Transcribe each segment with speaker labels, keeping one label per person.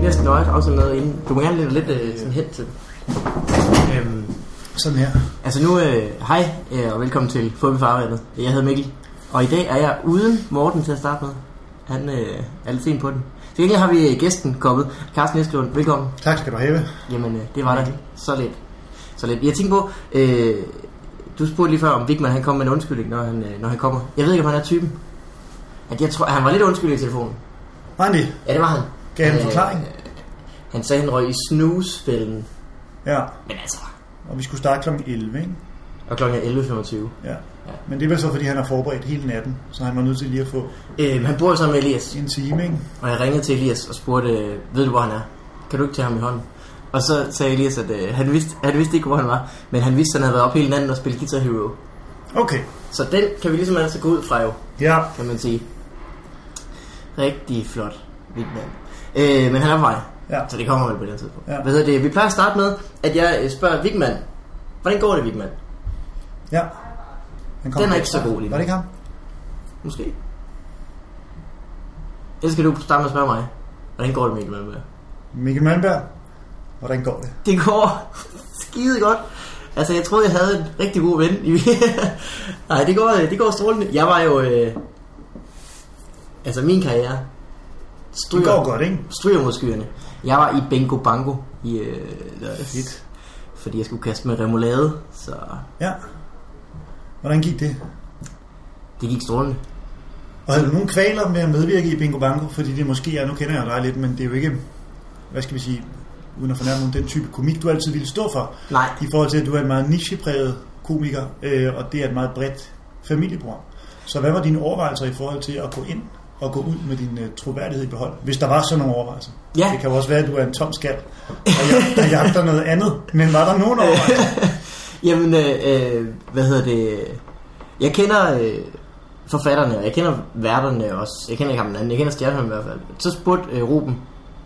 Speaker 1: også er lavet inden. Du må gerne lidt, lidt øh, sådan hen til. Øhm,
Speaker 2: Sådan her.
Speaker 1: altså nu, øh, hej øh, og velkommen til Fodboldfarvandet. Jeg hedder Mikkel, og i dag er jeg uden Morten til at starte med. Han øh, er lidt sent på den. Til gengæld har vi øh, gæsten kommet, Carsten Eskelund. Velkommen.
Speaker 2: Tak skal du have.
Speaker 1: Jamen, øh, det var da så lidt. Så lidt. Jeg tænkte på, øh, du spurgte lige før, om Vigman han kom med en undskyldning, når han, øh, når han kommer. Jeg ved ikke, om han er typen. At jeg tror, han var lidt undskyldning i telefonen.
Speaker 2: Var han det?
Speaker 1: Ja, det var han.
Speaker 2: Gav han en
Speaker 1: Øh,
Speaker 2: forklaring?
Speaker 1: Han sagde, han røg i snusfælden.
Speaker 2: Ja.
Speaker 1: Men altså...
Speaker 2: Og vi skulle starte kl. 11, ikke?
Speaker 1: Og klokken er 11.25.
Speaker 2: Ja. Men det er vel så, fordi han har forberedt hele natten, så han var nødt til lige at få
Speaker 1: Øh, han bor jo sammen med Elias,
Speaker 2: en time, ikke?
Speaker 1: og jeg ringede til Elias og spurgte, øh, ved du hvor han er? Kan du ikke tage ham i hånden? Og så sagde Elias, at øh, han, vidste, han vidste ikke, hvor han var, men han vidste, at han havde været op hele natten og spillet Guitar Hero.
Speaker 2: Okay.
Speaker 1: Så den kan vi ligesom altså gå ud fra jo.
Speaker 2: Ja.
Speaker 1: kan man sige. Rigtig flot, vild mand. Øh, men han er på vej,
Speaker 2: Ja.
Speaker 1: så det kommer vel på den tidspunkt.
Speaker 2: Ja.
Speaker 1: Hvad hedder det? Vi plejer at starte med, at jeg øh, spørger Vigman, hvordan går det, Vigman?
Speaker 2: Ja. Han
Speaker 1: Den er
Speaker 2: med.
Speaker 1: ikke så god lige nu.
Speaker 2: Var det ikke ham?
Speaker 1: Måske. Ellers skal du starte med at spørge mig, hvordan går det, Vigman? Med?
Speaker 2: Mikkel Malmberg. Hvordan går det?
Speaker 1: Det går skide godt. Altså, jeg troede, jeg havde en rigtig god ven. Nej, det går, det går strålende. Jeg var jo... Øh, altså, min karriere...
Speaker 2: Det
Speaker 1: Stryger,
Speaker 2: går godt, ikke?
Speaker 1: Stryger mod skyerne. Jeg var i Bingo Bango i øh, lørdags,
Speaker 2: Fedt.
Speaker 1: fordi jeg skulle kaste med remoulade, så
Speaker 2: Ja. Hvordan gik det?
Speaker 1: det gik strålende.
Speaker 2: Og havde du nogen kvaler med at medvirke i Bingo Bango? Fordi det måske er, nu kender jeg dig lidt, men det er jo ikke, hvad skal vi sige, uden at fornærme nogen, den type komik, du altid ville stå for.
Speaker 1: Nej,
Speaker 2: I forhold til, at du er en meget nichepræget komiker, øh, og det er et meget bredt familieprogram. Så hvad var dine overvejelser i forhold til at gå ind og gå ud med din øh, troværdighed i behold? Hvis der var sådan nogle overvejelser.
Speaker 1: Ja.
Speaker 2: Det kan jo også være, at du er en tom skal, og jeg, der jagter noget andet. Men var der nogen overvejelser?
Speaker 1: Jamen, øh, øh, hvad hedder det? Jeg kender øh, forfatterne, og jeg kender værterne også. Jeg kender ikke ham den anden, jeg kender Stjernholm i hvert fald. Så spurgte øh, Ruben,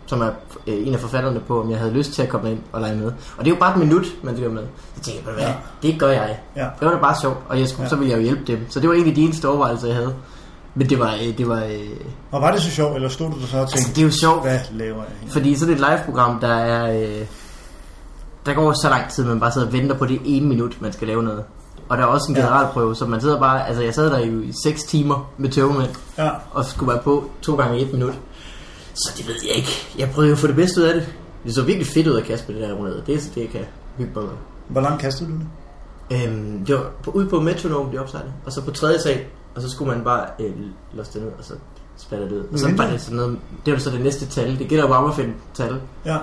Speaker 1: som er øh, en af forfatterne på, om jeg havde lyst til at komme ind og lege med. Og det er jo bare et minut, man lyder med. Så tænkte jeg, "Ved du hvad,
Speaker 2: Ja.
Speaker 1: det gør jeg.
Speaker 2: Ja.
Speaker 1: Det var da bare sjovt, og jeg skulle,
Speaker 2: Ja.
Speaker 1: så ville jeg jo hjælpe dem. Så det var egentlig de eneste overvejelser, jeg havde. Men det var, øh, det var, øh,
Speaker 2: Og var det så sjovt, eller stod du der så og
Speaker 1: altså,
Speaker 2: tænkte,
Speaker 1: det er jo sjovt,
Speaker 2: hvad laver jeg her?
Speaker 1: fordi sådan et live-program, der er... Øh, der går så lang tid, man bare sidder og venter på det ene minut, man skal lave noget. Og der er også en
Speaker 2: Ja.
Speaker 1: generalprøve, så man sidder bare... Altså, jeg sad der jo i 6 timer med tøvmænd,
Speaker 2: Ja,
Speaker 1: og skulle være på to gange et minut. Så det ved jeg ikke. Jeg prøvede jo at få det bedste ud af det. Det så virkelig fedt ud at kaste med det der runde. Det er så det, jeg kan hygge mig med.
Speaker 2: hvor langt kastede du det?
Speaker 1: Øhm, det var på, ude på metronom, det opsejlede. Og så på tredje sal, og så skulle man bare øh, låse det ned, og så splatter det ud. Og så
Speaker 2: Men-
Speaker 1: var det sådan noget, det var så det næste tal. Det gælder jo bare om at finde tal.
Speaker 2: Ja,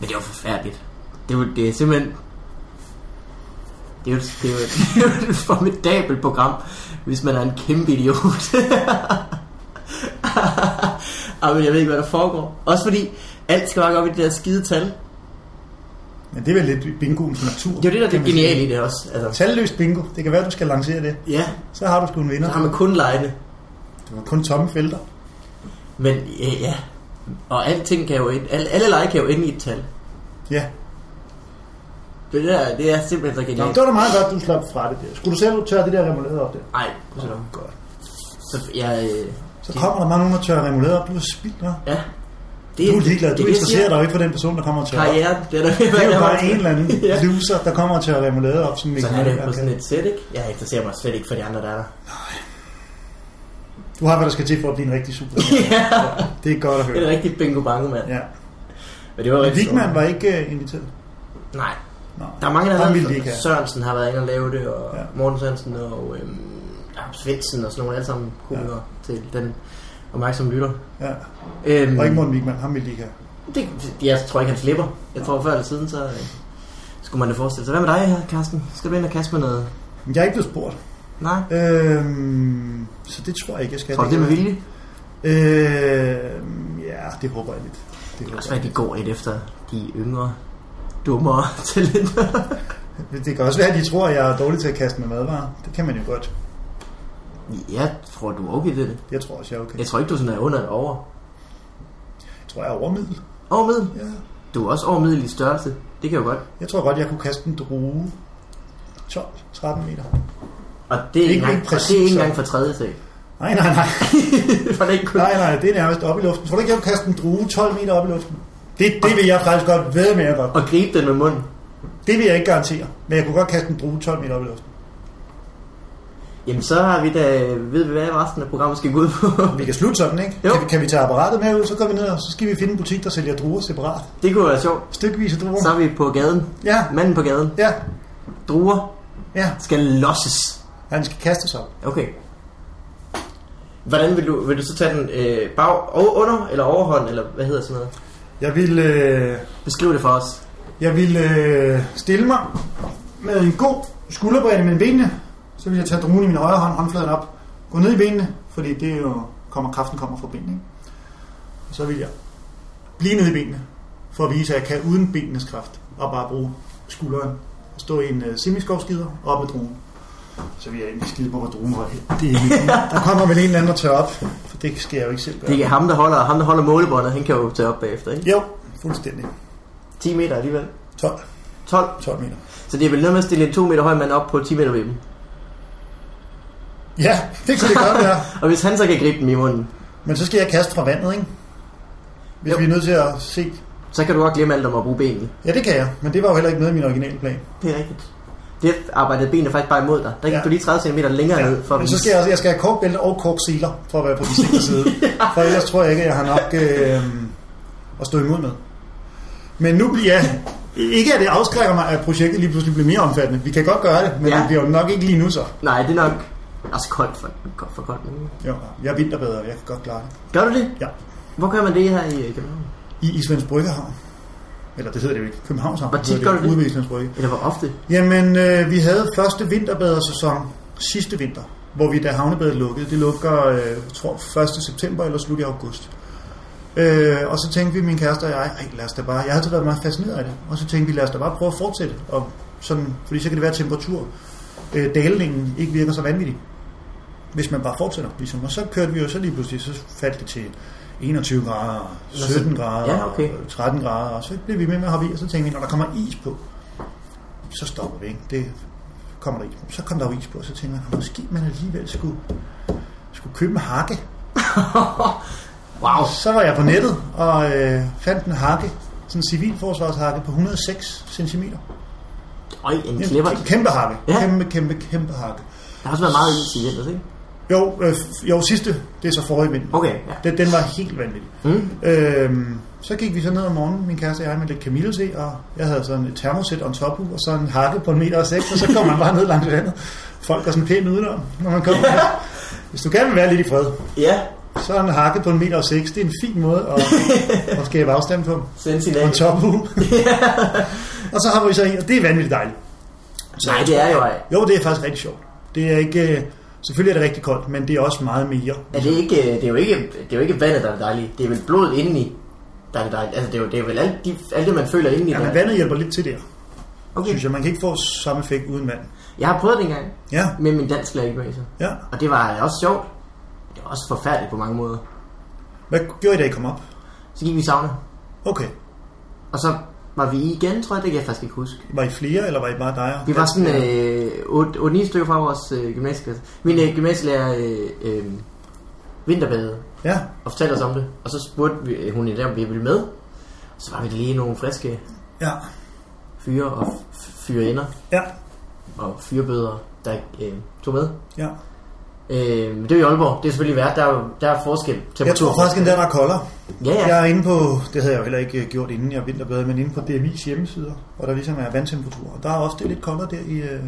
Speaker 1: Men det var forfærdeligt. Det var det er simpelthen... Det er jo det er jo, det er jo et formidabelt program, hvis man er en kæmpe idiot. Ej, Ah, men jeg ved ikke, hvad der foregår. Også fordi alt skal bare gå op i det der skide tal. Det
Speaker 2: men det er vel lidt bingoens natur.
Speaker 1: er jo det, der er
Speaker 2: kan
Speaker 1: det
Speaker 2: man sige.
Speaker 1: geniale i det også. Altså,
Speaker 2: Talløst bingo. Det kan være, du skal lancere det.
Speaker 1: ja,
Speaker 2: Så har du sgu en vinder.
Speaker 1: så har man kun lejende.
Speaker 2: Det var kun tomme felter.
Speaker 1: Men ja, ja. Og alting kan jo ind, alle, alle lege kan jo ende i et tal.
Speaker 2: Ja,
Speaker 1: Det der, det er simpelthen så
Speaker 2: Nå,
Speaker 1: genialt.
Speaker 2: det var da meget godt, du slap fra det der. Skulle du selv tørre det der remoulade op der?
Speaker 1: Nej, så,
Speaker 2: godt.
Speaker 1: så jeg... Øh,
Speaker 2: Så kommer der bare nogen og tørrer remoulade op. Du er spildt, hva'?
Speaker 1: ja. Det,
Speaker 2: Du er ligeglad.
Speaker 1: det
Speaker 2: Du
Speaker 1: er det, jeg siger.
Speaker 2: interesserer dig jo ikke for den person, der kommer og tørrer op.
Speaker 1: karriere. Det er der
Speaker 2: Det er jo
Speaker 1: jeg
Speaker 2: bare
Speaker 1: var-
Speaker 2: en eller anden
Speaker 1: ja.
Speaker 2: loser, der kommer og tørrer remoulade op, som
Speaker 1: Så
Speaker 2: Mikkel
Speaker 1: han er
Speaker 2: Malmberg
Speaker 1: jo på
Speaker 2: kan.
Speaker 1: sådan et sæt, ikke? Jeg interesserer mig slet ikke for de andre, der er der.
Speaker 2: Du har, hvad der skal til for at blive en rigtig super.
Speaker 1: ja,
Speaker 2: Det er godt at
Speaker 1: det er
Speaker 2: høre.
Speaker 1: en rigtig bingo bango, mand. Ja.
Speaker 2: Ja.
Speaker 1: Men det var
Speaker 2: Men
Speaker 1: rigtig
Speaker 2: Wigman
Speaker 1: sjovt.
Speaker 2: var ikke øh, inviteret.
Speaker 1: Nej,
Speaker 2: Nå,
Speaker 1: der er mange, der
Speaker 2: der
Speaker 1: har
Speaker 2: ville de
Speaker 1: været
Speaker 2: ikke have.
Speaker 1: Sørensen har været inde og lave det, og
Speaker 2: Ja.
Speaker 1: ja. Morten Sørensen og øhm, Jakob Svendsen og sådan nogle alle sammen komikere ja. til den opmærksomme lytter.
Speaker 2: Ja.
Speaker 1: Øhm,
Speaker 2: Og ikke Morten Wigman, ham ville de ikke have.
Speaker 1: det, jeg tror ikke, han slipper. Jeg tror, før eller siden, så øh, skulle man da forestille sig. Hvad med dig her, Carsten? Skal du ind og kaste med noget?
Speaker 2: Men jeg er ikke blevet spurgt.
Speaker 1: Nej?
Speaker 2: Øhm, så det tror jeg ikke, jeg skal.
Speaker 1: Tror du, det er med vilje?
Speaker 2: Øh, ja, det håber jeg lidt. Det
Speaker 1: Det er
Speaker 2: håber
Speaker 1: også
Speaker 2: jeg.
Speaker 1: være, at de går lidt efter de yngre, dummere talenter.
Speaker 2: Det kan også være, at de tror, at jeg er dårlig til at kaste med madvarer. Det kan man jo godt.
Speaker 1: Jeg tror, du er okay til det.
Speaker 2: Jeg tror også, jeg er okay.
Speaker 1: Jeg tror ikke, du sådan er under eller over.
Speaker 2: Jeg tror, jeg er overmiddel.
Speaker 1: Over middel.
Speaker 2: Ja.
Speaker 1: Du er også over middel i størrelse. Det kan jo godt.
Speaker 2: Jeg tror godt, jeg kunne kaste en drue 12-13 meter.
Speaker 1: Og det er ikke,
Speaker 2: Ikke-
Speaker 1: engang,
Speaker 2: ikke
Speaker 1: og
Speaker 2: præcis
Speaker 1: det er ikke
Speaker 2: så.
Speaker 1: engang fra tredje sag.
Speaker 2: Nej, nej, nej.
Speaker 1: For det er ikke kun...
Speaker 2: Nej, nej, det er nærmest op i luften. Tror du ikke, jeg kunne kaste en drue 12 meter op i luften? Det, det vil jeg faktisk godt ved med, at jeg godt.
Speaker 1: Og gribe den med munden.
Speaker 2: Det vil jeg ikke garantere, men jeg kunne godt kaste en drue 12 meter op i luften.
Speaker 1: Jamen så har vi da, ved vi hvad resten af programmet skal gå ud på.
Speaker 2: Vi kan slutte sådan, ikke?
Speaker 1: Jo.
Speaker 2: Kan, vi- kan vi tage apparatet med ud, så går vi ned, og så skal vi finde en butik, der sælger druer separat.
Speaker 1: det kunne være sjovt.
Speaker 2: Stykvise druer.
Speaker 1: Så er vi på gaden.
Speaker 2: Ja,
Speaker 1: Manden på gaden.
Speaker 2: ja,
Speaker 1: Druer
Speaker 2: ja.
Speaker 1: skal losses.
Speaker 2: Han skal kastes op.
Speaker 1: Okay. Hvordan vil du, vil du så tage den øh, bag, over, under eller overhånd, eller hvad hedder sådan noget?
Speaker 2: Jeg vil, øh,
Speaker 1: Beskriv det for os.
Speaker 2: jeg vil øh, stille mig med en god skulderbredde mellem benene. Så vil jeg tage druen i min højre hånd, håndfladen op. Gå ned i benene, fordi det er jo kommer, kraften kommer fra benene. Ikke? Og så vil jeg blive nede i benene, for at vise, at jeg kan uden benenes kraft. Og bare bruge skulderen og stå i en øh, semiskovskider op med druen. Så vil jeg ikke skide på, hvor druen var her. Det er ikke- Der kommer vel en eller anden og tørrer op, for det skal jeg jo ikke selv gøre.
Speaker 1: Det er ham, der holder, ham, der holder målebåndet. Han kan jo tage op bagefter, ikke?
Speaker 2: Jo, fuldstændig.
Speaker 1: 10 meter alligevel.
Speaker 2: 12,
Speaker 1: 12.
Speaker 2: 12 meter.
Speaker 1: Så det er vel noget med at stille en 2 meter høj mand op på 10 meter ved dem.
Speaker 2: Ja, det kunne det godt være.
Speaker 1: Og hvis han så kan gribe dem i munden,
Speaker 2: Men så skal jeg kaste fra vandet, ikke? Hvis
Speaker 1: Jo.
Speaker 2: jo. vi er nødt til at se.
Speaker 1: så kan du også glemme alt om at bruge benene.
Speaker 2: Ja, det kan jeg, men det var jo heller ikke med i min originale plan.
Speaker 1: Det er rigtigt. Det arbejdede benene faktisk bare imod dig. Der gik
Speaker 2: Ja.
Speaker 1: du lige 30 cm længere
Speaker 2: Ja.
Speaker 1: ned for at
Speaker 2: Men så
Speaker 1: vise-
Speaker 2: skal jeg, også- jeg skal have korkbælte og korkseler for at være på den sikre side. For ellers tror jeg ikke, at jeg har nok øh, at stå imod med. Men nu bliver jeg... Ikke at det afskrækker mig, at projektet lige pludselig bliver mere omfattende. Vi kan godt gøre det, men
Speaker 1: Ja.
Speaker 2: ja. det bliver jo nok ikke lige nu så.
Speaker 1: Nej, det er nok... Altså koldt for, koldt for koldt. men-
Speaker 2: Jo, jeg er vinterbedre, jeg kan godt klare det.
Speaker 1: Gør du det?
Speaker 2: Ja.
Speaker 1: Hvor gør man det her i øh, København?
Speaker 2: I Islands Bryggehavn. Eller det hedder det jo ikke. Københavns Havn.
Speaker 1: Hvor tit
Speaker 2: hedder
Speaker 1: gør du det?
Speaker 2: Ude ved Islands Brygge.
Speaker 1: Eller hvor ofte?
Speaker 2: Jamen, øh, vi havde første vinterbadersæson sidste vinter, hvor vi da havnebadet lukkede. Det lukker, øh, jeg tror, 1. september eller slut i august. Øh, og så tænkte vi, min kæreste og jeg, Ej, lad os da bare, jeg har altid været meget fascineret af det, og så tænkte vi, lad os da bare prøve at fortsætte, og sådan, fordi så kan det være at temperatur, øh, dalningen ikke virker så vanvittig, hvis man bare fortsætter, ligesom. Og så kørte vi jo så lige pludselig, så faldt det til 21 grader, 17 grader,
Speaker 1: Ja, okay.
Speaker 2: 13 grader, og så blev vi med med at hoppe i, og så tænkte vi, når der kommer is på, så stopper vi ikke. Det kommer der is på. Så kom der jo is på, og så tænkte man, måske man alligevel skulle, skulle købe en hakke.
Speaker 1: Wow.
Speaker 2: Så var jeg på nettet og øh, fandt en hakke, sådan en civilforsvarshakke på 106 cm.
Speaker 1: Øj, en klipper.
Speaker 2: kæmpe hakke.
Speaker 1: Ja.
Speaker 2: Ja. Kæmpe, kæmpe, kæmpe hakke.
Speaker 1: Der har også været meget is i vinters, ikke?
Speaker 2: Jo, øh, jo sidste, det er så forrige vinter.
Speaker 1: Okay, ja.
Speaker 2: Den, den var helt vanvittig.
Speaker 1: Mm.
Speaker 2: Øhm, så gik vi så ned om morgenen, min kæreste og jeg, med lidt kamille til, og jeg havde sådan et termosæt og en tophue, og så en hakke på en meter og seks, og så kom man bare ned langs vandet. Folk er sådan pænt udenom, når man kommer her. Hvis du gerne vil være lidt i fred,
Speaker 1: Ja,
Speaker 2: så er en hakke på en meter og seks, det er en fin måde at, at skabe afstand på.
Speaker 1: send sin
Speaker 2: Og
Speaker 1: af.
Speaker 2: en tophue. og så har vi så en, og det er vanvittigt dejligt.
Speaker 1: Nej, det er jo ej.
Speaker 2: Jo, det er faktisk rigtig sjovt. Det er ikke... øh, Selvfølgelig er det rigtig koldt, men det er også meget mere.
Speaker 1: Er det, ikke, øh, det, er jo ikke, det er jo ikke vandet, der er det dejlige. Det er vel blodet indeni, der er det dejlige. Altså, det er jo det er vel alt, de, alt det, man føler indeni.
Speaker 2: Ja,
Speaker 1: der
Speaker 2: men
Speaker 1: er-
Speaker 2: vandet hjælper lidt til der,
Speaker 1: okay.
Speaker 2: synes jeg. Man kan ikke få samme effekt uden vand.
Speaker 1: Jeg har prøvet det engang
Speaker 2: Ja,
Speaker 1: med min dansk lærer i gymnasiet.
Speaker 2: ja.
Speaker 1: Og det var øh, også sjovt. Det var også forfærdeligt på mange måder.
Speaker 2: Hvad gjorde I, da I kom op?
Speaker 1: Så gik vi i sauna.
Speaker 2: Okay.
Speaker 1: Og så var vi i igen, tror jeg. Det kan jeg faktisk ikke huske.
Speaker 2: Var I flere, eller var I bare dig? og-
Speaker 1: Vi var sådan øh, 8-9 stykker fra vores øh, gymnasieklasse. Min øh, gymnasielærer øh, øh, vinterbadede
Speaker 2: Ja,
Speaker 1: og fortalte os om det. Og så spurgte vi, øh, hun i dag, om vi ville med. Så var vi da lige nogle friske
Speaker 2: ja,
Speaker 1: fyre og f- fyrender
Speaker 2: ja,
Speaker 1: og fyrebøder, der øh, tog med.
Speaker 2: ja.
Speaker 1: Øh, men det er jo i Aalborg. Det er selvfølgelig værd. Der er, jo, der er forskel.
Speaker 2: Jeg tror faktisk, at der er koldere.
Speaker 1: Ja, ja.
Speaker 2: Jeg er inde på, det havde jeg jo heller ikke øh, gjort inden jeg vinterbadede, men inde på DMI's hjemmesider, hvor der ligesom er vandtemperatur. Og der er ofte lidt koldere der i øh,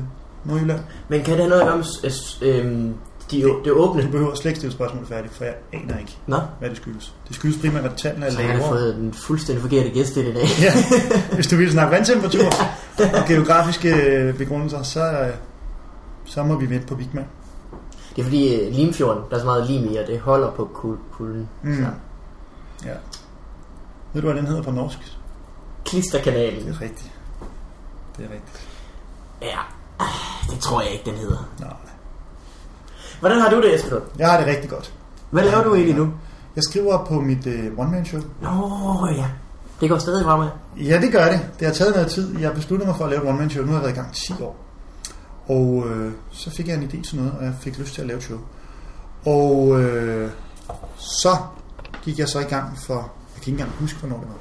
Speaker 2: Nordjylland.
Speaker 1: Men kan det have noget at gøre med øh, øh, de, det åbne?
Speaker 2: Du behøver slet ikke stille spørgsmål færdigt, for jeg aner ikke,
Speaker 1: Nå,
Speaker 2: hvad det skyldes. Det skyldes primært, at tallene er
Speaker 1: så jeg har da
Speaker 2: lavere.
Speaker 1: fået den fuldstændig forkerte gæst ind i dag.
Speaker 2: Ja, hvis du vil snakke vandtemperatur og geografiske øh, begrundelser, så, øh, så må vi vente på Vigman.
Speaker 1: Det er fordi øh, Limfjorden, der er så meget lim i, og det holder på kul- kulden.
Speaker 2: Mm.
Speaker 1: Så.
Speaker 2: Ja. Ved du, hvad den hedder på norsk? Det
Speaker 1: Klisterkanalen.
Speaker 2: er rigtigt. Det er rigtigt.
Speaker 1: Ja, Ah, det tror jeg ikke, den hedder.
Speaker 2: Nej.
Speaker 1: Hvordan har du det, Esben?
Speaker 2: Jeg har det rigtig godt.
Speaker 1: Hvad laver du egentlig nu?
Speaker 2: Jeg skriver på mit øh, one-man-show.
Speaker 1: Nå ja, det går stadig fremad.
Speaker 2: Ja, det gør det. Det har taget noget tid. Jeg besluttede mig for at lave et one-man-show. Nu har jeg været i gang i 10 år. Og øh, så fik jeg en idé til noget, og jeg fik lyst til at lave et show. Og øh, så gik jeg så i gang for... Jeg kan ikke engang huske, hvornår det var.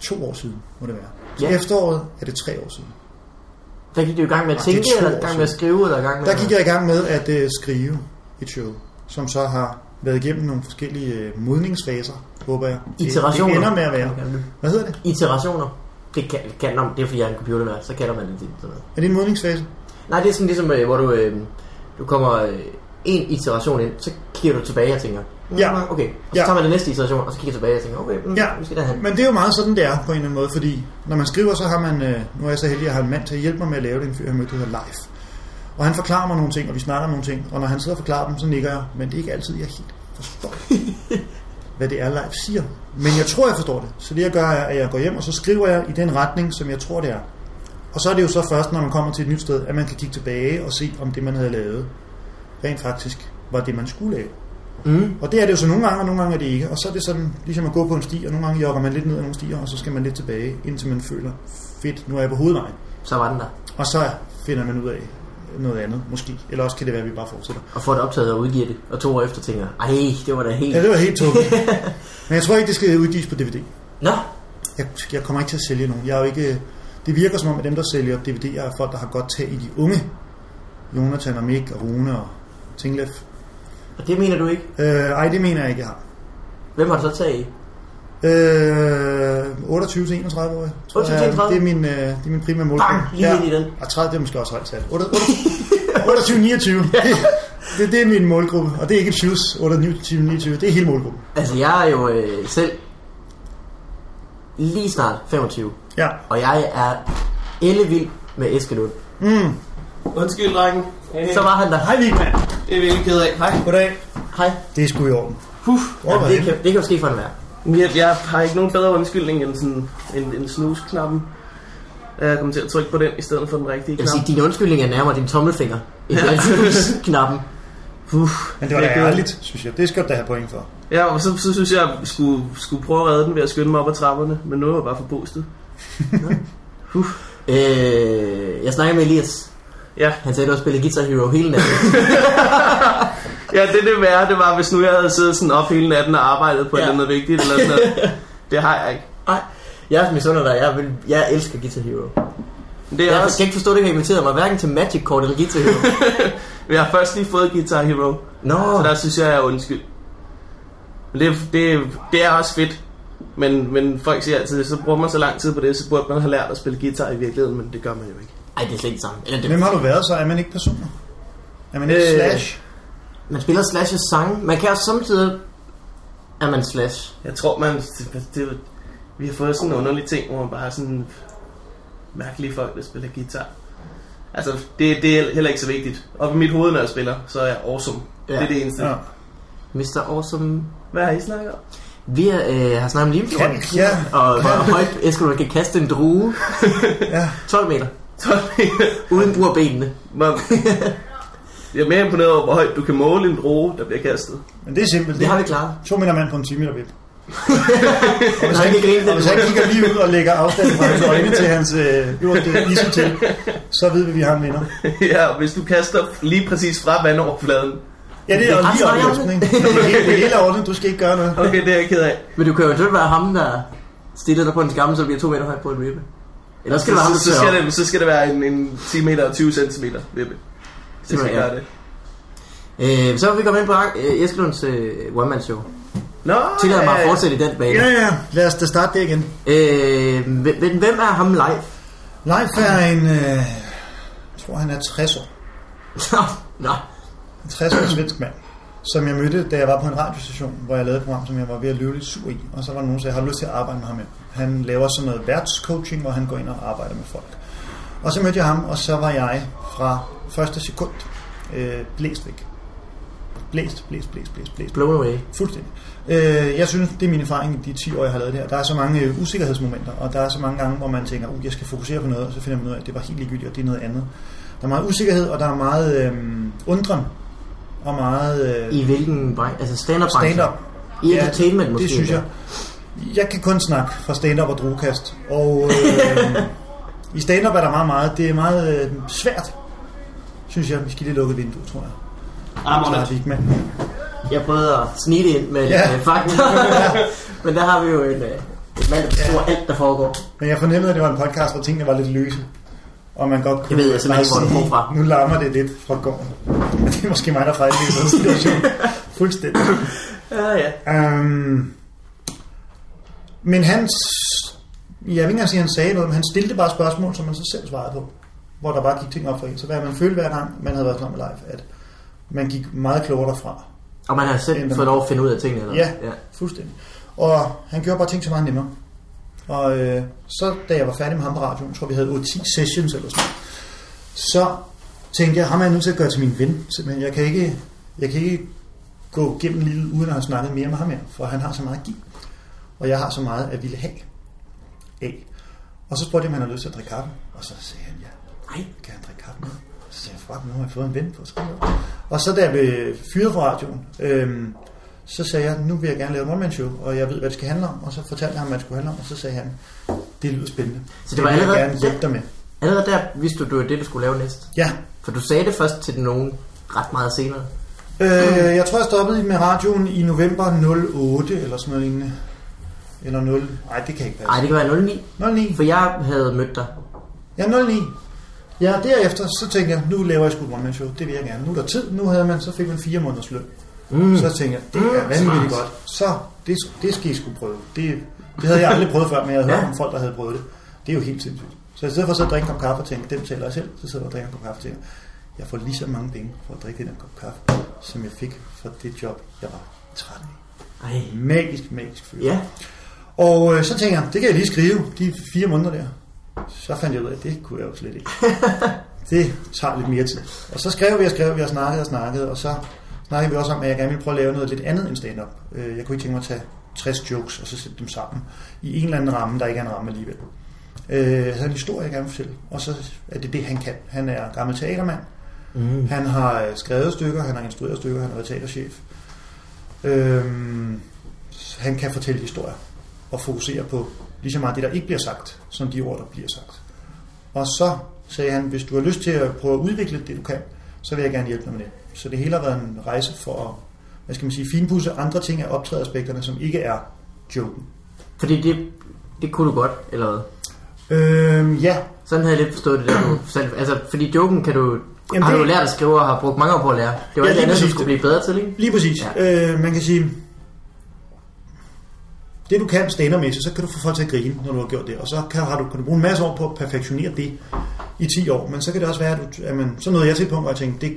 Speaker 2: to år siden, må det være. Til
Speaker 1: Ja.
Speaker 2: efteråret er det tre år siden.
Speaker 1: Der gik du i gang med at
Speaker 2: Ah, det er
Speaker 1: tænke,
Speaker 2: to
Speaker 1: eller
Speaker 2: år
Speaker 1: i gang med at skrive, eller i gang med...
Speaker 2: Der gik jeg i gang med at øh, skrive et show, som så har været igennem nogle forskellige øh, modningsfaser, håber jeg. Det-
Speaker 1: Iterationer.
Speaker 2: Det ender med at være. Hvad hedder det?
Speaker 1: Iterationer. Det kan, kalder man, det er fordi jeg er en computernørd, så kalder man det sådan noget.
Speaker 2: Er det en modningsfase?
Speaker 1: Nej, det er sådan ligesom, øh, hvor du, øh, du kommer øh, en iteration ind, så kigger du tilbage og tænker, mm,
Speaker 2: Ja.
Speaker 1: okay, og så
Speaker 2: Ja.
Speaker 1: tager man den næste iteration, og så kigger jeg tilbage og tænker, okay, mm,
Speaker 2: Ja.
Speaker 1: ja. vi skal derhen.
Speaker 2: Men det er jo meget sådan, det er på en eller anden måde, fordi når man skriver, så har man, øh, nu er jeg så heldig, at jeg har en mand til at hjælpe mig med at lave den fyr, jeg mødte, der hedder Life. Og han forklarer mig nogle ting, og vi snakker om nogle ting, og når han sidder og forklarer dem, så nikker jeg, men det er ikke altid, jeg helt forstår, hvad det er, Life siger. Men jeg tror, jeg forstår det. Så det, jeg gør, er, at jeg går hjem, og så skriver jeg i den retning, som jeg tror, det er. Og så er det jo så først, når man kommer til et nyt sted, at man kan kigge tilbage og se, om det, man havde lavet, rent faktisk var det, man skulle lave.
Speaker 1: Mm.
Speaker 2: Og det er det jo så nogle gange, og nogle gange er det ikke. Og så er det sådan, ligesom at gå på en sti, og nogle gange jogger man lidt ned ad nogle stier, og så skal man lidt tilbage, indtil man føler, fedt, nu er jeg på hovedvejen.
Speaker 1: Så var den der.
Speaker 2: Og så finder man ud af noget andet, måske. Eller også kan det være, at vi bare fortsætter.
Speaker 1: Og får det optaget og udgiver det. Og to år efter tænker, jeg, ej, det var da helt...
Speaker 2: Ja, det var helt tungt. Men jeg tror ikke, det skal udgives på DVD.
Speaker 1: Nå,
Speaker 2: Jeg, jeg kommer ikke til at sælge nogen. Jeg er jo ikke, det virker som om, at dem, der sælger DVD'er, er folk, der har godt tag i de unge. Jonathan og Mick og Rune og Tinglef.
Speaker 1: og det mener du ikke.
Speaker 2: Øh, ej, det mener jeg ikke, jeg har.
Speaker 1: Hvem har du så taget i?
Speaker 2: Øh, 28 til 31 år.
Speaker 1: 28 til 31?
Speaker 2: Det er min, øh, det er min primære målgruppe.
Speaker 1: Bang! Lige ind i den.
Speaker 2: Og 30 det er måske også højt tal. 28 29. Det, det, det, er min målgruppe. Og det er ikke et shoes. 28 29. Det er hele målgruppen.
Speaker 1: Altså, jeg er jo øh, selv lige snart 25,
Speaker 2: Ja.
Speaker 1: og jeg er ellevild med Eskelund.
Speaker 2: Mm.
Speaker 3: Undskyld, drengen. Hey,
Speaker 2: Øh.
Speaker 1: Så var han der.
Speaker 2: Hej Vigman.
Speaker 3: Det er vi ikke ked af. Hej.
Speaker 2: Goddag.
Speaker 1: Hej.
Speaker 2: Det er sgu i orden.
Speaker 3: Puff.
Speaker 2: Hvor var
Speaker 1: Ja, det,
Speaker 2: det?
Speaker 1: kan, det kan jo ske for en vær.
Speaker 3: Jeg, jeg har ikke nogen bedre undskyldning end, sådan, end, end snusknappen. Øh, Jeg kommer til at trykke på den i stedet for den rigtige
Speaker 1: Jeg vil
Speaker 3: knap.
Speaker 1: sige, din undskyldning er nærmere din tommelfinger. End ja. knappen.
Speaker 2: Men det var da
Speaker 3: Det er
Speaker 2: ærligt, synes jeg. Det skal du da have point for.
Speaker 3: Ja, og så, så synes jeg, at jeg skulle, skulle prøve at redde den ved at skynde mig op ad trapperne. Men nu er jeg bare forpostet.
Speaker 1: Øh, jeg snakkede med Elias.
Speaker 3: Ja.
Speaker 1: Han sagde, at du har spillet Guitar Hero hele natten.
Speaker 3: ja, det det værre, det var, hvis nu jeg havde siddet sådan op hele natten og arbejdet på
Speaker 1: Ja.
Speaker 3: ja. noget vigtigt eller sådan noget. Det har jeg ikke.
Speaker 1: Nej. Jeg er misunder dig. Jeg, vil, jeg elsker Guitar Hero.
Speaker 3: Men Det er
Speaker 1: Jeg,
Speaker 3: jeg
Speaker 1: jeg
Speaker 3: også,
Speaker 1: kan ikke forstå, at det ikke inviteret mig hverken til Magic Kort eller Guitar Hero.
Speaker 3: jeg har først lige fået Guitar Hero,
Speaker 1: Nå,
Speaker 3: så der synes jeg, jeg er undskyld. Men det, det, det er også fedt. Men, men folk siger altid, så bruger man så lang tid på det, så burde man have lært at spille guitar i virkeligheden, men det gør man jo ikke.
Speaker 1: ej, det er slet ikke det samme. Eller det,
Speaker 2: Hvem har du været så? Er man ikke personer? Er man ikke
Speaker 3: Øh.
Speaker 2: slash?
Speaker 1: man spiller Slashes sange. Man kan også samtidig... Er man Slash?
Speaker 3: Jeg tror, man... Det, det, vi har fået sådan en underlig ting, hvor man bare har sådan mærkelige folk, der spiller guitar. Altså, det, det er heller ikke så vigtigt. Og i mit hoved, når jeg spiller, så er jeg awesome.
Speaker 1: Ja.
Speaker 3: Ja. Det er det eneste.
Speaker 2: Ja.
Speaker 3: Ja.
Speaker 1: Mr. Awesome...
Speaker 3: Hvad har I snakket om?
Speaker 1: Vi er, øh, har snakket om limfjorden.
Speaker 2: Kan- ja.
Speaker 1: Og hvor højt Eskelund kan kaste en drue.
Speaker 2: Ja.
Speaker 1: 12 meter. Uden brug af benene.
Speaker 3: Hvor- jeg er mere imponeret over, hvor højt du kan måle en droge, der bliver kastet.
Speaker 2: Men det er simpelt.
Speaker 1: Det har vi klaret.
Speaker 2: To meter mand på en 10 meter vip. og hvis,
Speaker 1: Nej,
Speaker 2: han,
Speaker 1: det griner
Speaker 2: og hvis
Speaker 1: du.
Speaker 2: han kigger lige ud og lægger afstanden fra hans øjne til hans øh, øverste isse til, så ved vi, at vi har en vinder.
Speaker 3: ja, og hvis du kaster lige præcis fra vandoverfladen.
Speaker 2: Ja, det er jo
Speaker 1: Det er
Speaker 2: lige
Speaker 1: ret smart,
Speaker 2: opløsning. Det er helt- det hele er ordnet, du skal ikke gøre noget.
Speaker 3: Okay, det er jeg ked af.
Speaker 1: Men du kan jo eventuelt være ham, der stiller dig på en skamme, så bliver to meter højt på en vippe. Eller skal det være ham,
Speaker 3: så,
Speaker 1: der
Speaker 3: så, skal
Speaker 1: tør
Speaker 3: det, så skal det være en, en 10 meter og 20 centimeter vippe. Det skal
Speaker 1: Simpelthen, ja.
Speaker 3: gøre det.
Speaker 1: øh, Så vil vi komme ind på øh, Eskelunds øh, one-man-show.
Speaker 3: Nå,
Speaker 1: Tillad mig at
Speaker 3: ja.
Speaker 1: fortsætte i den bane.
Speaker 2: Øh, Ja, ja, lad os da starte det igen.
Speaker 1: Øh, men hvem er ham live?
Speaker 2: Leif er en, øh, jeg tror han er 60 år.
Speaker 1: Nå,
Speaker 2: En 60 år svensk mand, som jeg mødte, da jeg var på en radiostation, hvor jeg lavede et program, som jeg var ved at løbe lidt sur i. Og så var der nogen, der sagde, har du lyst til at arbejde med ham her? Han laver sådan noget værtscoaching, hvor han går ind og arbejder med folk. Og så mødte jeg ham, og så var jeg fra første sekund øh, blæst væk. Blæst, blæst, blæst, blæst, blæst.
Speaker 1: blown away.
Speaker 2: Fuldstændig. Øh, jeg synes, det er min erfaring i de 10 år, jeg har lavet det her. Der er så mange øh, usikkerhedsmomenter, og der er så mange gange, hvor man tænker, uh, jeg skal fokusere på noget, og så finder man ud af, at det var helt ligegyldigt, og det er noget andet. Der er meget usikkerhed, og der er meget øh, undren, og meget øh,
Speaker 1: I hvilken branche? Altså stand-up branche?
Speaker 2: stand-up.
Speaker 1: I entertainment måske?
Speaker 2: det synes jeg. Jeg kan kun snakke fra stand-up og drugkast, og øh, i stand-up er der meget, meget, det er meget øh, svært, synes jeg. Vi skal lige lukke vinduet, tror jeg.
Speaker 3: Armerne.
Speaker 2: Klarer vi ikke med.
Speaker 1: Jeg prøvede at snige det ind med
Speaker 2: Ja.
Speaker 1: ja. øh, fakta. men der har vi jo en, øh, En mand, der forstår ja. alt, der foregår.
Speaker 2: Men jeg fornemmede, at det var en podcast, hvor tingene var lidt løse. Og man godt kunne altså,
Speaker 1: ved jeg simpelthen ikke, hvor det kom fra.
Speaker 2: Nu larmer det lidt fra gården. det er måske mig, der fejler i sådan en situation. Fuldstændig.
Speaker 3: Ja, ja.
Speaker 2: Um, men han, s- jeg vil ikke engang sige, at han sagde noget, men han stillede bare spørgsmål, som man så selv svarede på. Hvor der bare gik ting op for en. Så hvad man følte hver gang, man havde været sammen med live, at man gik meget klogere derfra.
Speaker 1: Og man har selv
Speaker 2: Enten.
Speaker 1: fået lov at finde ud af tingene. Eller?
Speaker 2: Ja.
Speaker 1: ja.
Speaker 2: Fuldstændig. Og han gjorde bare ting så meget nemmere. Og øh, så da jeg var færdig med ham på radioen, tror vi havde 8-10 sessions eller sådan noget, så tænkte jeg, ham er jeg nødt til at gøre til min ven, simpelthen. Jeg kan ikke, jeg kan ikke gå gennem livet, uden at have snakket mere med ham her, for han har så meget at give. Og jeg har så meget at ville have af. Og så spurgte jeg, om han havde lyst til at drikke kaffe, og så sagde han ja.
Speaker 1: Ej.
Speaker 2: Kan han drikke kaffe med? Så sagde jeg, fuck, nu har jeg fået en ven på skrevet. Og så da jeg blev fyret fra radioen, øhm, så sagde jeg, nu vil jeg gerne lave et one-man-show, og jeg ved, hvad det skal handle om. Og så fortalte jeg ham, hvad det skulle handle om, og så sagde han, det lyder spændende.
Speaker 1: Så det var
Speaker 2: vil jeg
Speaker 1: allerede-
Speaker 2: gerne hjælpe dig med.
Speaker 1: Allerede der vidste du, det var det, du skulle lave næste.
Speaker 2: Ja,
Speaker 1: For du sagde det først til nogen ret meget senere.
Speaker 2: øh, jeg tror, jeg stoppede med radioen i november 08, eller sådan noget lignende. Eller 0... Nej, det kan ikke
Speaker 1: Nej,
Speaker 2: passe.
Speaker 1: det kan være 09.
Speaker 2: 09.
Speaker 1: For jeg havde mødt dig.
Speaker 2: Ja, 09. Ja, derefter, så tænkte jeg, nu laver jeg sgu et one-man-show. Det vil jeg gerne. Nu er der tid. Nu havde man, så fik man fire måneders løn.
Speaker 1: Mm.
Speaker 2: Så tænkte jeg, det er
Speaker 1: Mm,
Speaker 2: vanvittigt
Speaker 1: smart.
Speaker 2: godt. Så, det, det skal I sgu prøve. Det, det havde jeg aldrig prøvet før, men jeg havde
Speaker 1: Ja.
Speaker 2: hørt om folk, der havde prøvet det. Det er jo helt sindssygt. Så i stedet for at sidde og drikke en kop kaffe og tænke, den tæller jeg selv, så sidder jeg og drikker en kop kaffe og tænker, jeg får lige så mange penge for at drikke den her kop kaffe, som jeg fik for det job, jeg var træt af.
Speaker 1: Ej.
Speaker 2: Magisk, magisk følelse.
Speaker 1: Ja.
Speaker 2: Og øh, så tænker jeg, det kan jeg lige skrive, de fire måneder der. Så fandt jeg ud af, at det kunne jeg jo slet ikke. Det tager lidt mere tid. Og så skrev vi og skrev vi og snakkede og snakkede, og så snakkede vi også om, at jeg gerne ville prøve at lave noget lidt andet end stand-up. Øh, Jeg kunne ikke tænke mig at tage 60 jokes og så sætte dem sammen i en eller anden ramme, der ikke er en ramme alligevel. Øh, Jeg havde en historie, jeg gerne vil fortælle, og så er det det, han kan. Han er gammel teatermand,
Speaker 1: Mm.
Speaker 2: han har øh, skrevet stykker, han har instrueret stykker, han har været teaterchef. Øhm, s- han kan fortælle historier og fokusere på lige så meget det, der ikke bliver sagt, som de ord, der bliver sagt. Og så sagde han, hvis du har lyst til at prøve at udvikle det, du kan, så vil jeg gerne hjælpe dig med det. Så det hele har været en rejse for at hvad skal man sige, finpudse andre ting af optrædeaspekterne, som ikke er joken.
Speaker 1: Fordi det, det kunne du godt, eller hvad?
Speaker 2: Øhm, ja,
Speaker 1: Sådan havde jeg lidt forstået det der, du selv... Altså, fordi joken kan du... Jamen,
Speaker 2: Jamen,
Speaker 1: har
Speaker 2: det-
Speaker 1: du lært at skrive og har brugt mange år på at lære. Det var
Speaker 2: Ja,
Speaker 1: ja, alt
Speaker 2: lige
Speaker 1: andet, du
Speaker 2: præcis.
Speaker 1: skulle blive bedre til, ikke?
Speaker 2: Lige præcis. Ja. Øh, man kan sige, det du kan standermæssigt, så kan du få folk til at grine, når du har gjort det. Og så kan, har du, kan du bruge en masse år på at perfektionere det i 10 år. Men så kan det også være, at, du, at man, så nåede jeg til et punkt, hvor jeg tænkte, det,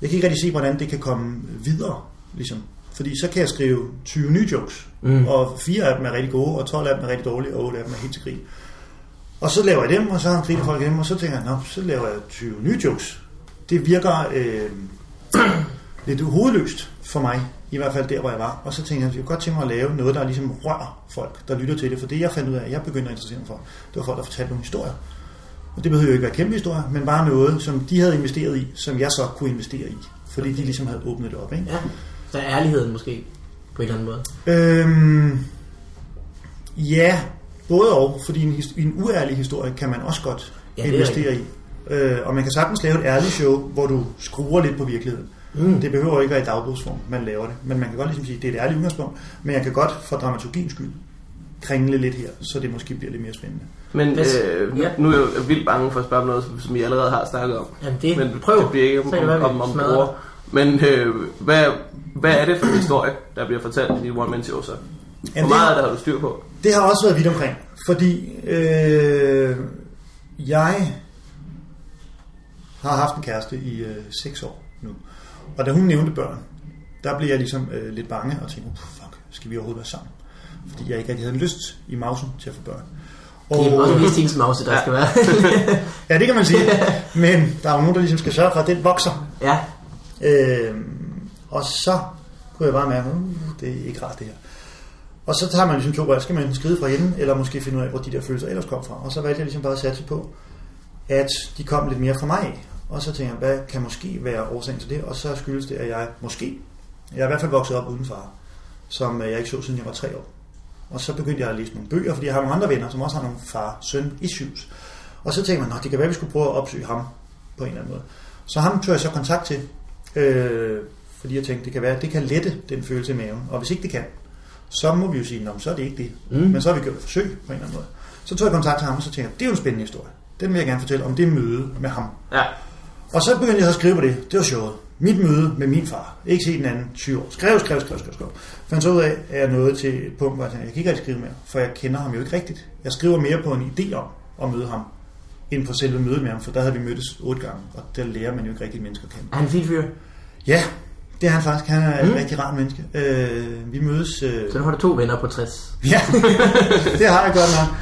Speaker 2: jeg kan ikke rigtig se, hvordan det kan komme videre. Ligesom. Fordi så kan jeg skrive 20 nye jokes,
Speaker 1: Mm.
Speaker 2: mm. og fire af dem er rigtig gode, og 12 af dem er rigtig dårlige, og 8 af dem er helt til grin. Og så laver jeg dem, og så griner folk af dem, og så tænker jeg, nå, så laver jeg 20 nye jokes. Det virker øh, lidt hovedløst for mig, i hvert fald der, hvor jeg var. Og så tænkte jeg, jeg kunne godt tænke mig at lave noget, der ligesom rører folk, der lytter til det. For det, jeg fandt ud af, jeg begyndte at interessere mig for, det var folk, der fortalte nogle historier. Og det behøvede jo ikke være kæmpe historier, men bare noget, som de havde investeret i, som jeg så kunne investere i. Fordi de ligesom havde åbnet det op, ikke?
Speaker 1: Ja. Så er ærligheden måske, på en eller anden måde.
Speaker 2: Øhm, ja, både og, fordi en, his- en uærlig historie kan man også godt
Speaker 1: Ja,
Speaker 2: ja,
Speaker 1: det er
Speaker 2: investere i. Øh, og man kan sagtens lave et ærligt show, hvor du skruer lidt på virkeligheden.
Speaker 1: Mm.
Speaker 2: Mm. Det behøver ikke være i dagbogsform, man laver det. Men man kan godt ligesom sige, at det er et ærligt udgangspunkt, men jeg kan godt for dramaturgiens skyld kringle lidt her, så det måske bliver lidt mere spændende.
Speaker 3: Men
Speaker 1: Hvis-
Speaker 3: øh,
Speaker 1: ja.
Speaker 3: nu- nu er jeg jo vildt bange for at spørge om noget, som- som I allerede har snakket om.
Speaker 1: Jamen, det-
Speaker 3: Men
Speaker 1: prøv.
Speaker 3: Det bliver ikke om,
Speaker 1: Så kan det være,
Speaker 3: om,
Speaker 1: vi
Speaker 3: om, om
Speaker 1: smadrer
Speaker 3: bruger. Men øh, hvad, hvad er det for en historie, der bliver fortalt i One Man Show så? Hvor
Speaker 2: det-
Speaker 3: meget af det har du styr på?
Speaker 2: Det har også været vidt omkring, fordi øh, jeg har haft en kæreste i øh, 6 år nu. Og da hun nævnte børn, der blev jeg ligesom øh, lidt bange og tænkte, "Uh, fuck, skal vi overhovedet være sammen? Fordi jeg ikke rigtig havde lyst i mausen til at få børn. Og,
Speaker 1: Det er også lige Stines Mause, der ja. skal være.
Speaker 2: ja, det kan man sige. Men der er jo nogen, der ligesom skal sørge for, at den vokser.
Speaker 1: ja.
Speaker 2: Øh, og så kunne jeg bare mærke, at det er ikke rart det her. Og så tager man ligesom to valg. Skal man skride fra hende, eller måske finde ud af, hvor de der følelser ellers kom fra. Og så valgte jeg ligesom bare at satse på, at de kom lidt mere fra mig. af. Og så tænker jeg, hvad kan måske være årsagen til det? Og så skyldes det, at jeg måske... Jeg er i hvert fald vokset op uden far, som øh, jeg ikke så, siden jeg var tre år. Og så begyndte jeg at læse nogle bøger, fordi jeg har nogle andre venner, som også har nogle far-søn-issues. Og så tænkte man, at det kan være, at vi skulle prøve at opsøge ham på en eller anden måde. Så ham tog jeg så kontakt til, øh, fordi jeg tænkte, det kan være, at det kan lette den følelse i maven. Og hvis ikke det kan, så må vi jo sige, "Nå, men så er det ikke det.
Speaker 1: Mm.
Speaker 2: Men så har vi gjort et forsøg på en eller anden måde. Så tog jeg kontakt til ham, og så tænkte jeg, det er jo en spændende historie. Den vil jeg gerne fortælle om det møde med ham.
Speaker 1: Ja.
Speaker 2: Og så begyndte jeg så at skrive på det. Det var sjovt. Mit møde med min far. Ikke set den anden 20 år. Skrev, skrev, skrev, skrev, skrev. Fandt så ud af, at jeg nåede til et punkt, hvor jeg tænkte, jeg kan ikke rigtig skrive mere, for jeg kender ham jo ikke rigtigt. Jeg skriver mere på en idé om at møde ham, end på selve mødet med ham, for der havde vi mødtes otte gange, og der lærer man jo ikke rigtig mennesker at kende.
Speaker 1: Er han en fin fyr?
Speaker 2: Ja, det er han faktisk. Han er et
Speaker 1: Mm.
Speaker 2: mm. rigtig rart menneske. Øh, vi mødes... Øh,
Speaker 1: Så du har du to venner på 60.
Speaker 2: Ja, det har jeg godt nok.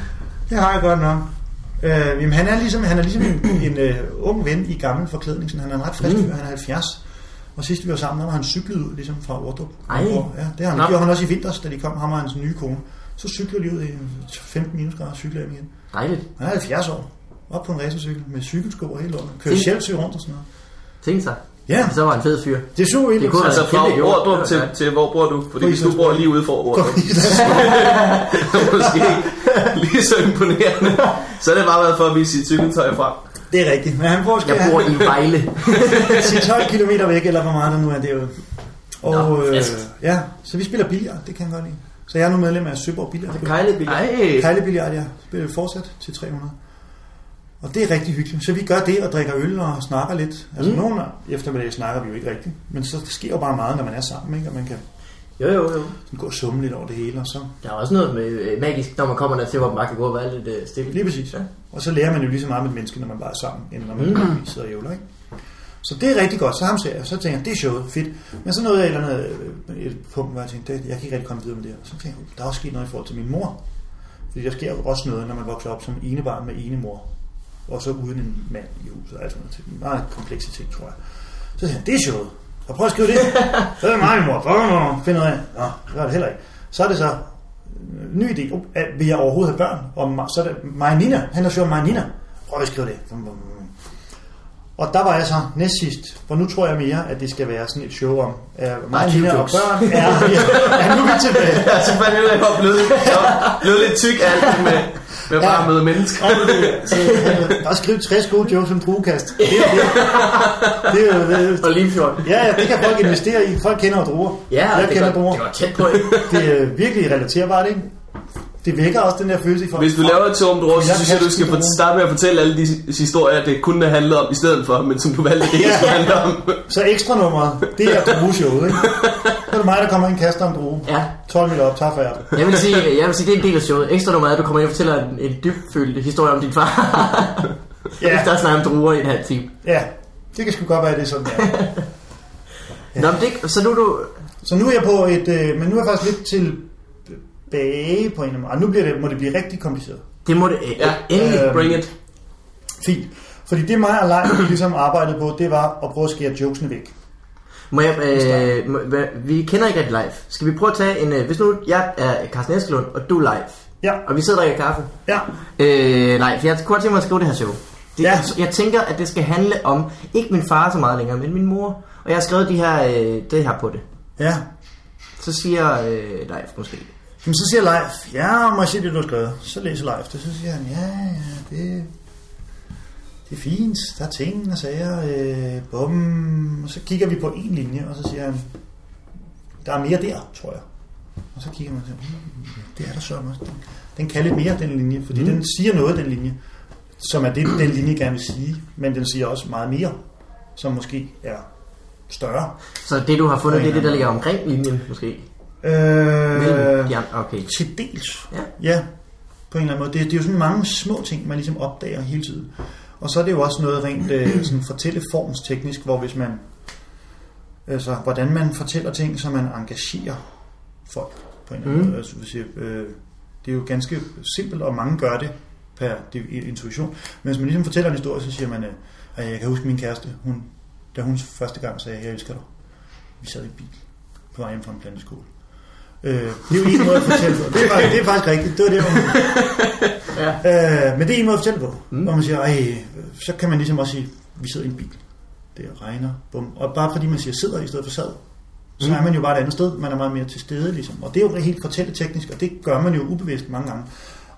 Speaker 2: Det har jeg godt nok. Øh, jamen, han er ligesom, han er ligesom en, en øh, ung ven i gammel forklædning. Sådan, han er en ret frisk
Speaker 1: Mm.
Speaker 2: fyr, han er 70. Og sidst vi var sammen, der var han cyklet ud ligesom fra Ordrup.
Speaker 1: Ej.
Speaker 2: Ja, det har han.
Speaker 1: Nå.
Speaker 2: Det gjorde han også i vinters, da de kom, ham og hans nye kone. Så cykler de ud i 15 minusgrader og cykler hjem igen.
Speaker 1: Dejligt.
Speaker 2: Han er 70 år. Op på en racercykel med cykelsko og hele lortet. Kører
Speaker 1: Fint.
Speaker 2: sjældsyg rundt og sådan noget.
Speaker 1: Tænk sig.
Speaker 2: Ja,
Speaker 1: Så var han en fed fyr.
Speaker 2: det er super
Speaker 1: Det
Speaker 2: vildt.
Speaker 1: kunne
Speaker 3: Altså
Speaker 1: være en
Speaker 3: fra
Speaker 1: kæmpe idiot.
Speaker 3: Ordrup til, til hvor bor du? Fordi
Speaker 2: På
Speaker 3: hvis du bor lige ude for Ordrup, det er måske ikke lige så imponerende. Så har det bare været for at vise sit cykeltøj frem.
Speaker 2: Det er rigtigt. Men han bor
Speaker 1: Jeg
Speaker 2: skal
Speaker 1: bor
Speaker 2: han,
Speaker 1: i Vejle.
Speaker 2: sige 12 km væk, eller hvor meget der nu er derude. Og
Speaker 1: Nå,
Speaker 2: øh,
Speaker 1: friskt.
Speaker 2: ja, så vi spiller billiard, det kan jeg godt lide. Så jeg er nu medlem af Søborg Billiard.
Speaker 1: Kejlebil.
Speaker 3: Nej,
Speaker 2: Kejle billiard, ja. Spiller fortsat til 300. Og det er rigtig hyggeligt. Så vi gør det og drikker øl og snakker lidt. Altså
Speaker 1: Mm.
Speaker 2: mm. nogle eftermiddage snakker vi jo ikke rigtigt. Men så sker jo bare meget, når man er sammen, ikke? Og man kan
Speaker 1: Jo, jo, jo.
Speaker 2: sådan gå og summe lidt over det hele, og så...
Speaker 1: Der er også noget med, øh, magisk, når man kommer der til, hvor man bare kan gå og være lidt øh, stille.
Speaker 2: Lige præcis.
Speaker 1: Ja.
Speaker 2: Ja. Og så lærer man jo lige så meget med et menneske, når man bare er sammen, end når man
Speaker 1: Mm.
Speaker 2: mm. sidder og jævler, ikke? Så det er rigtig godt. Så ham ser jeg, så tænker jeg, det er sjovt, fedt. Men så nåede jeg et eller andet øh, et punkt, hvor jeg tænkte, det, jeg kan ikke rigtig komme videre med det her. Så tænkte jeg, der er også sket noget i forhold til min mor. Fordi der sker jo også noget, når man vokser op som enebarn med ene mor. Og så uden en mand i huset. Altså noget til. meget komplekse ting, tror jeg. Så tænkte jeg, det er sjovt. Og prøv at skrive det. så er det mig, min mor. Brrr, Finder ud af. Nå, det var det heller ikke. Så er det så øh, ny idé. Uh, vil jeg overhovedet have børn? Og Ma- så er det Maja Nina. Han er sjov Maja Nina. Prøv at skrive det. Og der var jeg så næst sidst, for nu tror jeg mere, at det skal være sådan et show om, at Maja
Speaker 1: Arkiv
Speaker 2: Nina og
Speaker 1: jokes.
Speaker 2: børn er, ja, nu er vi tilbage.
Speaker 3: Ja, så fandt jeg ud af, at jeg var blevet, jeg var blevet lidt tyk af alt det med, med bare at møde mennesker.
Speaker 2: Så han bare skrive 60 gode jokes om druekast. Det er jo det. Det er jo det.
Speaker 1: Og Limfjord.
Speaker 2: Ja, ja, det kan folk investere i. Folk kender jo druer.
Speaker 1: Ja,
Speaker 2: jeg
Speaker 1: det,
Speaker 2: kender
Speaker 1: var,
Speaker 2: druer.
Speaker 1: det var tæt på, ikke?
Speaker 2: Det er virkelig relaterbart, ikke? Det vækker også den der følelse i folk.
Speaker 3: Hvis du laver et tomt råd, så
Speaker 2: Jeg
Speaker 3: synes jeg, du skal
Speaker 2: kan
Speaker 3: få- starte med at fortælle alle de s- historier, det kunne have handlet om i stedet for, men som du valgte det ikke
Speaker 2: Ja.
Speaker 3: skulle handle om.
Speaker 2: Så ekstra nummeret, det er drueshowet, ikke? Så er det mig, der kommer ind og kaster en drue.
Speaker 1: Ja.
Speaker 2: 12 meter op, tager færd.
Speaker 1: Jeg vil sige, jeg vil sige det er en del af showet. Ekstra nummer er, at du kommer ind og fortæller en, en dybfølt historie om din far.
Speaker 2: Ja,
Speaker 1: Hvis der snakker om druer i en halv time.
Speaker 2: ja. Det kan sgu godt være, at det er sådan, der.
Speaker 1: Nå, men det, så nu er du...
Speaker 2: Så nu er jeg på et... Øh, men nu er jeg faktisk lidt tilbage på en eller anden måde. Og nu bliver det, må det blive rigtig kompliceret.
Speaker 1: Det må det... Øh,
Speaker 3: Ja.
Speaker 1: ja. Endelig.
Speaker 2: Øh,
Speaker 3: Bring it.
Speaker 2: Fint. Fordi det mig og Leif vi ligesom arbejdede på, det var at prøve at skære jokesene væk.
Speaker 1: Må jeg, øh, må, hvad, vi kender ikke rigtig live. Skal vi prøve at tage en... Øh, hvis nu jeg er Carsten Eskelund, og du er live.
Speaker 2: Ja,
Speaker 1: Og vi sidder og drikker kaffe.
Speaker 2: ja,
Speaker 1: Øh, nej, for jeg kunne godt tænke mig at skrive det her show. Det, ja.
Speaker 2: Ja.
Speaker 1: jeg, tænker, at det skal handle om, ikke min far så meget længere, men min mor. Og jeg har skrevet de her, øh, det her på det.
Speaker 2: ja.
Speaker 1: Så siger øh, Leif måske.
Speaker 2: Men så siger Leif, ja, må jeg se det, du har skrevet. Så læser Leif det, så siger han, ja, ja, det, det er fint, der er ting og sager, øh, bum. Og så kigger vi på en linje, og så siger han, der er mere der, tror jeg. Og så kigger man og siger, mm, det er der sørme også. Den, den kan lidt mere, den linje, fordi
Speaker 1: Mm.
Speaker 2: mm. den siger noget, den linje, som er det, den linje gerne vil sige, men den siger også meget mere, som måske er større.
Speaker 1: Så det, du har fundet,
Speaker 2: Ja,
Speaker 1: det er det,
Speaker 2: ja.
Speaker 1: der ligger omkring linjen, måske.
Speaker 2: Øh,
Speaker 1: Øh, ja, okay.
Speaker 2: Til dels.
Speaker 1: Ja.
Speaker 2: ja. På en eller anden måde. Det, det er jo sådan mange små ting, man ligesom opdager hele tiden. Og så er det jo også noget rent øh, sådan fortælleformsteknisk, hvor hvis man... Altså, hvordan man fortæller ting, så man engagerer folk på en eller anden
Speaker 1: Mm.
Speaker 2: mm. måde. Altså, hvis jeg, øh, det er jo ganske simpelt, og mange gør det per det er jo intuition. Men hvis man ligesom fortæller en historie, så siger man, øh, "Ej, jeg kan huske min kæreste, hun, da hun første gang sagde, jeg elsker dig. Vi sad i bil på vej hjem fra en planteskole. Øh, det er jo en måde at fortælle på. Det er faktisk, det er faktisk rigtigt. Det var det, hvor man... ja. øh, men det er en måde at fortælle på.
Speaker 1: Mm.
Speaker 2: Mm. Hvor man siger, Ej, så kan man ligesom også sige, vi sidder i en bil. Det regner. Bum. Og bare fordi man siger sidder i stedet for sad, så
Speaker 1: Mm.
Speaker 2: mm. er man jo bare et andet sted. Man er meget mere til stede. Ligesom. Og det er jo helt fortælleteknisk, og det gør man jo ubevidst mange gange.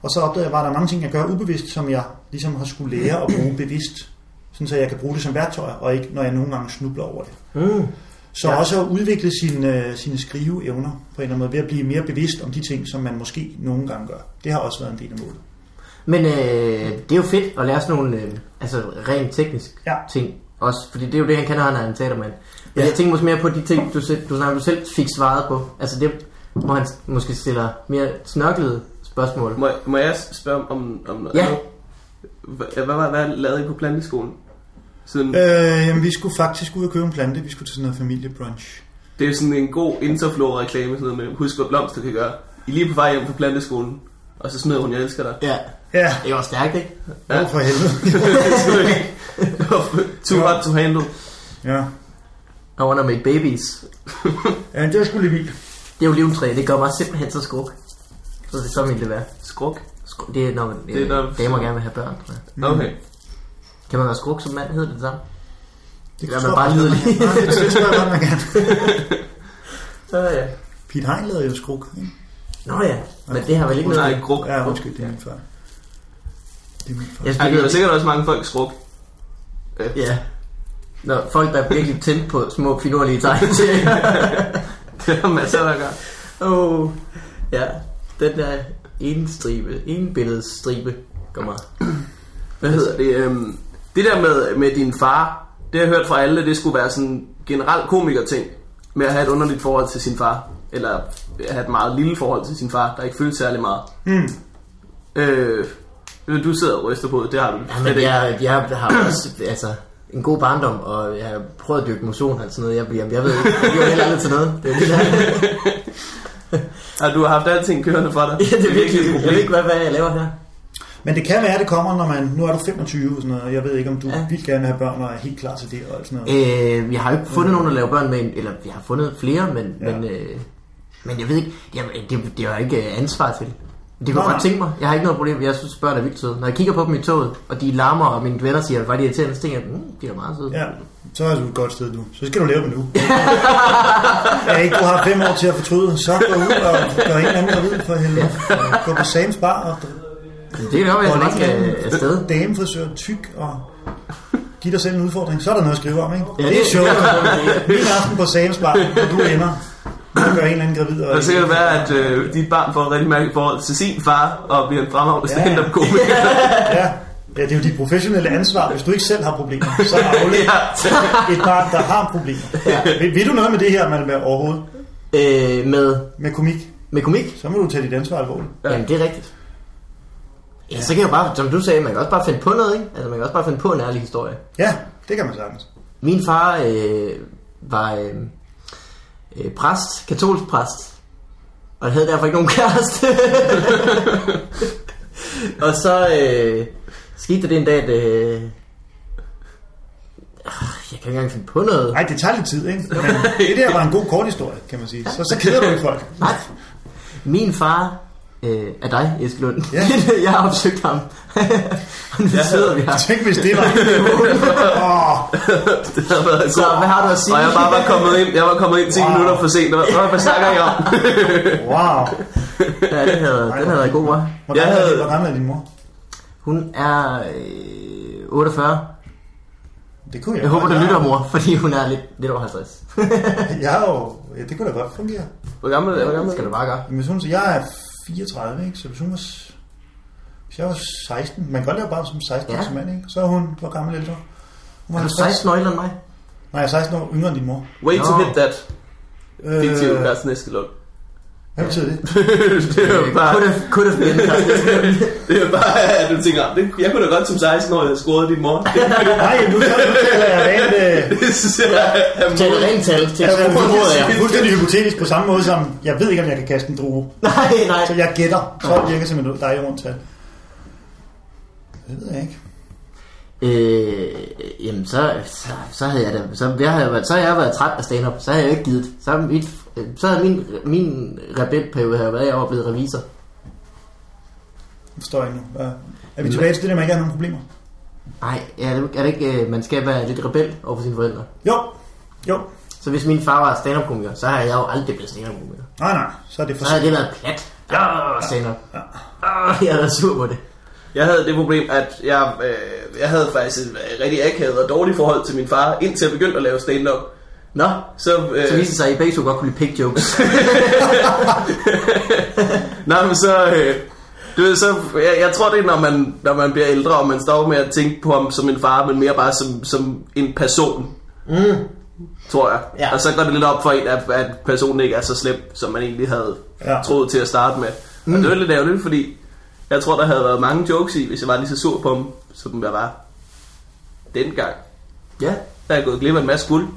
Speaker 2: Og så opdagede jeg bare, at der er mange ting, jeg gør ubevidst, som jeg ligesom har skulle lære at bruge bevidst. Sådan så jeg kan bruge det som værktøj, og ikke når jeg nogle gange snubler over det.
Speaker 1: Mm.
Speaker 2: Så
Speaker 3: Ja.
Speaker 2: ja. også at udvikle sine, øh, sine skriveevner på en eller anden måde, ved at blive mere bevidst om de ting, som man måske nogle gange gør. Det har også været en del af målet.
Speaker 1: Men øh, det er jo fedt at lære sådan nogle øh, altså, rent teknisk
Speaker 2: Ja.
Speaker 1: ting også, fordi det er jo det, han kan, når han er en teatermand. Men
Speaker 2: Ja.
Speaker 1: jeg tænker måske mere på de ting, du, selv, du, snakker, du selv fik svaret på. Altså det, hvor han måske stiller mere snørklede spørgsmål.
Speaker 3: Må, jeg- må jeg spørge om, om noget
Speaker 1: Ja.
Speaker 3: andet? Hva- Hvad, var, hvad lavede I på planteskolen? Siden,
Speaker 2: Øh, jamen, vi skulle faktisk ud og købe en plante. Vi skulle til sådan noget familiebrunch.
Speaker 3: Det er jo sådan en god Interflora-reklame, sådan noget med, husk hvad blomster kan gøre. I er lige på vej hjem fra planteskolen, og så smider hun, jeg elsker dig.
Speaker 1: Ja,
Speaker 2: Ja,
Speaker 1: det var stærkt, ikke?
Speaker 3: Ja.
Speaker 2: ja. for helvede.
Speaker 3: Too hot to handle.
Speaker 2: ja.
Speaker 1: I wanna make babies.
Speaker 2: ja, det var sgu lidt vildt.
Speaker 1: Det er jo oliventræ, det gør mig simpelthen så skruk. Så det er så vil det være.
Speaker 3: Skruk.
Speaker 1: Skruk, det er, når, øh,
Speaker 3: Det er, når-
Speaker 1: damer gerne vil have børn, tror jeg.
Speaker 3: Okay.
Speaker 1: Kan man være skruk som mand, hedder det det samme?
Speaker 2: Det
Speaker 1: Ja, man bare lyder lige.
Speaker 2: Nej, det det tror jeg godt, man kan.
Speaker 1: Så ja.
Speaker 2: Pete Hein lavede jo skruk, ikke?
Speaker 1: Nå ja, men det har vel ikke
Speaker 3: Hun har
Speaker 1: noget...
Speaker 3: ikke gruk.
Speaker 2: Ja, undskyld, det er min far. Det er min far.
Speaker 1: Jeg
Speaker 3: Ej, der er
Speaker 1: spillede,
Speaker 3: sikkert også mange folk skruk.
Speaker 1: Ja. Når folk, der er virkelig tændt på små finurlige tegneserier.
Speaker 3: Det er masser, der gør.
Speaker 1: oh, ja, den der ene stribe, en billedes stribe, kommer.
Speaker 3: Hvad hedder det? øhm, Det der med, med din far, det har jeg hørt fra alle, det skulle være sådan generelt komiker-ting. Med at have et underligt forhold til sin far. Eller at have et meget lille forhold til sin far, der ikke føles særlig meget.
Speaker 2: Mm.
Speaker 3: Øh, du sidder og ryster på, det, det har du.
Speaker 1: Ja, men jeg, jeg har også altså, en god barndom, og jeg har prøvet at dyrke motion og sådan noget. Jeg, jeg, jeg ved ikke, jeg bliver heller aldrig til noget. Det er jo det, der er.
Speaker 3: Og Altså, du har haft alting kørende for dig.
Speaker 1: Ja, det er virkelig et problem. Jeg ved ikke, hvad, hvad jeg laver her.
Speaker 2: Men det kan være, at det kommer, når man... Nu er du 25 og sådan noget. Jeg ved ikke, om du
Speaker 1: Ja.
Speaker 2: ja. vil gerne vil have børn og er helt klar til det og alt sådan noget.
Speaker 1: Øh, jeg har jo ikke fundet nogen at lave børn med, eller jeg har fundet flere, men, ja.
Speaker 2: Ja.
Speaker 1: men, øh, men jeg ved ikke, jeg, det, det har jeg ikke øh, ansvar til. Det kunne
Speaker 2: Nå,
Speaker 1: jeg godt
Speaker 2: nej.
Speaker 1: tænke mig. Jeg har ikke noget problem. Jeg synes, børn er vildt søde. Når jeg kigger på dem i toget, og de larmer, og mine venner siger, var de irriterende, så tænker jeg, mm, de er meget søde.
Speaker 2: Ja, så er du et godt sted nu. Så skal du lave dem nu. ja, ikke, du har fem år til at fortryde. Så gå ud og gør en eller anden gravid for helvede. Gå på Sam's Bar og
Speaker 1: Det kan godt være, at jeg bare skal øh, afsted.
Speaker 2: damefrisør tyk og giv dig selv en udfordring. Så er der noget at skrive om, ikke?
Speaker 1: Ja,
Speaker 2: Ja,
Speaker 1: det
Speaker 2: det
Speaker 1: er
Speaker 2: er sjovt. Min aften på Sam's Bar, og du ender. Du gør en eller anden gravid.
Speaker 3: Det
Speaker 2: Og
Speaker 3: kan sikkert være, at øh, dit barn får et rigtig mærkeligt forhold til sin far, og bliver en fremragende
Speaker 2: Ja, ja.
Speaker 3: stand-up komiker.
Speaker 2: ja, ja, det er jo dit professionelle ansvar. Hvis du ikke selv har problemer, så afled
Speaker 3: ja.
Speaker 2: et barn, der har problemer. Ja. Vil, vil, du noget med det her, man overhovedet?
Speaker 1: Øh, med,
Speaker 2: Med komik?
Speaker 1: med komik.
Speaker 2: Så må du tage dit ansvar alvorligt.
Speaker 1: Ja. Jamen, det er rigtigt. Ja, så kan jeg jo bare, som du sagde, man kan også bare finde på noget, ikke? Altså, man kan også bare finde på en ærlig historie.
Speaker 2: Ja, det kan man sagtens.
Speaker 1: Min far øh, var øh, øh, præst, katolsk præst, og havde derfor ikke nogen kæreste. og så øh, skete der det en dag, at... Øh, ah, jeg kan ikke engang finde på noget.
Speaker 2: Nej, det tager lidt tid, ikke? Men det der var en god kort historie, kan man sige. Så, så keder du ikke folk.
Speaker 1: Nej. Min far øh, er dig, Eske Lund.
Speaker 2: Ja.
Speaker 1: jeg har opsøgt ham. og nu sidder vi her.
Speaker 2: Tænk, hvis det var... Åh,
Speaker 3: Det har været
Speaker 1: Så
Speaker 3: godt.
Speaker 1: hvad har du at sige?
Speaker 3: Og jeg bare var kommet ind, jeg var kommet ind 10
Speaker 2: Wow.
Speaker 3: minutter for sent. Hvad, hvad- hvad snakker I om?
Speaker 2: wow.
Speaker 1: ja, det havde, den havde været god, hva'?
Speaker 2: Hvor
Speaker 3: Jeg
Speaker 2: gammel, er,
Speaker 3: havde-
Speaker 2: din- hvor gammel er din mor?
Speaker 1: Hun er øh, 48.
Speaker 2: Det kunne jeg,
Speaker 1: Jeg
Speaker 2: godt.
Speaker 1: håber, du lytter, mor, fordi hun er lidt, lidt over 50.
Speaker 2: Jeg har jo... Ja, det kunne da godt fungere.
Speaker 3: Hvor gammel er det? Hvor gammel
Speaker 1: Det
Speaker 3: er
Speaker 1: skal
Speaker 3: det?
Speaker 1: du bare gøre.
Speaker 2: Men hvis hun, jeg er 34, ikke? Så hvis hun var... s- Hvis jeg var 16... Man kan godt lave bare som 16
Speaker 1: Ja.
Speaker 2: ja. mand, ikke? Så er hun... Hvor gammel ældre? Hun
Speaker 1: Er du
Speaker 2: 50.
Speaker 1: 16 år ældre end mig?
Speaker 2: Nej, jeg er 16 år yngre end din mor.
Speaker 3: Way to
Speaker 1: Nå.
Speaker 3: hit that. Fiktiv
Speaker 2: Øh,
Speaker 3: Carsten Eskelund.
Speaker 2: hvad betyder det?
Speaker 3: det er jo bare,
Speaker 1: Kunne det- Kunne det blive
Speaker 3: det er bare at du tænker, det, jeg kunne da godt som 16 år have scoret din mor. Det,
Speaker 2: Nej, nu taler jeg rent... Øh,
Speaker 3: det synes jeg er
Speaker 1: Tag et rent tal. Tag et
Speaker 2: Altså, jeg
Speaker 1: rent
Speaker 2: er
Speaker 1: tal.
Speaker 2: fuldstændig hypotetisk på samme måde som, jeg ved ikke, om jeg kan kaste en drue.
Speaker 1: Nej, nej.
Speaker 2: Så jeg gætter. Så virker simpelthen ud. Der er rundt tal. Det ved jeg ikke.
Speaker 1: Øh, jamen, så, så, så havde jeg da, så, jeg havde, været- så havde jeg været træt af stand-up. Så havde jeg jo ikke givet. Så, havde mit, øh, så havde min, min rebelperiode havde været, jeg var blevet revisor.
Speaker 2: Det forstår jeg ikke nu. Hvad- Er vi tilbage til det, der man ikke har nogen problemer?
Speaker 1: Nej, er det, er det ikke, øh, man skal være lidt rebel over for sine forældre.
Speaker 2: Jo. Jo.
Speaker 1: Så hvis min far var stand-up-komiker, så havde jeg jo aldrig blevet stand-up-komiker.
Speaker 2: Nej, nej. Så er det for
Speaker 1: Så havde det været plat. Åh, stand-up. Åh, jeg er sur på det.
Speaker 3: Jeg havde det problem, at jeg, øh, jeg havde faktisk et øh, rigtig akavet og dårligt forhold til min far, indtil jeg begyndte at lave stand-up.
Speaker 1: Nå,
Speaker 3: Så, øh,
Speaker 1: så viste det sig, at I begge to godt kunne lide pig jokes.
Speaker 3: Nej, men så... Øh, du ved, så jeg, jeg tror, det er, når man, når man bliver ældre, og man står med at tænke på ham som en far, men mere bare som, som en person. Mm. Tror jeg.
Speaker 1: Ja.
Speaker 3: Og så går det lidt op for en, at, at personen ikke er så slem, som man egentlig havde
Speaker 2: Ja.
Speaker 3: ja. troet til at starte med. Mm. Og det var lidt ærgerligt, fordi jeg tror, der havde været mange jokes i, hvis jeg var lige så sur på ham, som jeg var dengang.
Speaker 1: ja.
Speaker 3: Der er jeg gået glip af en masse guld.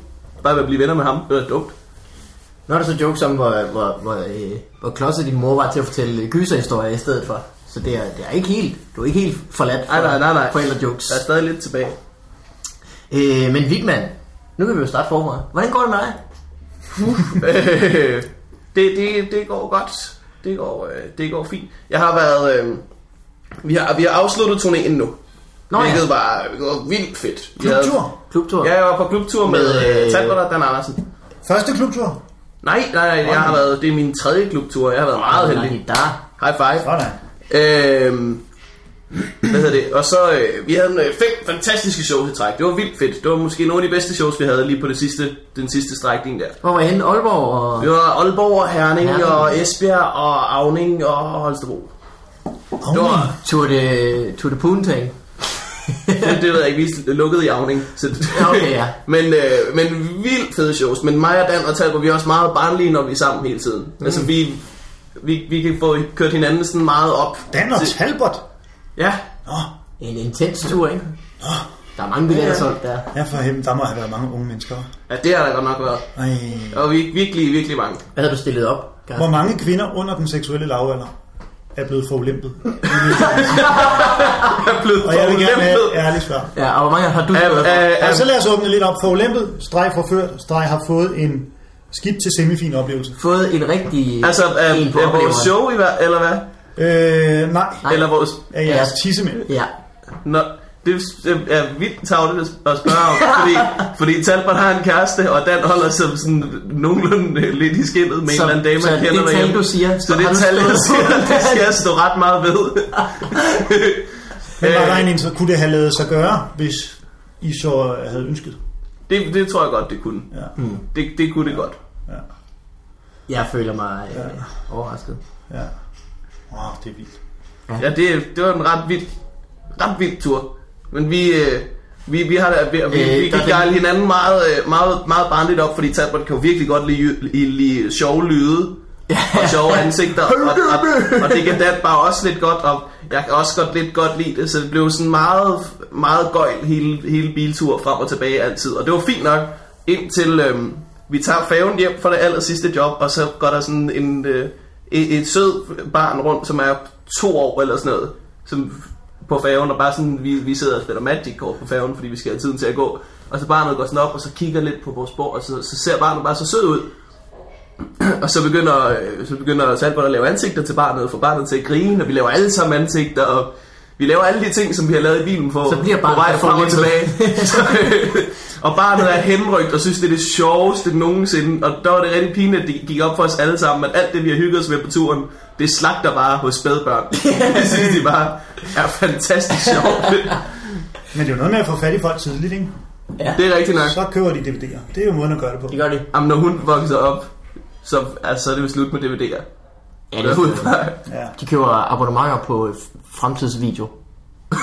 Speaker 3: Bare ved at blive venner med ham. Det var dumt.
Speaker 1: Nå er der så jokes om, hvor, hvor, hvor, øh, hvor klodset din mor var til at fortælle gyserhistorier i stedet for. Så det er, det er ikke helt, du er ikke helt forladt for
Speaker 3: Nej, nej, nej, nej.
Speaker 1: forældre jokes.
Speaker 3: Der er stadig lidt tilbage.
Speaker 1: Øh, men Vigman, nu kan vi jo starte forfra. Hvordan går det med dig?
Speaker 3: Øh, det, det, det går godt. Det går, øh, det går fint. Jeg har været... Øh, vi, har, vi har afsluttet turnéen nu.
Speaker 1: Nå
Speaker 3: Nå,
Speaker 1: ja.
Speaker 3: hvilket ja. var, det var vildt fedt. Vi havde-
Speaker 2: Klubtur.
Speaker 1: Klubtur?
Speaker 3: Ja, jeg var på klubtur med,
Speaker 1: Med,
Speaker 3: med
Speaker 1: øh,
Speaker 3: øh, Talbot og Dan Andersen.
Speaker 2: Første klubtur.
Speaker 3: Nej, nej, nej, jeg har været, det er min tredje klubtur. Jeg har været meget heldig.
Speaker 1: Der.
Speaker 3: High five.
Speaker 2: Sådan.
Speaker 3: Øhm, hvad hedder det? Og så, øh, vi havde en, øh, fem fantastiske shows i træk. Det var vildt fedt. Det var måske nogle af de bedste shows, vi havde lige på det sidste, den sidste strækning der.
Speaker 1: Hvor var I henne? Aalborg og...
Speaker 3: Det var Aalborg, og
Speaker 1: Herning.
Speaker 3: Herning, Herning. og Esbjerg og Avning og Holstebro. Det,
Speaker 2: Oveni.
Speaker 3: var,
Speaker 1: Tour de, Tour de Poontang.
Speaker 3: det, det ved jeg ikke, vi lukkede i Avning. Så
Speaker 1: Ja, okay, ja.
Speaker 3: men, øh, men vildt fede shows. Men mig og Dan og Talbot, vi er også meget barnlige, når vi er sammen hele tiden. Mm. Altså, vi, vi, vi kan få kørt hinanden sådan meget op.
Speaker 2: Dan og
Speaker 3: til-
Speaker 2: Talbot.
Speaker 3: Ja,
Speaker 2: Nå,
Speaker 1: En intens tur, ikke? Der er mange billetter solgt der.
Speaker 2: ja for helvede, der må have været mange unge mennesker.
Speaker 3: ja, det har der godt nok været.
Speaker 2: Ej.
Speaker 3: Og vi virkelig, virkelig mange.
Speaker 1: Hvad havde du stillet op? Carsten?
Speaker 2: Hvor mange kvinder under den seksuelle lavalder er blevet forulæmpet.
Speaker 3: Jeg er blevet
Speaker 2: Og jeg vil gerne have Altså- et
Speaker 3: ja.
Speaker 2: ærligt svar.
Speaker 1: Ja, og hvor mange har du
Speaker 3: Ja,
Speaker 1: stillet op?
Speaker 2: Og så lad os åbne lidt op. Forulæmpet, streg forført, streg har fået en skidt til semifinal oplevelse.
Speaker 1: Fået en rigtig...
Speaker 3: altså, er,
Speaker 1: en på
Speaker 3: er vores
Speaker 1: opleveren.
Speaker 3: show, i hver- eller hvad?
Speaker 2: Øh, nej,
Speaker 1: Nej.
Speaker 3: Eller vores...
Speaker 2: af jeres tissemænd.
Speaker 1: Ja.
Speaker 3: Nå, det det er vildt tavligt at- at spørge om, fordi, fordi Talbot har en kæreste, og Dan holder sig sådan nogenlunde øh, lidt i skinnet med
Speaker 1: Så-
Speaker 3: en eller anden dame,
Speaker 1: så
Speaker 3: han
Speaker 1: det
Speaker 3: kender
Speaker 1: tal,
Speaker 3: derhjemme.
Speaker 1: du siger,
Speaker 3: så
Speaker 1: har
Speaker 3: det
Speaker 1: du
Speaker 3: tal, du
Speaker 1: stået på?
Speaker 3: siger, det skal jeg stå ret meget ved.
Speaker 2: Men var der
Speaker 3: Øh,
Speaker 2: en, inter- kunne det have lavet sig gøre, hvis I så øh, havde ønsket?
Speaker 3: Øh, det, det tror jeg godt, det kunne.
Speaker 2: Ja.
Speaker 3: Det, det kunne det godt.
Speaker 2: Ja.
Speaker 1: Jeg føler mig øh, overrasket.
Speaker 2: ja. Åh, det er vildt.
Speaker 3: Ja, det, det var en ret vild, ret vild tur. Men vi, øh, vi, vi har da, vi, øh, vi,
Speaker 1: Øh,
Speaker 3: vi
Speaker 1: der
Speaker 3: gik
Speaker 1: er
Speaker 3: gejle
Speaker 1: den-
Speaker 3: hinanden meget, øh, meget, meget barnligt op, fordi Talbot kan jo virkelig godt lide, lide, lide sjove lyde og sjove ansigter, og, og, og, og det kan Dan bare også lidt godt, og jeg kan også godt lidt godt lide det, så det blev sådan meget, meget gøjl hele, hele biltur frem og tilbage altid, og det var fint nok, indtil øhm, vi tager færgen hjem fra det aller sidste job, og så går der sådan en, øh, et, et sød barn rundt, som er to år eller sådan noget, som på færgen, og bare sådan, vi, vi sidder og spiller Magic-kort på færgen, fordi vi skal have tiden til at gå, og så barnet går sådan op, og så kigger lidt på vores bord, og så, så ser barnet bare så sød ud, og så begynder, øh, så begynder Salbert at lave ansigter til barnet, og få barnet til at grine, og vi laver alle sammen ansigter, og vi laver alle de ting, som vi har lavet i bilen på,
Speaker 1: Så bliver
Speaker 3: på
Speaker 1: barnet
Speaker 3: vej
Speaker 1: for
Speaker 3: frem og tilbage.
Speaker 1: fornemt.
Speaker 3: Så, øh, og barnet er henrygt og synes, det er det sjoveste nogensinde. Og der var det rigtig pinligt, at det gik op for os alle sammen, at alt det, vi har hygget os med på turen, det slagter bare hos spædbørn. det synes de bare er fantastisk sjovt.
Speaker 2: Men det er jo noget med at få fat i folk tidligt, ikke?
Speaker 3: Det er rigtigt nok.
Speaker 2: Så køber de DVD'er. Det er jo måden at gøre det på.
Speaker 1: Det gør det.
Speaker 3: Jamen, når hun vokser op, så, altså, så er det jo slut med DVD'er.
Speaker 1: Ja, det
Speaker 3: Derudfra.
Speaker 1: er
Speaker 2: Ja.
Speaker 1: De køber abonnementer på øh, fremtidsvideo.
Speaker 3: Det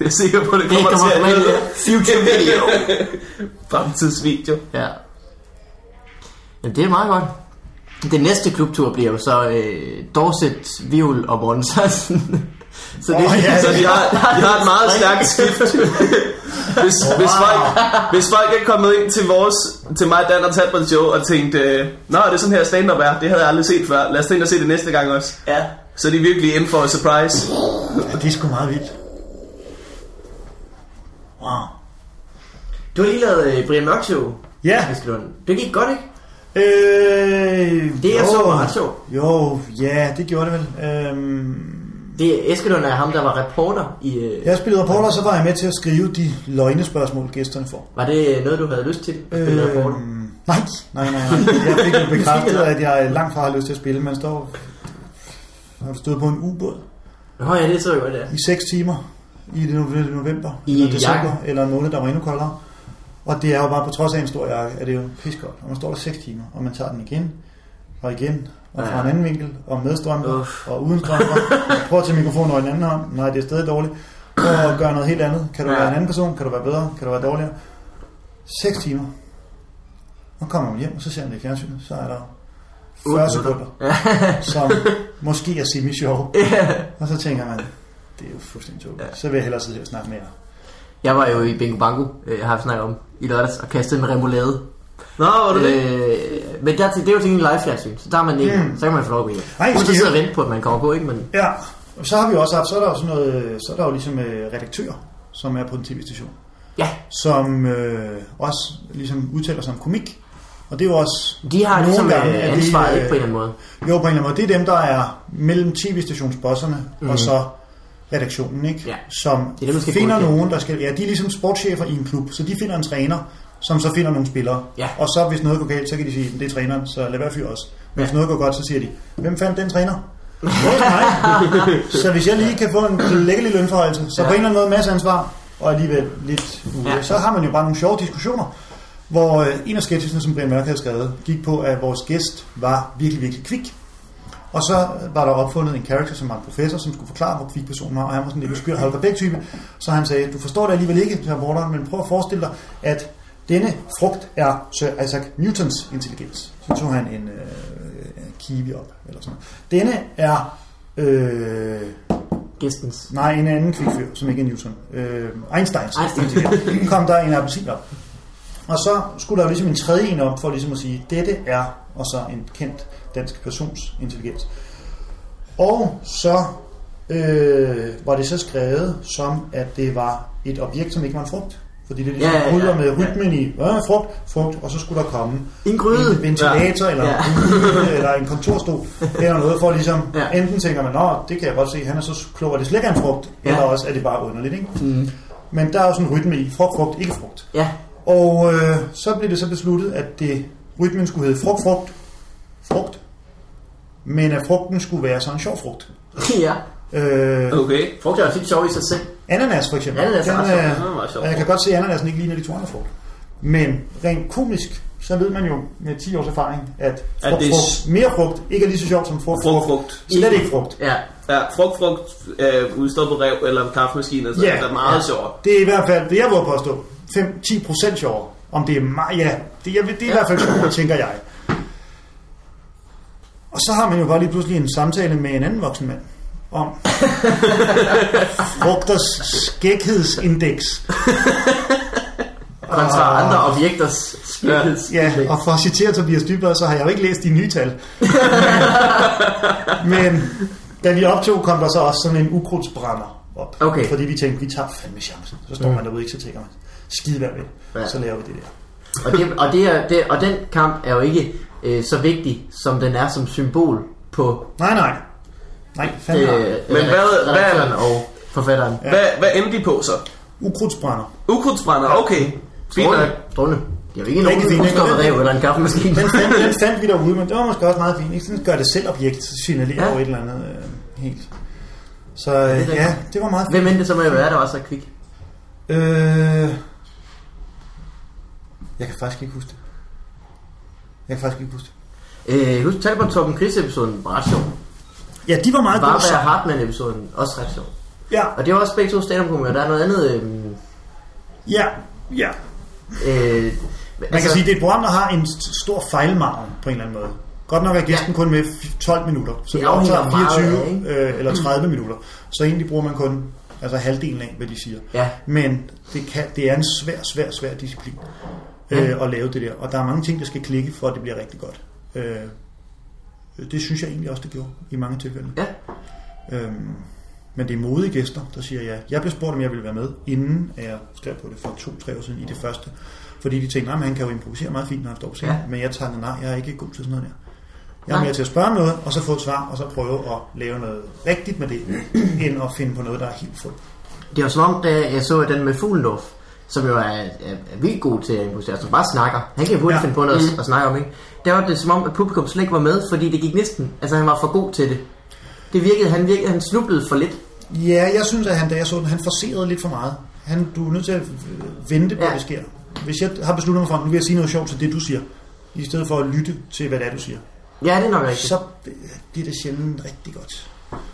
Speaker 3: er jeg sikker på, det
Speaker 1: Det
Speaker 3: kommer til
Speaker 1: kommer
Speaker 3: at
Speaker 1: med
Speaker 3: hedde.
Speaker 1: future video.
Speaker 3: Fremtidsvideo.
Speaker 1: Ja. Jamen, det er meget godt. Den næste klubtur bliver jo så øh, Dorset, Viol og Monsansen. så det,
Speaker 2: Åh, ja.
Speaker 3: Så de Altså, har, de har et meget stærkt skift. Hvis, hvis, folk, hvis folk er kommet ind til, vores, til mig, Dan og Talbot show og tænkt, øh, Nå, det er sådan her stand-up er, det havde jeg aldrig set før, lad os tænke og se det næste gang også.
Speaker 1: Ja.
Speaker 3: Så er de virkelig in for a surprise.
Speaker 2: ja, det er sgu meget vildt. Wow.
Speaker 1: Du har lige lavet øh, Brian Mørk show,
Speaker 2: Ja,
Speaker 1: Askelund. Det gik godt, ikke?
Speaker 2: øh,
Speaker 1: Det, jeg
Speaker 2: jo.
Speaker 1: så, var ret sjovt.
Speaker 2: Jo, ja, det gjorde det vel. Øhm,
Speaker 1: Det, Eskelund er ham, der var reporter i... Øh, ja.
Speaker 2: jeg spillede reporter, og så var jeg med til at skrive de løgnespørgsmål, gæsterne får. Øhm,
Speaker 1: Var det noget, du havde lyst til? At spille øh, reporter?
Speaker 2: nej, nej, nej, nej. Jeg fik jo bekræftet, at jeg langt fra har lyst til at spille. Man står har du stået på en ubåd
Speaker 1: Nå ja, det så jeg godt, ja.
Speaker 2: i 6 timer i det nove- november
Speaker 1: I
Speaker 2: eller
Speaker 1: en
Speaker 2: december,
Speaker 1: jakke.
Speaker 2: eller en måned, der var endnu koldere. Og det er jo bare på trods af en stor jakke, at det er jo piskoldt. Og man står der 6 timer, og man tager den igen, og igen, og fra
Speaker 1: Ja.
Speaker 2: ja. en anden vinkel, og med strømper,
Speaker 1: Uff.
Speaker 2: og uden strømper. Og prøver at tage mikrofonen over i den anden hånd. Nej, det er stadig dårligt. Prøv at gøre noget helt andet. Kan du
Speaker 3: Ja.
Speaker 2: ja. være en anden person? Kan du være bedre? Kan du være dårligere? 6 timer. Nu kommer man hjem, og så ser man det i fjernsynet. Så er der 40 sekunder, som måske er semi-sjov. Og så tænker man, det er jo fuldstændig tåbeligt. Så vil jeg hellere sidde her og snakke mere.
Speaker 1: Jeg var jo i Bingo Bango, øh, jeg har snakket om, i lørdags, og kastede en remoulade.
Speaker 3: Nå, var du det?
Speaker 1: Øh, men der, det er jo til en live fjernsyn, så der er man ikke, mm.
Speaker 2: Mm.
Speaker 1: så kan man få lov at gå hjem.
Speaker 2: Ej,
Speaker 1: Uden at
Speaker 2: skal
Speaker 1: sidde og
Speaker 2: jeg-
Speaker 1: vente på, at man kommer på, ikke? Men
Speaker 2: Ja, og så har vi også haft, så er der jo sådan noget, så er der jo ligesom øh, redaktører, som er på en tv-station,
Speaker 1: ja,
Speaker 2: som øh, også ligesom udtaler sig om komik. Og det er jo også...
Speaker 1: de har
Speaker 2: nogle
Speaker 1: ligesom
Speaker 2: gange
Speaker 1: øh,
Speaker 2: er de,
Speaker 1: ansvaret, ikke
Speaker 2: øh,
Speaker 1: på en eller anden måde.
Speaker 2: Jo, på en eller anden måde. Det er dem, der er mellem tv-stationsbosserne mm. og så redaktionen, ikke?
Speaker 1: Mhm. Ja.
Speaker 2: Som
Speaker 1: Det er dem, der skal
Speaker 2: finder
Speaker 1: godkende.
Speaker 2: nogen, der skal... Ja, de er ligesom sportschefer i en klub, så de finder en træner, som så finder nogle spillere.
Speaker 1: Ja.
Speaker 2: Og så, hvis noget går galt, så kan de sige, det er træneren, så lad være fyr os. Men
Speaker 1: Ja.
Speaker 2: hvis noget går godt, så siger de, hvem fandt den træner? Det var mig. så hvis jeg lige kan få en lækkelig lønforhøjelse, så
Speaker 1: Ja.
Speaker 2: på en eller anden måde masse ansvar, og alligevel lidt ude.
Speaker 1: Ja.
Speaker 2: Ja. Så har man jo bare nogle sjove diskussioner, hvor øh, en af sketchesene, som Brian Mørk havde skrevet, gik på, at vores gæst var virkelig, virkelig kvik. Og så var der opfundet en karakter, som var en professor, som skulle forklare, hvor kvik personen var, og han var sådan lidt en skør Holger Bæk-type. Så han sagde, du forstår det alligevel ikke, Sir Walter, men prøv at forestille dig, at denne frugt er Sir Isaac Newtons intelligens. Så tog han en øh, kiwi op, eller sådan noget. Denne er... Øh,
Speaker 1: Gæstens.
Speaker 2: Nej, en anden kvikfyr, som ikke er Newton. Øh, Einsteins.
Speaker 1: Einstein.
Speaker 2: Einstein. kom der en appelsin op. Og så skulle der jo ligesom en tredje en op for ligesom at sige, dette er, og så en kendt dansk persons intelligens. Og så øh, var det så skrevet som, at det var et objekt, som ikke var en frugt. Fordi det ligesom
Speaker 1: Ja, ja,
Speaker 2: ja,
Speaker 1: ja,
Speaker 2: bryder med
Speaker 1: ja.
Speaker 2: rytmen i, øh, frugt, frugt, og så skulle der komme
Speaker 1: En gryde.
Speaker 2: en ventilator ja.
Speaker 1: Mm.
Speaker 2: eller,
Speaker 1: Ja.
Speaker 2: ja. en, øh, eller en kontorstol eller noget, for ligesom,
Speaker 1: Ja.
Speaker 2: ja. enten tænker man, nå, det kan jeg godt se, han er så klog, at det slet ikke er en frugt,
Speaker 1: Ja.
Speaker 2: ja. eller også er det bare underligt, ikke? Mm. Men der er jo sådan en rytme i, frugt, frugt, ikke frugt.
Speaker 1: Ja,
Speaker 2: Og øh, så blev det så besluttet, at det, rytmen skulle hedde frugt, frugt, frugt, men at frugten skulle være sådan en sjov frugt.
Speaker 1: ja.
Speaker 2: Øh,
Speaker 3: Okay.
Speaker 1: Frugt er jo tit sjov i sig selv.
Speaker 2: Ananas for eksempel.
Speaker 1: Ananas er
Speaker 2: Den,
Speaker 1: ret sjov.
Speaker 2: øh,
Speaker 3: Den er meget sjov.
Speaker 2: og Jeg kan godt se, at ananasen ikke ligner de to andre frugt. Men rent komisk, så ved man jo med 10 års erfaring, at,
Speaker 3: At
Speaker 2: frugt,
Speaker 3: det er s-
Speaker 2: frugt, mere frugt ikke er lige så sjovt som frugt.
Speaker 3: Frugt, frugt.
Speaker 2: Slet ikke frugt.
Speaker 1: Ja,
Speaker 3: Ja, frugt, frugt, øh, udstoppet rev eller kaffemaskiner, så
Speaker 2: Ja.
Speaker 3: yeah. er meget
Speaker 1: Ja.
Speaker 3: sjovt.
Speaker 2: Det er i hvert fald, det jeg vil påstå, 5-10 procent sjovere. Om det er meget, ja, det, jeg, ved- det er i hvert fald sjovere, tænker jeg. Og så har man jo bare lige pludselig en samtale med en anden voksen mand om frugters skæghedsindeks.
Speaker 1: kontra andre objekters skæghedsindeks.
Speaker 2: Ja, og for at citere Tobias Dybvad, så har jeg jo ikke læst de nye tal. Men da vi optog, kom der så også sådan en ukrudtsbrænder op.
Speaker 1: Okay.
Speaker 2: Fordi vi tænkte, vi tager fandme chancen. Så står man derude, ikke? Så tænker man, skide hvad ved.
Speaker 1: Ja.
Speaker 2: Ja. Så laver vi det der.
Speaker 1: Og, det, og, det er, det, og den kamp er jo ikke øh, så vigtig, som den er som symbol på
Speaker 2: Nej, nej. Nej, fandme
Speaker 1: øh,
Speaker 2: nej.
Speaker 3: Men hvad- hvad-
Speaker 1: redaktøren og forfatteren.
Speaker 2: Ja.
Speaker 3: Hvad, hvad endte de på så?
Speaker 2: Ukrudtsbrænder.
Speaker 3: Ukrudtsbrænder, okay. Fint nok.
Speaker 1: Strålende. Strålende. Det er jo ikke
Speaker 2: Rigtig
Speaker 1: nogen
Speaker 2: fint, ikke?
Speaker 1: udstoppet rev eller en kaffemaskine.
Speaker 2: Den fandt, den fandt vi derude, men det var måske også meget fint. Ikke? Sådan gør det selv objekt, signalerer
Speaker 1: Ja.
Speaker 2: ja. jo et eller andet øh, helt. Så øh,
Speaker 1: rigtigt.
Speaker 2: ja, det var meget fint.
Speaker 1: Hvem end det så må det være, der var så kvik?
Speaker 2: Øh... Jeg kan faktisk ikke huske det. Jeg kan faktisk ikke huske det.
Speaker 1: Øh, husk, Talbot Torben Chris episoden var ret sjov.
Speaker 2: Ja, de var meget gode.
Speaker 1: Varberg
Speaker 2: sammen.
Speaker 1: Hartmann episoden også ret sjov.
Speaker 2: Ja,
Speaker 1: Og det var også begge to stand Der er noget andet... Øh,
Speaker 2: ja, ja.
Speaker 1: øh,
Speaker 2: Man kan sige, det er et program, der har en st- stor fejlmargen på en eller anden måde. Godt nok er gæsten kun med f- 12 minutter, så
Speaker 1: Det Mm.
Speaker 2: vi
Speaker 1: afhænger
Speaker 2: optager
Speaker 1: meget af,
Speaker 2: 24 øh, eller 30 minutter. Så egentlig bruger man kun altså halvdelen af, hvad de siger.
Speaker 1: Ja.
Speaker 2: Men det, kan, det er en svær, svær, svær disciplin øh, at lave det der. Og der er mange ting, der skal klikke, for at det bliver rigtig godt. Øh, det synes jeg egentlig også, det gjorde i mange tilfælde.
Speaker 1: Ja,
Speaker 2: Øhm, men det er modige gæster, der siger ja. Jeg blev spurgt, om jeg ville være med, inden at jeg skrev på det for to-tre år siden i det første. Fordi de tænkte, nej, men han kan jo improvisere meget fint, når han står på scenen.
Speaker 1: Ja.
Speaker 2: Ja. Men jeg takkede nej, jeg er ikke god til sådan noget der. Jeg er
Speaker 1: Nej.
Speaker 2: mere til at spørge om noget, og så få et svar, og så prøve at lave noget rigtigt med det, end at finde på noget, der er helt fuldt.
Speaker 1: det var som om, da jeg så den med Fuglendorf, som jo er, er, er vildt god til at improvisere, som bare snakker. Han kan jo hurtigt ja.
Speaker 2: Ja.
Speaker 1: finde på noget mm. at snakke om, ikke? Der var det som om, at publikum slet ikke var med, fordi det gik næsten... Altså, han var for god til det. Det virkede, han virkede, han snublede for lidt.
Speaker 2: Ja, jeg synes, at han, da jeg så den, han forserede lidt for meget. Han, du er nødt til at vente på,
Speaker 1: Ja.
Speaker 2: ja. det sker. hvis jeg har besluttet mig for, at nu vil jeg sige noget sjovt til det, du siger, i stedet for at lytte til, hvad det er, du siger,
Speaker 1: Ja, det er nok rigtigt.
Speaker 2: så bliver det sjældent rigtig godt.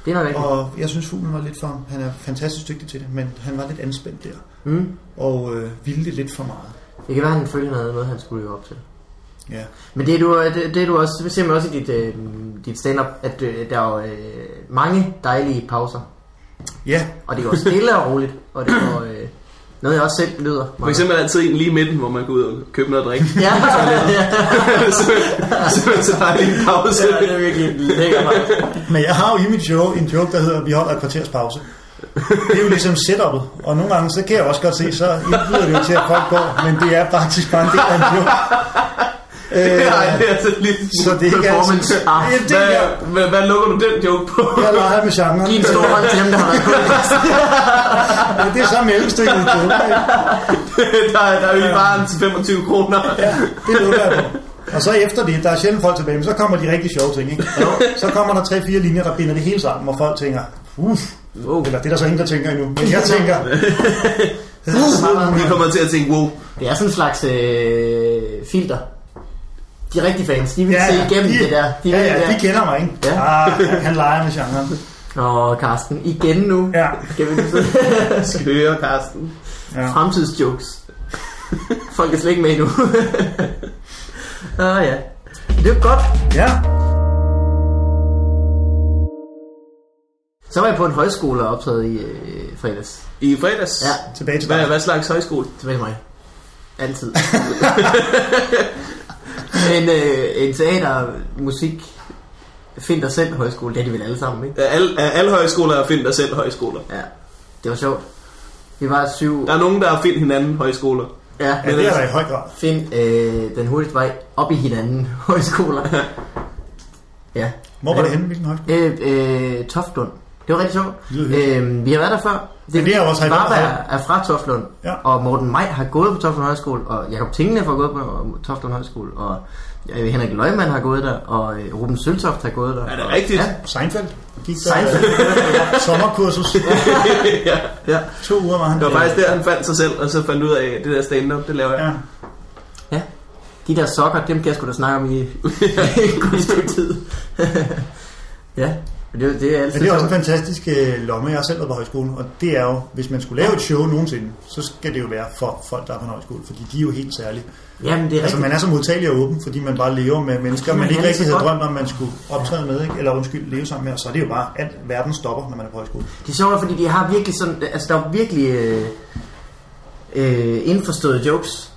Speaker 1: Det er nok rigtigt.
Speaker 2: Og jeg synes, fuglen var lidt for ham. Han er fantastisk dygtig til det, men han var lidt anspændt der,
Speaker 1: Mm.
Speaker 2: og øh, ville det lidt for meget.
Speaker 1: Det kan være, han følte, han havde noget, han skulle leve op til.
Speaker 2: Ja.
Speaker 1: Men det er du, øh, det, det er du også, det ser man også i dit, øh, dit stand-up, at øh, der er jo øh, mange dejlige pauser.
Speaker 2: Ja,
Speaker 1: Og det går stille og roligt, og det går øh, noget, jeg også selv nyder.
Speaker 3: For eksempel er der altid en lige i midten, hvor man går ud og køber noget at drikke.
Speaker 1: Ja, ja,
Speaker 3: så, så, så har jeg lige en pause.
Speaker 1: ja, det er virkelig lækkert. faktisk.
Speaker 2: Men jeg har jo i mit show en joke, der hedder, at vi holder et kvarters pause. Det er jo ligesom setup'et, og nogle gange, så kan jeg også godt se, så indbyder det jo til, at folk går, men det er faktisk bare en del af en joke. Øh,
Speaker 3: Nej, det er altså lige
Speaker 2: så det er ikke
Speaker 3: performance.
Speaker 2: altid-
Speaker 3: Ah,
Speaker 2: Ja, det
Speaker 3: hvad,
Speaker 2: er-
Speaker 3: hvad, hvad, lukker du den joke på?
Speaker 2: jeg leger med genren.
Speaker 1: Giv en stor hånd til dem, der har været kunde.
Speaker 2: Men det er så mellemstykket i joke. ikke?
Speaker 3: der, er- der er jo lige bare en til 25 kroner.
Speaker 2: Ja, det lukker jeg på. Og så efter det, der er sjældent folk tilbage, men så kommer de rigtig sjove ting. Ikke? Så kommer der tre-fire linjer, der binder det hele sammen, og folk tænker, uff,
Speaker 1: Wow.
Speaker 2: eller det er der så ingen, der tænker endnu, men jeg tænker,
Speaker 3: Vi kommer til at tænke, wow,
Speaker 1: Det er sådan en slags øh, filter. De rigtige fans, de vil ja, se igennem
Speaker 2: de,
Speaker 1: det der.
Speaker 2: De, ja,
Speaker 1: ved
Speaker 2: ja,
Speaker 1: det
Speaker 2: de kender mig, ikke?
Speaker 1: Ja.
Speaker 2: Ah, han leger med genren.
Speaker 1: der. Nå, Carsten, igen nu.
Speaker 2: Ja,
Speaker 1: Skal vi nu sidde?
Speaker 3: skal vi høre, Carsten.
Speaker 2: ja.
Speaker 1: Fremtidsjokes. Folk er slet ikke med endnu. ah, ja. Det er godt.
Speaker 2: ja.
Speaker 1: Så var jeg på en højskole og optaget i øh, fredags.
Speaker 3: I fredags?
Speaker 1: Ja,
Speaker 2: Tilbage til dig.
Speaker 3: Hvad, hvad slags højskole?
Speaker 1: tilbage til mig. Altid. en, øh, en teater, musik, find dig selv højskole, det er de vel alle sammen, ikke?
Speaker 3: Er alle, er alle højskoler er find dig selv højskoler.
Speaker 1: Ja, det var sjovt. Vi var syv...
Speaker 3: Der er nogen, der er find hinanden højskoler.
Speaker 1: Ja,
Speaker 2: Ja, det er der i høj grad.
Speaker 1: find øh, den hurtigste vej op i hinanden højskoler. ja.
Speaker 2: Hvor var det henne? Hvilken højskole?
Speaker 1: Øh, øh, Toftlund. Det var rigtig sjovt.
Speaker 2: Det lyder
Speaker 1: Øh, vi har været der før.
Speaker 2: Men det er jo også- har I været
Speaker 1: Varberg
Speaker 2: der før?
Speaker 1: er fra Toftlund.
Speaker 2: Ja.
Speaker 1: Og Morten Maj har gået på Toftlund Højskole. Og Jakob Tingene har gået på Toftlund Højskole. Og øh, Henrik Løgman har gået der. Og øh, Ruben Søltoft har gået der.
Speaker 3: Er det rigtigt?
Speaker 1: Ja.
Speaker 2: Seinfeld. Gik der
Speaker 1: Seinfeld.
Speaker 2: øh, sommerkursus.
Speaker 3: ja.
Speaker 1: ja.
Speaker 2: To uger var han.
Speaker 3: Det var faktisk der, han fandt sig selv, og så fandt ud af, at det der stand-up, det laver jeg.
Speaker 2: Ja.
Speaker 1: ja. De der sokker, dem kan jeg sgu da snakke om i en god stykke tid. ja. Men det, det er
Speaker 2: Men
Speaker 1: altid
Speaker 2: det er også
Speaker 1: sjovt.
Speaker 2: en fantastisk øh, lomme. Jeg har selv været på højskolen, og det er jo, hvis man skulle lave et show nogensinde, så skal det jo være for folk, der er på en højskole, fordi de er jo helt særlige.
Speaker 1: Jamen, det er
Speaker 2: Altså,
Speaker 1: rigtigt.
Speaker 2: man er så modtagelig og åben, fordi man bare lever med mennesker,
Speaker 1: Man
Speaker 2: man ikke
Speaker 1: er
Speaker 2: rigtig
Speaker 1: så
Speaker 2: havde
Speaker 1: godt.
Speaker 2: drømt om, man skulle optræde med, ikke? eller undskyld, leve sammen med, og så er det jo bare, at verden stopper, når man er på højskole.
Speaker 1: Det er sjovt, fordi de har virkelig sådan, altså der er virkelig øh, øh, indforståede jokes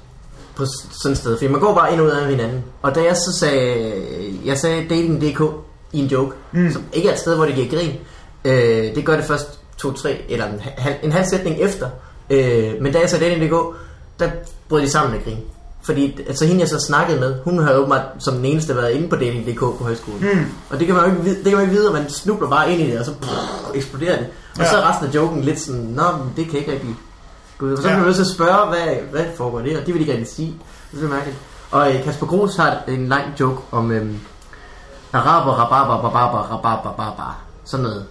Speaker 1: på s- sådan et sted, fordi man går bare ind og ud af hinanden. Og da jeg så sagde, jeg sagde dating.dk i en joke, mm. som ikke er et sted, hvor det giver grin, øh, det gør det først to-tre, eller en, hal- en halv sætning efter, øh, men da jeg sagde dating.dk, der brød de sammen af grin. Fordi altså, hende jeg så snakkede med, hun har åbenbart som den eneste været inde på dating.dk på højskolen. Mm. Og det kan man jo ikke, vide- det kan man ikke vide, og man snubler bare ind i det, og så brrr, eksploderer det. Og
Speaker 2: Ja.
Speaker 1: så er resten af joken lidt sådan, nå, men det kan ikke rigtig gå ud. Og så
Speaker 2: Ja.
Speaker 1: bliver man nødt til at spørge, hvad, hvad foregår det, og det vil de ikke rigtig sige. Det er mærkeligt. Og øh, Kasper Gros har en lang joke om øhm, araber, rabarber, rabarber, rabarber, rabarber, sådan noget.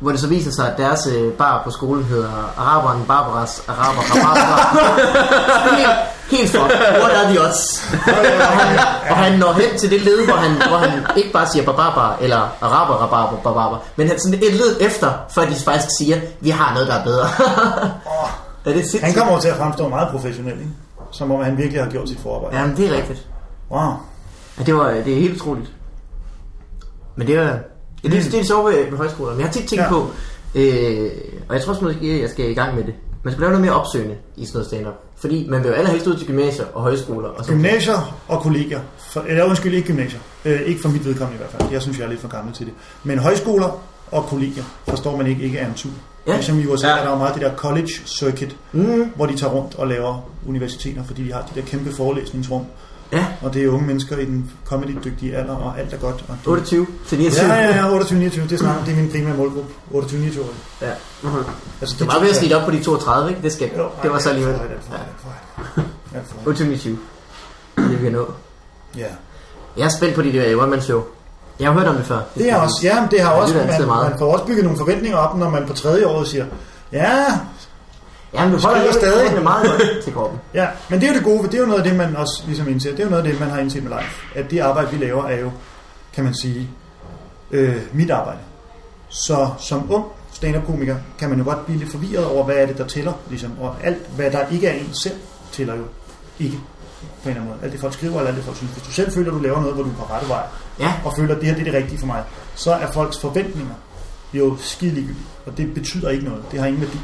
Speaker 1: Hvor det så viser sig, at deres øh, bar på skolen hedder Araberen Barbaras Araber Rabarber. helt, helt fuck. What are the odds? og, han, og han når hen til det led, hvor han, hvor han ikke bare siger barbarbar, eller araber, rabarber, barbarber, men han sådan et led efter, før de faktisk siger, vi har noget, der er bedre. er det
Speaker 2: Han
Speaker 1: sindssygt?
Speaker 2: kommer over til at fremstå meget professionel, ikke? som om han virkelig har gjort sit forarbejde.
Speaker 1: Jamen, det er rigtigt.
Speaker 2: Wow.
Speaker 1: Ja, det, var, øh, det er helt utroligt. Men det er, ja, det, er- det er sjovt ved, ved højskoler. Men jeg har tit tænkt
Speaker 2: Ja.
Speaker 1: ja. på, øh, og jeg tror også måske, jeg skal i gang med det. Man skal lave noget mere opsøgende i sådan noget stand-up. Fordi man vil jo allerhelst ud til gymnasier og højskoler. Og sådan.
Speaker 2: Gymnasier og kolleger. For, eller undskyld, ikke gymnasier. Øh, ikke for mit vedkommende i hvert fald. Jeg synes, jeg er lidt for gammel til det. Men højskoler og kolleger forstår man ikke, ikke er en tur.
Speaker 1: Ja.
Speaker 2: Ja. Ligesom i USA
Speaker 3: Ja.
Speaker 2: ja. er der jo meget det der college circuit, mm.
Speaker 1: Mm-hmm.
Speaker 2: hvor de tager rundt og laver universiteter, fordi de har de der kæmpe forelæsningsrum.
Speaker 1: Ja,
Speaker 2: Og det er unge mennesker i den comedy-dygtige alder, og alt er godt. Og de-
Speaker 1: 28 til 29.
Speaker 2: Ja, ja, ja, 28-29, det er snart, det er min primære målgruppe. 28-29 år.
Speaker 1: ja.
Speaker 2: Altså,
Speaker 1: Det var ved at slide op på de 32, ikke? Det skal
Speaker 2: Jo,
Speaker 1: Det var så
Speaker 2: ej, alt for
Speaker 1: alligevel.
Speaker 2: højt, alt for højt, alt for højt. Alt for højt.
Speaker 1: 28. Det vi kan nå.
Speaker 2: Ja.
Speaker 1: Jeg er spændt på dit øh, one-man-show. Jeg har hørt om det før.
Speaker 2: Det er også, ja, men det har
Speaker 1: Ja,
Speaker 2: også,
Speaker 1: det er altid
Speaker 2: man,
Speaker 1: meget.
Speaker 2: man får også bygget nogle forventninger op, når man på tredje året siger, ja,
Speaker 1: Ja, men du holder
Speaker 2: Skriver stadig.
Speaker 1: stadig meget godt til kroppen.
Speaker 2: Ja, men det er jo det gode, ved- det er jo noget af det, man også ligesom indser. Det er jo noget af det, man har indset med live. At det arbejde, vi laver, er jo, kan man sige, øh, mit arbejde. Så som ung stand-up-komiker kan man jo godt blive lidt forvirret over, hvad er det, der tæller. Ligesom. Og alt, hvad der ikke er en selv, tæller jo ikke på en eller anden måde. Alt det, folk skriver, eller alt det, folk synes. Hvis du selv føler, du laver noget, hvor du er på rette vej,
Speaker 1: Ja,
Speaker 2: og føler, at det her det er det rigtige for mig, så er folks forventninger jo skideligegyldige. Og det betyder ikke noget. Det har ingen værdi.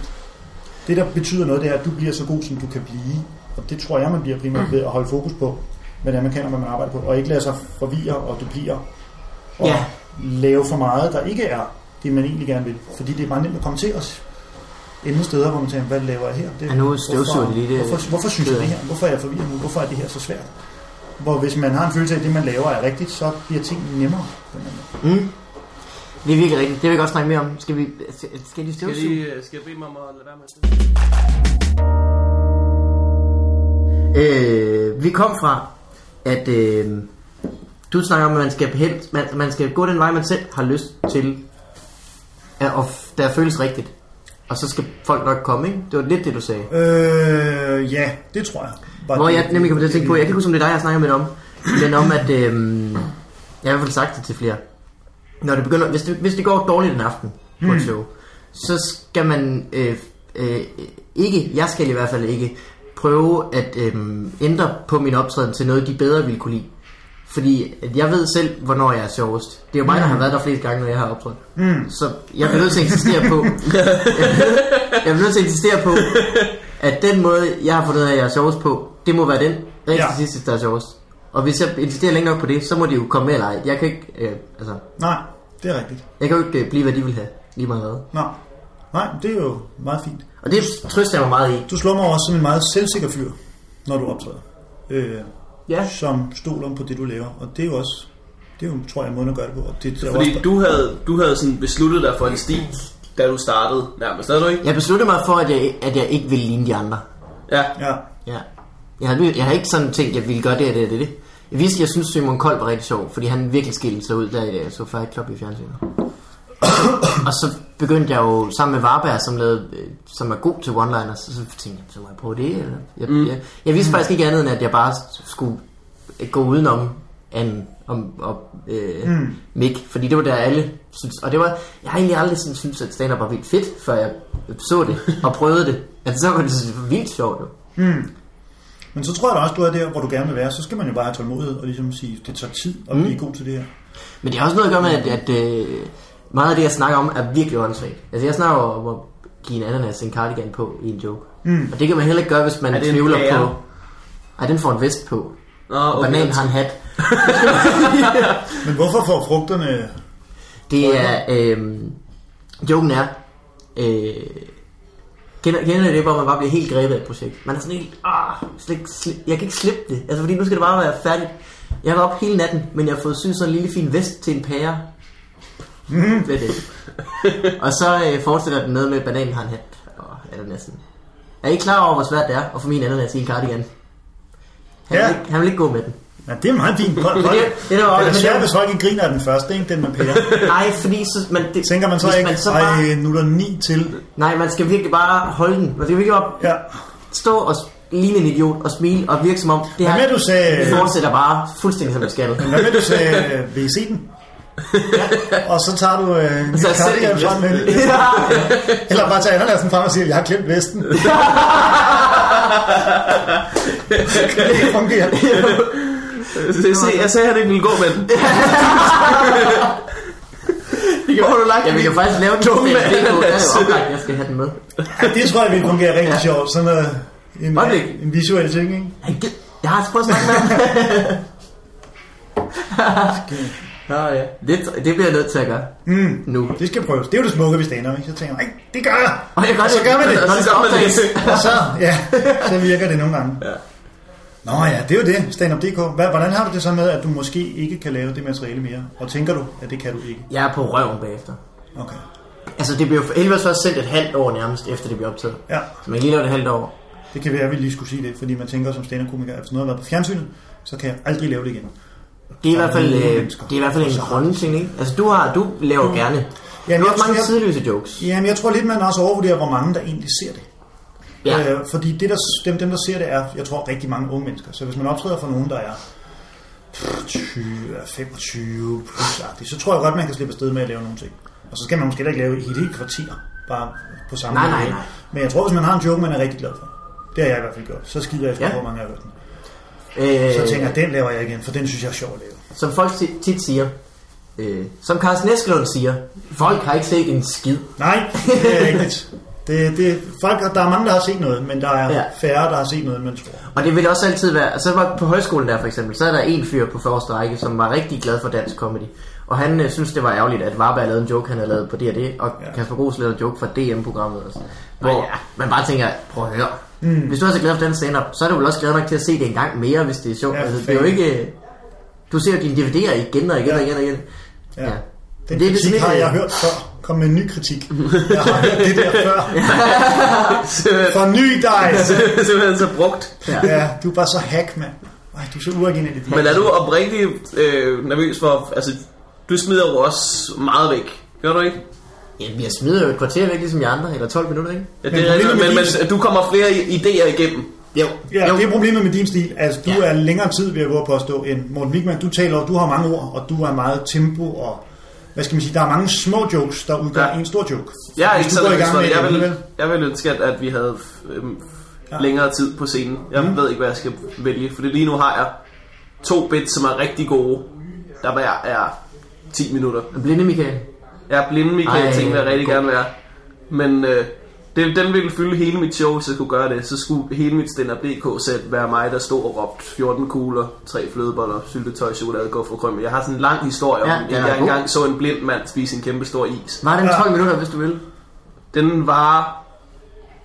Speaker 2: Det, der betyder noget, det er, at du bliver så god, som du kan blive. Og det tror jeg, man bliver primært ved at holde fokus på, hvad det er, man kan, og hvad man arbejder på. Og ikke lade sig forvirre og duplere. Og
Speaker 1: Ja.
Speaker 2: lave for meget, der ikke er det, man egentlig gerne vil. Fordi det er meget nemt at komme til os ende steder, hvor man tænker, hvad laver jeg her? Det,
Speaker 1: Ja, nu støvsuger de lige det-
Speaker 2: Hvorfor, hvorfor synes jeg det her? Hvorfor er jeg forvirret nu? Hvorfor er det her så svært? Hvor hvis man har en følelse af, at det, man laver, er rigtigt, så bliver tingene nemmere. på en eller anden måde.
Speaker 1: mm. Det er virkelig rigtigt. Det vil jeg godt snakke mere om. Skal vi, skal de
Speaker 3: Skal jeg,
Speaker 1: støvsuge?
Speaker 3: lige, øh, skal jeg bede mig om at lade være med det?
Speaker 1: Øh, vi kom fra, at øh, du snakker om, at man skal, hen, man, man skal gå den vej, man selv har lyst til, at, og f- der føles rigtigt. Og så skal folk nok komme, ikke? Det var lidt det, du sagde.
Speaker 2: Øh, ja, det tror jeg. Var
Speaker 1: Hvor
Speaker 2: det-
Speaker 1: jeg nemlig kom til at tænke på, jeg kan ikke huske, om det er dig, jeg snakker med om, men om, at øh, jeg har i hvert fald sagt det til flere. Når det begynder, hvis, det, hvis det går dårligt en aften på et show, så skal man øh, øh, ikke, jeg skal i hvert fald ikke, prøve at øh, ændre på min optræden til noget, de bedre ville kunne lide. Fordi at jeg ved selv, hvornår jeg er sjovest. Det er jo mig, der har været der flest gange, når jeg har optrådt. Mm. Så jeg bliver nødt til at insistere på, jeg bliver nødt til at insistere på, at den måde, jeg har fundet ud af, at jeg er sjovest på, det må være den rigtig
Speaker 2: Ja.
Speaker 1: ja. sidste, der er sjovest. Og hvis jeg insisterer længe nok på det, så må de jo komme med eller ej. Jeg kan ikke, øh, altså,
Speaker 2: Nej, det er rigtigt.
Speaker 1: jeg kan jo ikke øh, blive, hvad de vil have, lige meget hvad.
Speaker 2: Nej. Nej, det er jo meget fint.
Speaker 1: Og det trøster jeg mig meget i.
Speaker 2: Du slår mig også som en meget selvsikker fyr, når du optræder. Øh,
Speaker 1: Ja.
Speaker 2: Som stoler på det, du laver. Og det er jo også, det er jo, tror jeg, måden at gøre det på. Og det, det er jo også,
Speaker 3: Fordi du havde, du havde sådan besluttet dig for en sti, da du startede nærmest, havde du ikke?
Speaker 1: Jeg besluttede mig for, at jeg, at jeg ikke ville ligne de andre.
Speaker 3: Ja.
Speaker 2: Ja,
Speaker 1: Ja. Jeg har, jeg har ikke sådan tænkt, at jeg ville gøre det og det og det, og det. Jeg vidste, jeg synes, Simon Kold var rigtig sjov, fordi han virkelig skilte sig ud der i det, så Fight Club i fjernsynet. og så begyndte jeg jo sammen med Varberg, som, lavede, øh, som er god til one-liners, så, så tænkte jeg, så må jeg prøve det. Eller? Jeg, mm. jeg, jeg vidste faktisk ikke andet, end at jeg bare skulle øh, gå udenom anden om, om øh, mm. Mick, fordi det var der alle synes, og det var, jeg har egentlig aldrig sådan, synes at stand-up var vildt fedt, før jeg så det og prøvede det. Altså, så var det så vildt sjovt jo.
Speaker 2: Men så tror jeg da også, du er der, hvor du gerne vil være. Så skal man jo bare have tålmodighed og ligesom sige, det tager tid at
Speaker 1: Mm.
Speaker 2: blive god til det her.
Speaker 1: Men det har også noget at gøre med, at, at øh, meget af det, jeg snakker om, er virkelig åndssvagt. Altså, jeg snakker jo om at give en ananas en cardigan på i en joke. Mm. Og det kan man heller ikke gøre, hvis man
Speaker 3: Er det en
Speaker 1: tvivler
Speaker 3: pære?
Speaker 1: på... Ej, den får en vest på.
Speaker 3: Nå,
Speaker 1: Og
Speaker 3: okay.
Speaker 1: bananen har en hat.
Speaker 2: Men hvorfor får frugterne...
Speaker 1: Det er... Øh, joken er... Øh, kender, kender I det, hvor man bare bliver helt grebet af et projekt? Man er sådan helt... Ah, slik, slik, jeg kan ikke slippe det. Altså, fordi nu skal det bare være færdigt. Jeg var op hele natten, men jeg har fået syet sådan en lille fin vest til en pære. Mm. Det er det. og så øh, fortsætter den med med, at bananen har en hat. Og ananasen. Er I klar over, hvor svært det er at få min ananas i en cardigan? Han,
Speaker 2: Ja.
Speaker 1: vil, ikke, han vil ikke gå med den.
Speaker 2: Ja, det er meget fint. Hold, hold.
Speaker 1: det- det er jo-
Speaker 2: det er
Speaker 1: men det er
Speaker 2: svært,
Speaker 1: jo-
Speaker 2: hvis folk ikke griner af den første, ikke? Den med pære.
Speaker 1: Nej, fordi så... Man, det,
Speaker 2: Tænker man så
Speaker 1: hvis
Speaker 2: ikke,
Speaker 1: så bare-
Speaker 2: ej, nu er der ni til.
Speaker 1: Nej, man skal virkelig bare holde den. Man skal virkelig bare
Speaker 2: Ja.
Speaker 1: stå og s- ligne en idiot og smile og virke som om det
Speaker 2: Hvad
Speaker 1: her
Speaker 2: med, du sagde...
Speaker 1: det fortsætter bare fuldstændig som det skal.
Speaker 2: Hvad med, du sagde, øh, vil I se den? Og så tager du øh, en
Speaker 1: Så jeg selv
Speaker 2: cardigan frem med
Speaker 1: ikke- Ja.
Speaker 2: Eller bare tager ananasen frem og siger, jeg har glemt vesten. det fungerer.
Speaker 3: Se, jeg sagde, at han ikke ville gå med den. det kan du lagt
Speaker 1: Ja, vi kan faktisk lave den til
Speaker 3: Dumme
Speaker 1: en video. Der er
Speaker 3: ananas.
Speaker 1: jo oplagt, jeg skal have den med.
Speaker 2: Det tror jeg ville fungere rigtig ja. sjovt. Sådan noget, en, øh,
Speaker 1: Øjeblik.
Speaker 2: en visuel ting, ikke?
Speaker 1: Han gid- Jeg har prøvet at snakke med ham. Nå, ja. Det, det bliver jeg nødt til at gøre. Mm. Nu.
Speaker 2: Det skal prøves. Det er jo det smukke ved stand ikke? Så tænker man, "Ej, det gør jeg.
Speaker 1: Og jeg gør
Speaker 2: så gør man det.
Speaker 1: Når
Speaker 3: Så
Speaker 1: det
Speaker 3: gør man det.
Speaker 1: opdages.
Speaker 2: Og så, ja, så virker det nogle gange. Ja. Nå ja, det er jo det, standup.dk. Hva- Hvordan har du det så med, at du måske ikke kan lave det materiale mere? Og tænker du, at det kan du ikke?
Speaker 1: Jeg er på røven bagefter.
Speaker 2: Okay.
Speaker 1: Altså, det blev Elvis først sendt et halvt år nærmest, efter det blev optaget.
Speaker 2: Ja,
Speaker 1: Så man kan lige lave det et halvt år.
Speaker 2: det kan være, at vi lige skulle sige det, fordi man tænker som stand-up-komiker, at hvis noget har været på fjernsynet, så kan jeg aldrig lave det igen.
Speaker 1: Det er i hvert fald,
Speaker 2: nogle
Speaker 1: øh,
Speaker 2: mennesker.
Speaker 1: det er i hvert fald en grundting, ikke? Altså, du, har, du laver gerne.
Speaker 2: Mm. jeg
Speaker 1: Ja, du har også
Speaker 2: tror,
Speaker 1: mange
Speaker 2: jeg-
Speaker 1: sideløse jokes.
Speaker 2: Jamen, jeg tror lidt, man også overvurderer, hvor mange der egentlig ser det.
Speaker 1: Ja.
Speaker 2: Øh, fordi det, der, dem, dem, der ser det, er, jeg tror, rigtig mange unge mennesker. Så hvis man optræder for nogen, der er pff, 20, 25 plus så tror jeg godt, man kan slippe afsted med at lave nogle ting. Og så skal man måske heller ikke lave et helt kvarter, bare på samme
Speaker 1: Nej,
Speaker 2: måde.
Speaker 1: nej, nej.
Speaker 2: Men jeg tror, hvis man har en joke, man er rigtig glad for. Det har jeg i hvert fald gjort. Så skider jeg sgu
Speaker 1: Ja.
Speaker 2: ja. hvor mange har hørt den.
Speaker 1: Øh,
Speaker 2: Så tænker jeg, den laver jeg igen, for den synes jeg er sjov at lave.
Speaker 1: Som folk ti- tit siger, øh, som Carsten Eskelund siger, folk har ikke set en skid.
Speaker 2: Nej, det er rigtigt. Det, det, folk, har- der er mange, der har set noget, men der er
Speaker 1: Ja.
Speaker 2: ja. færre, der har set noget, end man tror.
Speaker 1: Og det vil også altid være, altså var på højskolen der for eksempel, så er der en fyr på første række, som var rigtig glad for dansk comedy. Og han øh, synes det var ærgerligt, at Varberg lavede en joke, han havde lavet på D&D, og ja.
Speaker 2: Ja.
Speaker 1: Kasper Gros lavede en joke fra DM-programmet. Altså, hvor
Speaker 3: Ej,
Speaker 1: ja.
Speaker 3: ja.
Speaker 1: man bare tænker, prøv at høre. Mm. Hvis du er så glad for den stand-up, så er du vel også glad nok til at se det en gang mere, hvis det er sjovt. Ja,
Speaker 2: Ja,
Speaker 1: altså, det er jo
Speaker 2: fanden.
Speaker 1: ikke... Du ser jo dine DVD'er igen og igen
Speaker 2: Ja.
Speaker 1: og igen og igen.
Speaker 2: Ja.
Speaker 1: Men
Speaker 2: Den det, kritik
Speaker 1: sådan
Speaker 2: det,
Speaker 1: lidt,
Speaker 2: har jeg
Speaker 1: øh,
Speaker 2: hørt før. Kom med en ny kritik. Jeg har hørt det der før.
Speaker 3: Simpelthen-
Speaker 2: Forny dig!
Speaker 3: Simpelthen så brugt.
Speaker 1: Ja.
Speaker 2: Ja, du er bare så hack, mand. Ej, du er så uoriginal i dit
Speaker 3: Men er du oprigtigt øh, nervøs for... Altså, du smider jo også meget væk. Gør du ikke?
Speaker 1: Jamen, jeg smider jo et kvarter væk, ligesom jeg andre, eller 12 minutter, ikke?
Speaker 3: Ja, det
Speaker 2: Men
Speaker 3: er rigtigt,
Speaker 2: problemet
Speaker 3: men,
Speaker 2: med
Speaker 3: men du kommer flere i- idéer igennem.
Speaker 1: Jo,
Speaker 2: Ja,
Speaker 1: jo.
Speaker 2: det er problemet med din stil. Altså, du
Speaker 1: Ja.
Speaker 2: ja. er længere tid ved at gå på at stå end Morten Wigman. Du taler, du har mange ord, og du er meget tempo, og hvad skal man sige, der er mange små jokes, der udgør
Speaker 3: Ja.
Speaker 2: ja. en stor joke.
Speaker 3: Jeg er
Speaker 2: Hvis
Speaker 3: ikke
Speaker 2: du
Speaker 3: så
Speaker 2: går i
Speaker 3: nervøs
Speaker 2: gang
Speaker 3: for
Speaker 2: med
Speaker 3: det. Jeg
Speaker 2: det
Speaker 3: vil,
Speaker 2: alligevel.
Speaker 3: jeg vil ønske, at, at vi havde øhm,
Speaker 2: Ja. Mm.
Speaker 3: længere tid på scenen. Jeg ved ikke, hvad jeg skal vælge, for lige nu har jeg to bits, som er rigtig gode. Der var jeg er 10 minutter.
Speaker 1: Blinde Michael.
Speaker 3: Jeg er blinde, Michael,
Speaker 1: Ej,
Speaker 3: Ej, ting vil jeg rigtig
Speaker 1: god.
Speaker 3: gerne være. Men øh, det, den ville fylde hele mit show, hvis jeg kunne gøre det. Så skulle hele mit stand DK sæt være mig, der stod og råbte 14 kugler, 3 flødeboller, syltetøj, chokolade, gå for krømme. Jeg har sådan en lang historie om,
Speaker 1: Ja,
Speaker 3: ja,
Speaker 1: den er
Speaker 3: at jeg
Speaker 1: god.
Speaker 3: engang så en blind mand spise en kæmpe stor is.
Speaker 1: Var den
Speaker 2: Ja.
Speaker 1: 12 minutter, hvis du vil?
Speaker 3: den var...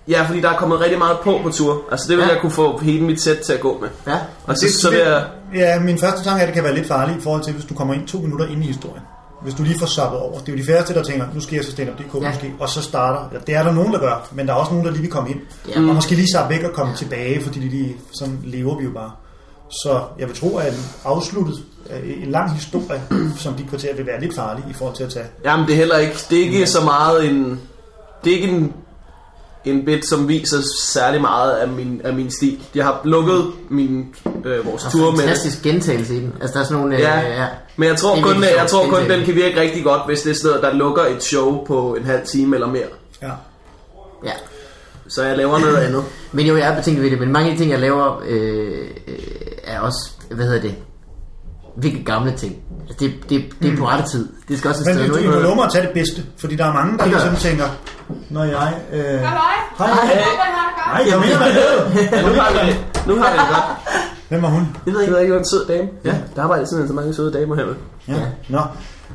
Speaker 3: Ja, fordi der er kommet rigtig meget på på tur. Altså det vil
Speaker 1: Ja.
Speaker 3: ja. jeg kunne få hele mit sæt til at gå med.
Speaker 1: Ja.
Speaker 3: Og så,
Speaker 2: Det-
Speaker 3: så vil jeg...
Speaker 2: Ja, min første tanke er, at det kan være lidt farligt i forhold til, hvis du kommer ind to minutter ind i historien. Hvis du lige får sappet over. Det er jo de færreste, der tænker, nu skal jeg så stand up DK
Speaker 1: Ja.
Speaker 2: ja. måske, og så starter. Ja, det er der nogen, der gør, men der er også nogen, der lige vil komme ind.
Speaker 1: Ja.
Speaker 2: Ja. Og måske lige sappe væk og komme tilbage, fordi de lige, sådan lever vi jo bare. Så jeg vil tro, at en afsluttet øh, en lang historie, som de kvarter vil være lidt farlig i forhold til at tage.
Speaker 3: Jamen det er heller ikke... Det er ikke så meget en... Det er ikke en, en bit, som viser særlig meget af min, af min stil. Jeg har lukket min, øh, vores
Speaker 1: Tur
Speaker 3: tur med det.
Speaker 1: fantastisk gentagelse i den. Altså, der er sådan nogle...
Speaker 3: Ja.
Speaker 1: Øh, ja.
Speaker 3: Men jeg
Speaker 1: Det
Speaker 3: tror,
Speaker 1: er
Speaker 3: kun,
Speaker 1: virkelig
Speaker 3: jeg tror
Speaker 1: sjovt.
Speaker 3: kun, den kan virke rigtig godt, hvis det er sådan noget, der lukker et show på en halv time eller mere.
Speaker 2: Ja.
Speaker 1: ja.
Speaker 3: Så jeg laver noget andet.
Speaker 1: Men jo, jeg er betænkt ved det, men mange af de ting, jeg laver, øh, øh, er også, hvad hedder det, virkelig gamle ting. Altså, det, det, det
Speaker 3: Hmm.
Speaker 1: er på rette tid. Altså, Det skal også et
Speaker 2: Men
Speaker 1: sted nu,
Speaker 2: du
Speaker 1: ikke?
Speaker 2: må love mig at tage det bedste, fordi der er mange, der
Speaker 1: Det gør
Speaker 2: ligesom tænker, når jeg... Øh,
Speaker 4: Halløj.
Speaker 2: Hej.
Speaker 4: Jeg håber, I har det godt.
Speaker 2: Nej, kom ind
Speaker 3: Ja, nu har jeg det, nu har jeg det godt.
Speaker 2: Hvem var hun?
Speaker 3: Jeg ved ikke, det er en sød dame.
Speaker 1: Ja.
Speaker 3: Der arbejder simpelthen så mange søde damer herude.
Speaker 2: Ja. Nå.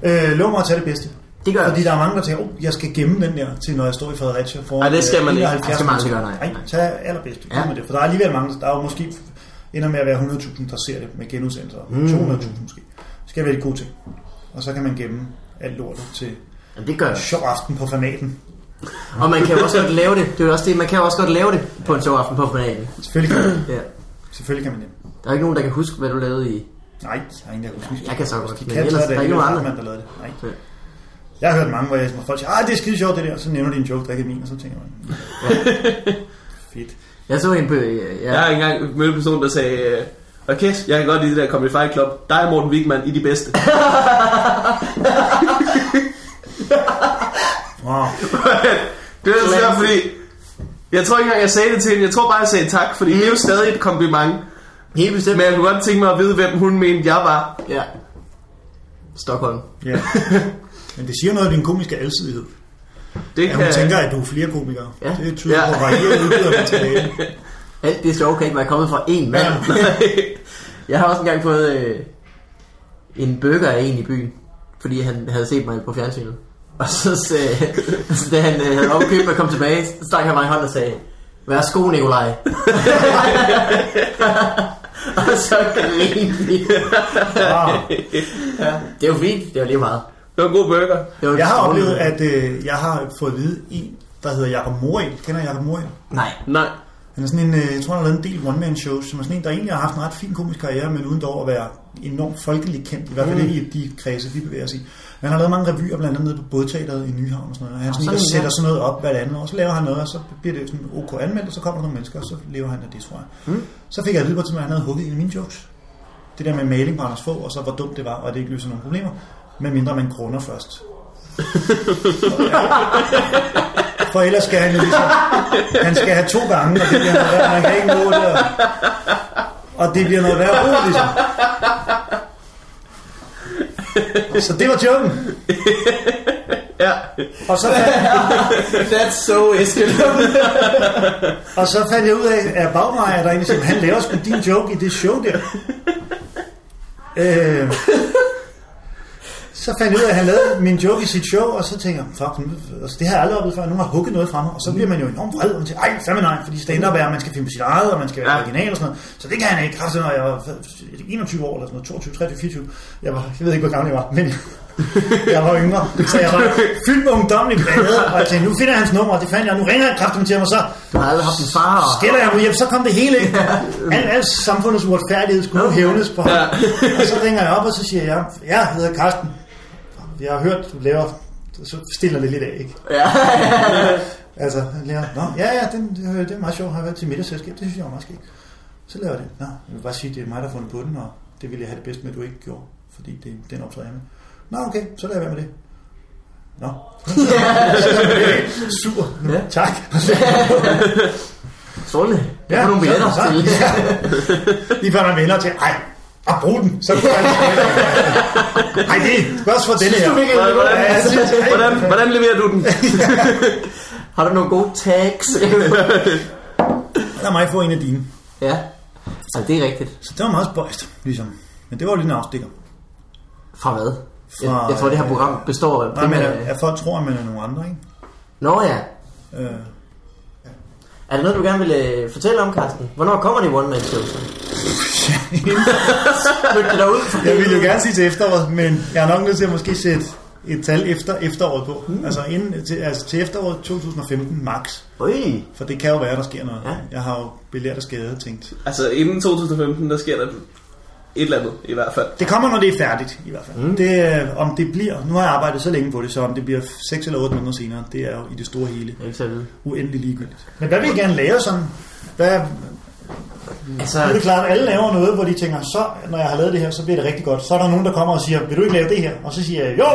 Speaker 2: Øh, lov mig at tage det bedste.
Speaker 1: Det gør jeg
Speaker 2: Fordi
Speaker 1: også.
Speaker 2: der er mange, der tænker, oh, jeg skal gemme den der til, når jeg står i Fredericia. For,
Speaker 3: Ej, det skal man ikke.
Speaker 1: Det skal man aldrig gøre, nej.
Speaker 2: Nej, tag allerbedst.
Speaker 1: Ja.
Speaker 2: Ja. Med det. For der er alligevel mange, der er jo måske ender med at være 100.000, der ser det med genudsendelser. Mm. 200.000 måske. Det skal være et god ting. Og så kan man gemme alt lortet til
Speaker 1: Jamen, det gør jeg.
Speaker 2: en sjov aften på fanaten.
Speaker 1: Og man kan jo også godt lave det. Det er jo også det, man kan jo også godt lave det på en sjov aften på finalen.
Speaker 2: Selvfølgelig kan man,
Speaker 1: Ja.
Speaker 2: Selvfølgelig kan man det.
Speaker 1: Der er ikke nogen, der kan huske, hvad du lavede i...
Speaker 2: Nej, der er ingen, der kan huske.
Speaker 1: Jeg kan så godt,
Speaker 2: De
Speaker 1: men
Speaker 2: kan
Speaker 1: ellers
Speaker 2: ellers,
Speaker 1: der er ikke nogen andre.
Speaker 2: der lavede det. Nej.
Speaker 1: Så-
Speaker 2: Jeg har hørt mange, hvor jeg, hvor folk siger, ah, det er skide sjovt det der, så nævner de en joke, der ikke er min, og så tænker man, ja. fedt.
Speaker 1: Jeg så en på... øh, Ja,
Speaker 3: Jeg har engang mødt en person, der sagde, øh, og kæft, jeg kan godt lide det der Comedy Fight Club. Dig og Morten Wigman, I er de bedste.
Speaker 2: Wow.
Speaker 3: det er svært, fordi... Jeg tror ikke engang, jeg sagde det til hende. Jeg tror bare, jeg sagde tak, fordi det er jo stadig et kompliment.
Speaker 1: helt bestemt.
Speaker 3: Men jeg kunne godt tænke mig at vide, hvem hun mente, jeg var.
Speaker 1: Ja. Stockholm.
Speaker 2: Ja. Men det siger noget om din komiske alsidighed.
Speaker 3: Det
Speaker 2: Ja, hun
Speaker 3: kan...
Speaker 2: tænker, at du er flere komikere.
Speaker 1: Ja.
Speaker 2: Ja. Det tyder
Speaker 3: Ja.
Speaker 2: på varieret udbyder af materiale.
Speaker 1: Alt det sjove kan ikke være kommet fra én mand.
Speaker 2: Ja.
Speaker 1: Jeg har også engang fået øh, en burger af en i byen, fordi han havde set mig på fjernsynet. Og så, sagde, så da han øh, havde opkøbt og kom tilbage, så stak han mig i hånden og sagde, Værsgo, Nikolaj. og så grinede vi.
Speaker 2: Wow.
Speaker 1: Det er jo fint, det var lige meget.
Speaker 3: Det var en god burger.
Speaker 1: Det var
Speaker 2: Jeg har
Speaker 1: strålende.
Speaker 2: oplevet, at øh, jeg har fået at vide en, der hedder Jakob Morild. Kender jeg Jakob Morild?
Speaker 1: Nej.
Speaker 3: Nej.
Speaker 2: Han Han er sådan en, øh, jeg tror, han har lavet en del one-man-shows, som er sådan en, der egentlig har haft en ret fin komisk karriere, men uden dog at være enormt folkeligt kendt, i hvert fald
Speaker 1: Mm.
Speaker 2: mm. ikke i de kredse, vi bevæger os i. Men han har lavet mange revyer, blandt andet nede på Bådteateret i Nyhavn og sådan noget. Og han
Speaker 1: Ah,
Speaker 2: sådan,
Speaker 1: sådan
Speaker 2: der
Speaker 1: en, ja.
Speaker 2: sætter sådan noget op hvert andet år, så laver han noget, og så bliver det sådan ok anmeldt, og så kommer der nogle mennesker, og så lever han af det, tror jeg.
Speaker 1: Mm.
Speaker 2: Så fik jeg at vide på et tidspunkt, at han havde hugget en af mine jokes. Det der med maling på Anders Fogh, og så hvor dumt det var, og at det ikke løser nogen problemer, medmindre man grunder først. For ellers skal han jo ligesom, han skal have to gange, og det bliver noget værd, man kan ikke nå det. Og, og det bliver noget værd ro, ligesom. Så det var joken.
Speaker 3: Ja.
Speaker 2: Og så, fandt,
Speaker 3: That's so Eskild.
Speaker 2: og så fandt jeg ud af, at Bagmeier, der egentlig sagde, han laver sgu din joke i det show der. Øh, så fandt jeg ud af, at han lavede min joke i sit show, og så tænkte jeg, fuck, nu, altså, det har jeg aldrig oplevet før, nu har jeg hugget noget fra mig, og så bliver man jo enormt vred, og man tænker, ej, fandme nej, fordi stand-up er, at man skal finde på sit eget, og man skal være
Speaker 3: Ja.
Speaker 2: ja. original og sådan noget, så det kan han ikke, kraftigt, når jeg var 21 år, eller sådan noget, 22, 23, 24, jeg, var, jeg ved ikke, hvor gammel jeg var, men jeg var yngre, så jeg var fyldt med ungdomlig ballade, og jeg tænkte, nu finder jeg hans nummer, og det fandt jeg, nu ringer han kraftigt til ham, og så
Speaker 1: Du har aldrig haft en far. og-
Speaker 2: skælder jeg mig hjem, så kom det hele ind. Al, al samfundets uretfærdighed skulle nu hævnes på ham.
Speaker 3: Ja.
Speaker 2: og så ringer jeg op, og så siger jeg, jeg hedder Karsten. Jeg har hørt, du laver... Så stiller det lidt af, ikke?
Speaker 3: ja.
Speaker 2: Altså, han laver, Nå, ja, ja, den, det, er- det er meget sjovt, har jeg været til middagsselskab, det synes jeg var meget skægt. Så laver jeg det. Nå, jeg vil bare sige, det er mig, der har fundet på den, og det ville jeg have det bedst med, at du ikke gjorde, fordi det, den optræder jeg med. Nå, okay, så lader jeg være med det. Nå. Super.
Speaker 1: Ja.
Speaker 2: Tak.
Speaker 1: Strålende. Jeg
Speaker 2: Ja,
Speaker 1: får nogle
Speaker 2: så-
Speaker 1: billetter
Speaker 2: så-
Speaker 1: til.
Speaker 2: Lige før man vender til, ej, og brug den, så kunne jeg Ej, det er også for denne her.
Speaker 1: virkelig,
Speaker 3: Hvordan,
Speaker 1: det var-
Speaker 2: Ja, jeg synes, ej,
Speaker 3: hvordan, hvordan leverer du den?
Speaker 1: Har du nogle gode tags?
Speaker 2: Lad mig få en af dine.
Speaker 1: ja. Altså, det er rigtigt.
Speaker 2: Så det var meget spøjst, ligesom. Men det var jo lidt en afstikker.
Speaker 1: Fra hvad? Jeg,
Speaker 2: Fra,
Speaker 1: jeg tror, det her
Speaker 2: øh,
Speaker 1: program består af...
Speaker 2: Nej, men øh,
Speaker 1: primært
Speaker 2: at,
Speaker 1: af-
Speaker 2: at folk tror, at man er nogen andre, ikke?
Speaker 1: Nå ja.
Speaker 2: Øh,
Speaker 1: Er der noget, du gerne vil øh, fortælle om, Carsten? Hvornår kommer det One Man Show? så? Flyt det derud.
Speaker 2: jeg ville jo gerne sige til efteråret, men jeg er nok nødt til at måske sætte et tal efter efteråret på. Mm. Altså, inden, til, altså til efteråret 2015 max.
Speaker 1: Øj.
Speaker 2: For det kan jo være, der sker noget.
Speaker 1: Ja.
Speaker 2: Ja. Jeg har jo belært af skade, tænkt.
Speaker 3: Altså, inden 2015, der sker der et eller andet, i hvert fald.
Speaker 2: Det kommer, når det er færdigt, i hvert fald. Mm. Det, øh, om det bliver, nu har jeg arbejdet så længe på det, så om det bliver 6 eller 8 måneder senere, det er jo i det store hele
Speaker 1: Jeg er ikke så vide.
Speaker 2: uendelig ligegyldigt. Men hvad vil I gerne lave sådan? Hvad,
Speaker 1: Altså,
Speaker 2: nu er det klart, at alle laver noget, hvor de tænker, så når jeg har lavet det her, så bliver det rigtig godt. Så er der nogen, der kommer og siger, vil du ikke lave det her? Og så siger jeg, jo!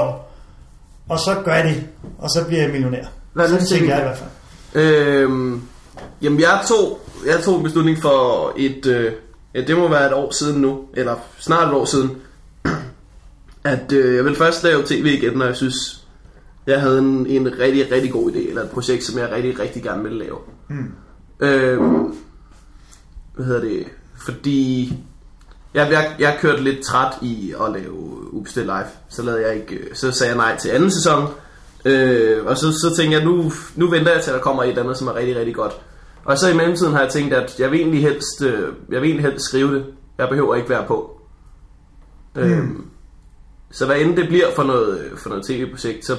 Speaker 2: Og så gør jeg det, og så bliver jeg millionær.
Speaker 1: Hvad er det,
Speaker 2: Sådan
Speaker 1: du tænker?
Speaker 2: tænker jeg i hvert fald.
Speaker 3: Øhm, jamen, jeg tog, jeg tog en beslutning for et... Øh, ja, det må være et år siden nu, eller snart et år siden, at øh, jeg ville først lave tv igen, når jeg synes, jeg havde en, en rigtig, rigtig god idé, eller et projekt, som jeg rigtig, rigtig gerne ville lave. Mm. Øhm, hvad hedder det? Fordi jeg, jeg, jeg kørte lidt træt i at lave Ubestil Live. Så, lavede jeg ikke, øh, så sagde jeg nej til anden sæson. Øh, og så, så tænkte jeg, nu, nu venter jeg til, at der kommer et eller andet, som er rigtig, rigtig godt. Og så i mellemtiden har jeg tænkt, at jeg vil egentlig helst, øh, jeg vil egentlig helst skrive det. Jeg behøver ikke være på. Øh, Så hvad end det bliver for noget, for noget tv-projekt, så,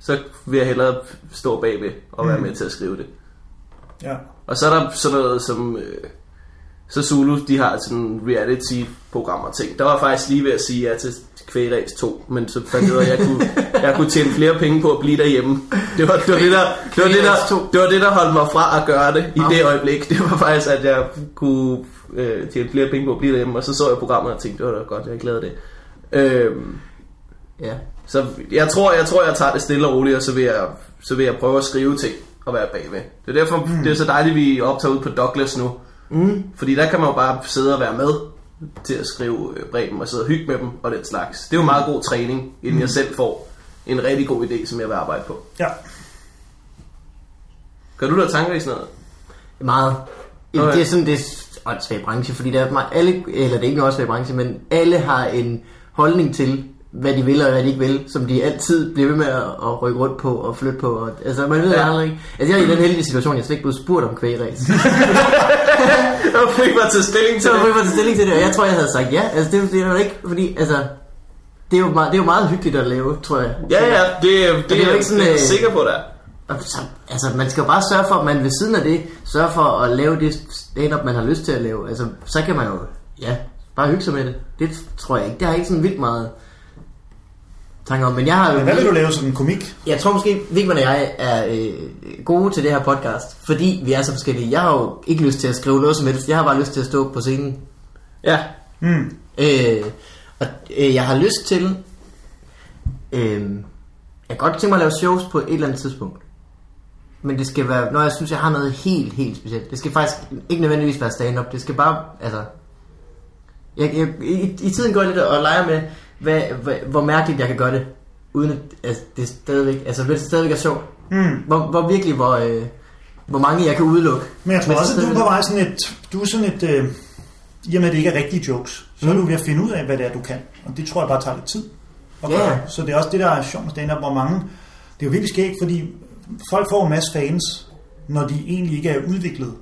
Speaker 3: så vil jeg hellere stå bagved og være med til at skrive det.
Speaker 2: Ja.
Speaker 3: Og så er der sådan noget som... Øh, så Zulu, de har sådan reality-programmer og ting. Der var jeg faktisk lige ved at sige ja til Kvægeræs 2, men så fandt jeg ud af, at jeg kunne, jeg kunne tjene flere penge på at blive derhjemme. Det var det, var det, der, det, var det, der, det, var det der holdt mig fra at gøre det i det øjeblik. Det var faktisk, at jeg kunne øh, tjene flere penge på at blive derhjemme, og så så jeg programmet og tænkte, det var da godt, jeg ikke lavede det. Øhm,
Speaker 1: ja.
Speaker 3: så jeg tror, jeg tror, jeg tager det stille og roligt, og så vil jeg, så vil jeg prøve at skrive ting og være bagved. Det er derfor, mm. det er så dejligt, at vi optager ud på Douglas nu. Mm. Fordi der kan man jo bare sidde og være med til at skrive øh, breven og sidde og hygge med dem og den slags. Det er jo meget god træning, inden mm. jeg selv får en rigtig god idé, som jeg vil arbejde på.
Speaker 2: ja.
Speaker 3: Gør du der tanker i sådan noget?
Speaker 1: Meget.
Speaker 3: Nå ja.
Speaker 1: Det er sådan, det er en svag branche, fordi der er meget, alle, eller det er ikke en svag branche, men alle har en holdning til, hvad de vil og hvad de ikke vil, som de altid bliver ved med at, at rykke rundt på og flytte på. Og, altså, man ved
Speaker 3: Ja.
Speaker 1: ja. aldrig ikke. Altså, jeg er i den heldige situation, jeg er slet ikke blevet spurgt om kvægeræs.
Speaker 3: Jeg fik mig til stilling til
Speaker 1: Så jeg
Speaker 3: det.
Speaker 1: mig til stilling til det, og jeg tror, jeg havde sagt ja. Altså, det, det er jo ikke, fordi, altså, det er, jo meget, det er jo meget hyggeligt at lave, tror jeg.
Speaker 3: Ja, ja, det, det,
Speaker 1: det er
Speaker 3: det er
Speaker 1: jo
Speaker 3: jeg
Speaker 1: ikke sådan,
Speaker 3: ikke
Speaker 1: øh,
Speaker 3: sikker på, der.
Speaker 1: Og så, altså, man skal jo bare sørge for, at man ved siden af det, sørger for at lave det stand-up, man har lyst til at lave. Altså, så kan man jo, ja, bare hygge sig med det. Det tror jeg ikke. Det har jeg ikke sådan vildt meget tanker om. Men jeg har jo...
Speaker 2: Men hvad vil du lave sådan en komik?
Speaker 1: Jeg tror måske, Vigman og jeg er øh, gode til det her podcast, fordi vi er så forskellige. Jeg har jo ikke lyst til at skrive noget som helst. Jeg har bare lyst til at stå på scenen.
Speaker 3: Ja.
Speaker 2: Mm.
Speaker 1: Øh, og øh, jeg har lyst til... Øh, jeg kan godt tænke mig at lave shows på et eller andet tidspunkt. Men det skal være... Når jeg synes, jeg har noget helt, helt specielt. Det skal faktisk ikke nødvendigvis være stand-up. Det skal bare... Altså... Jeg, jeg, i, I tiden går jeg lidt og leger med, hvad, hvad, hvor mærkeligt jeg kan gøre det. Uden at altså, det stadigvæk... Altså, hvis det stadigvæk er sjovt.
Speaker 2: Mm.
Speaker 1: Hvor, hvor virkelig, hvor... Øh, hvor mange jeg kan udelukke.
Speaker 2: Men jeg tror
Speaker 1: det
Speaker 2: også, at du er
Speaker 1: stadigvæk-
Speaker 2: på vej sådan et... Du er sådan et... Øh, I og med, at det ikke er rigtige jokes, så er du ved at finde ud af, hvad det er, du kan. Og det tror jeg bare tager lidt tid at
Speaker 1: Ja.
Speaker 2: gøre. Så det er også det, der er sjovt med stand-up, hvor mange... Det er jo virkelig skægt, fordi folk får en masse fans, når de egentlig ikke er udviklet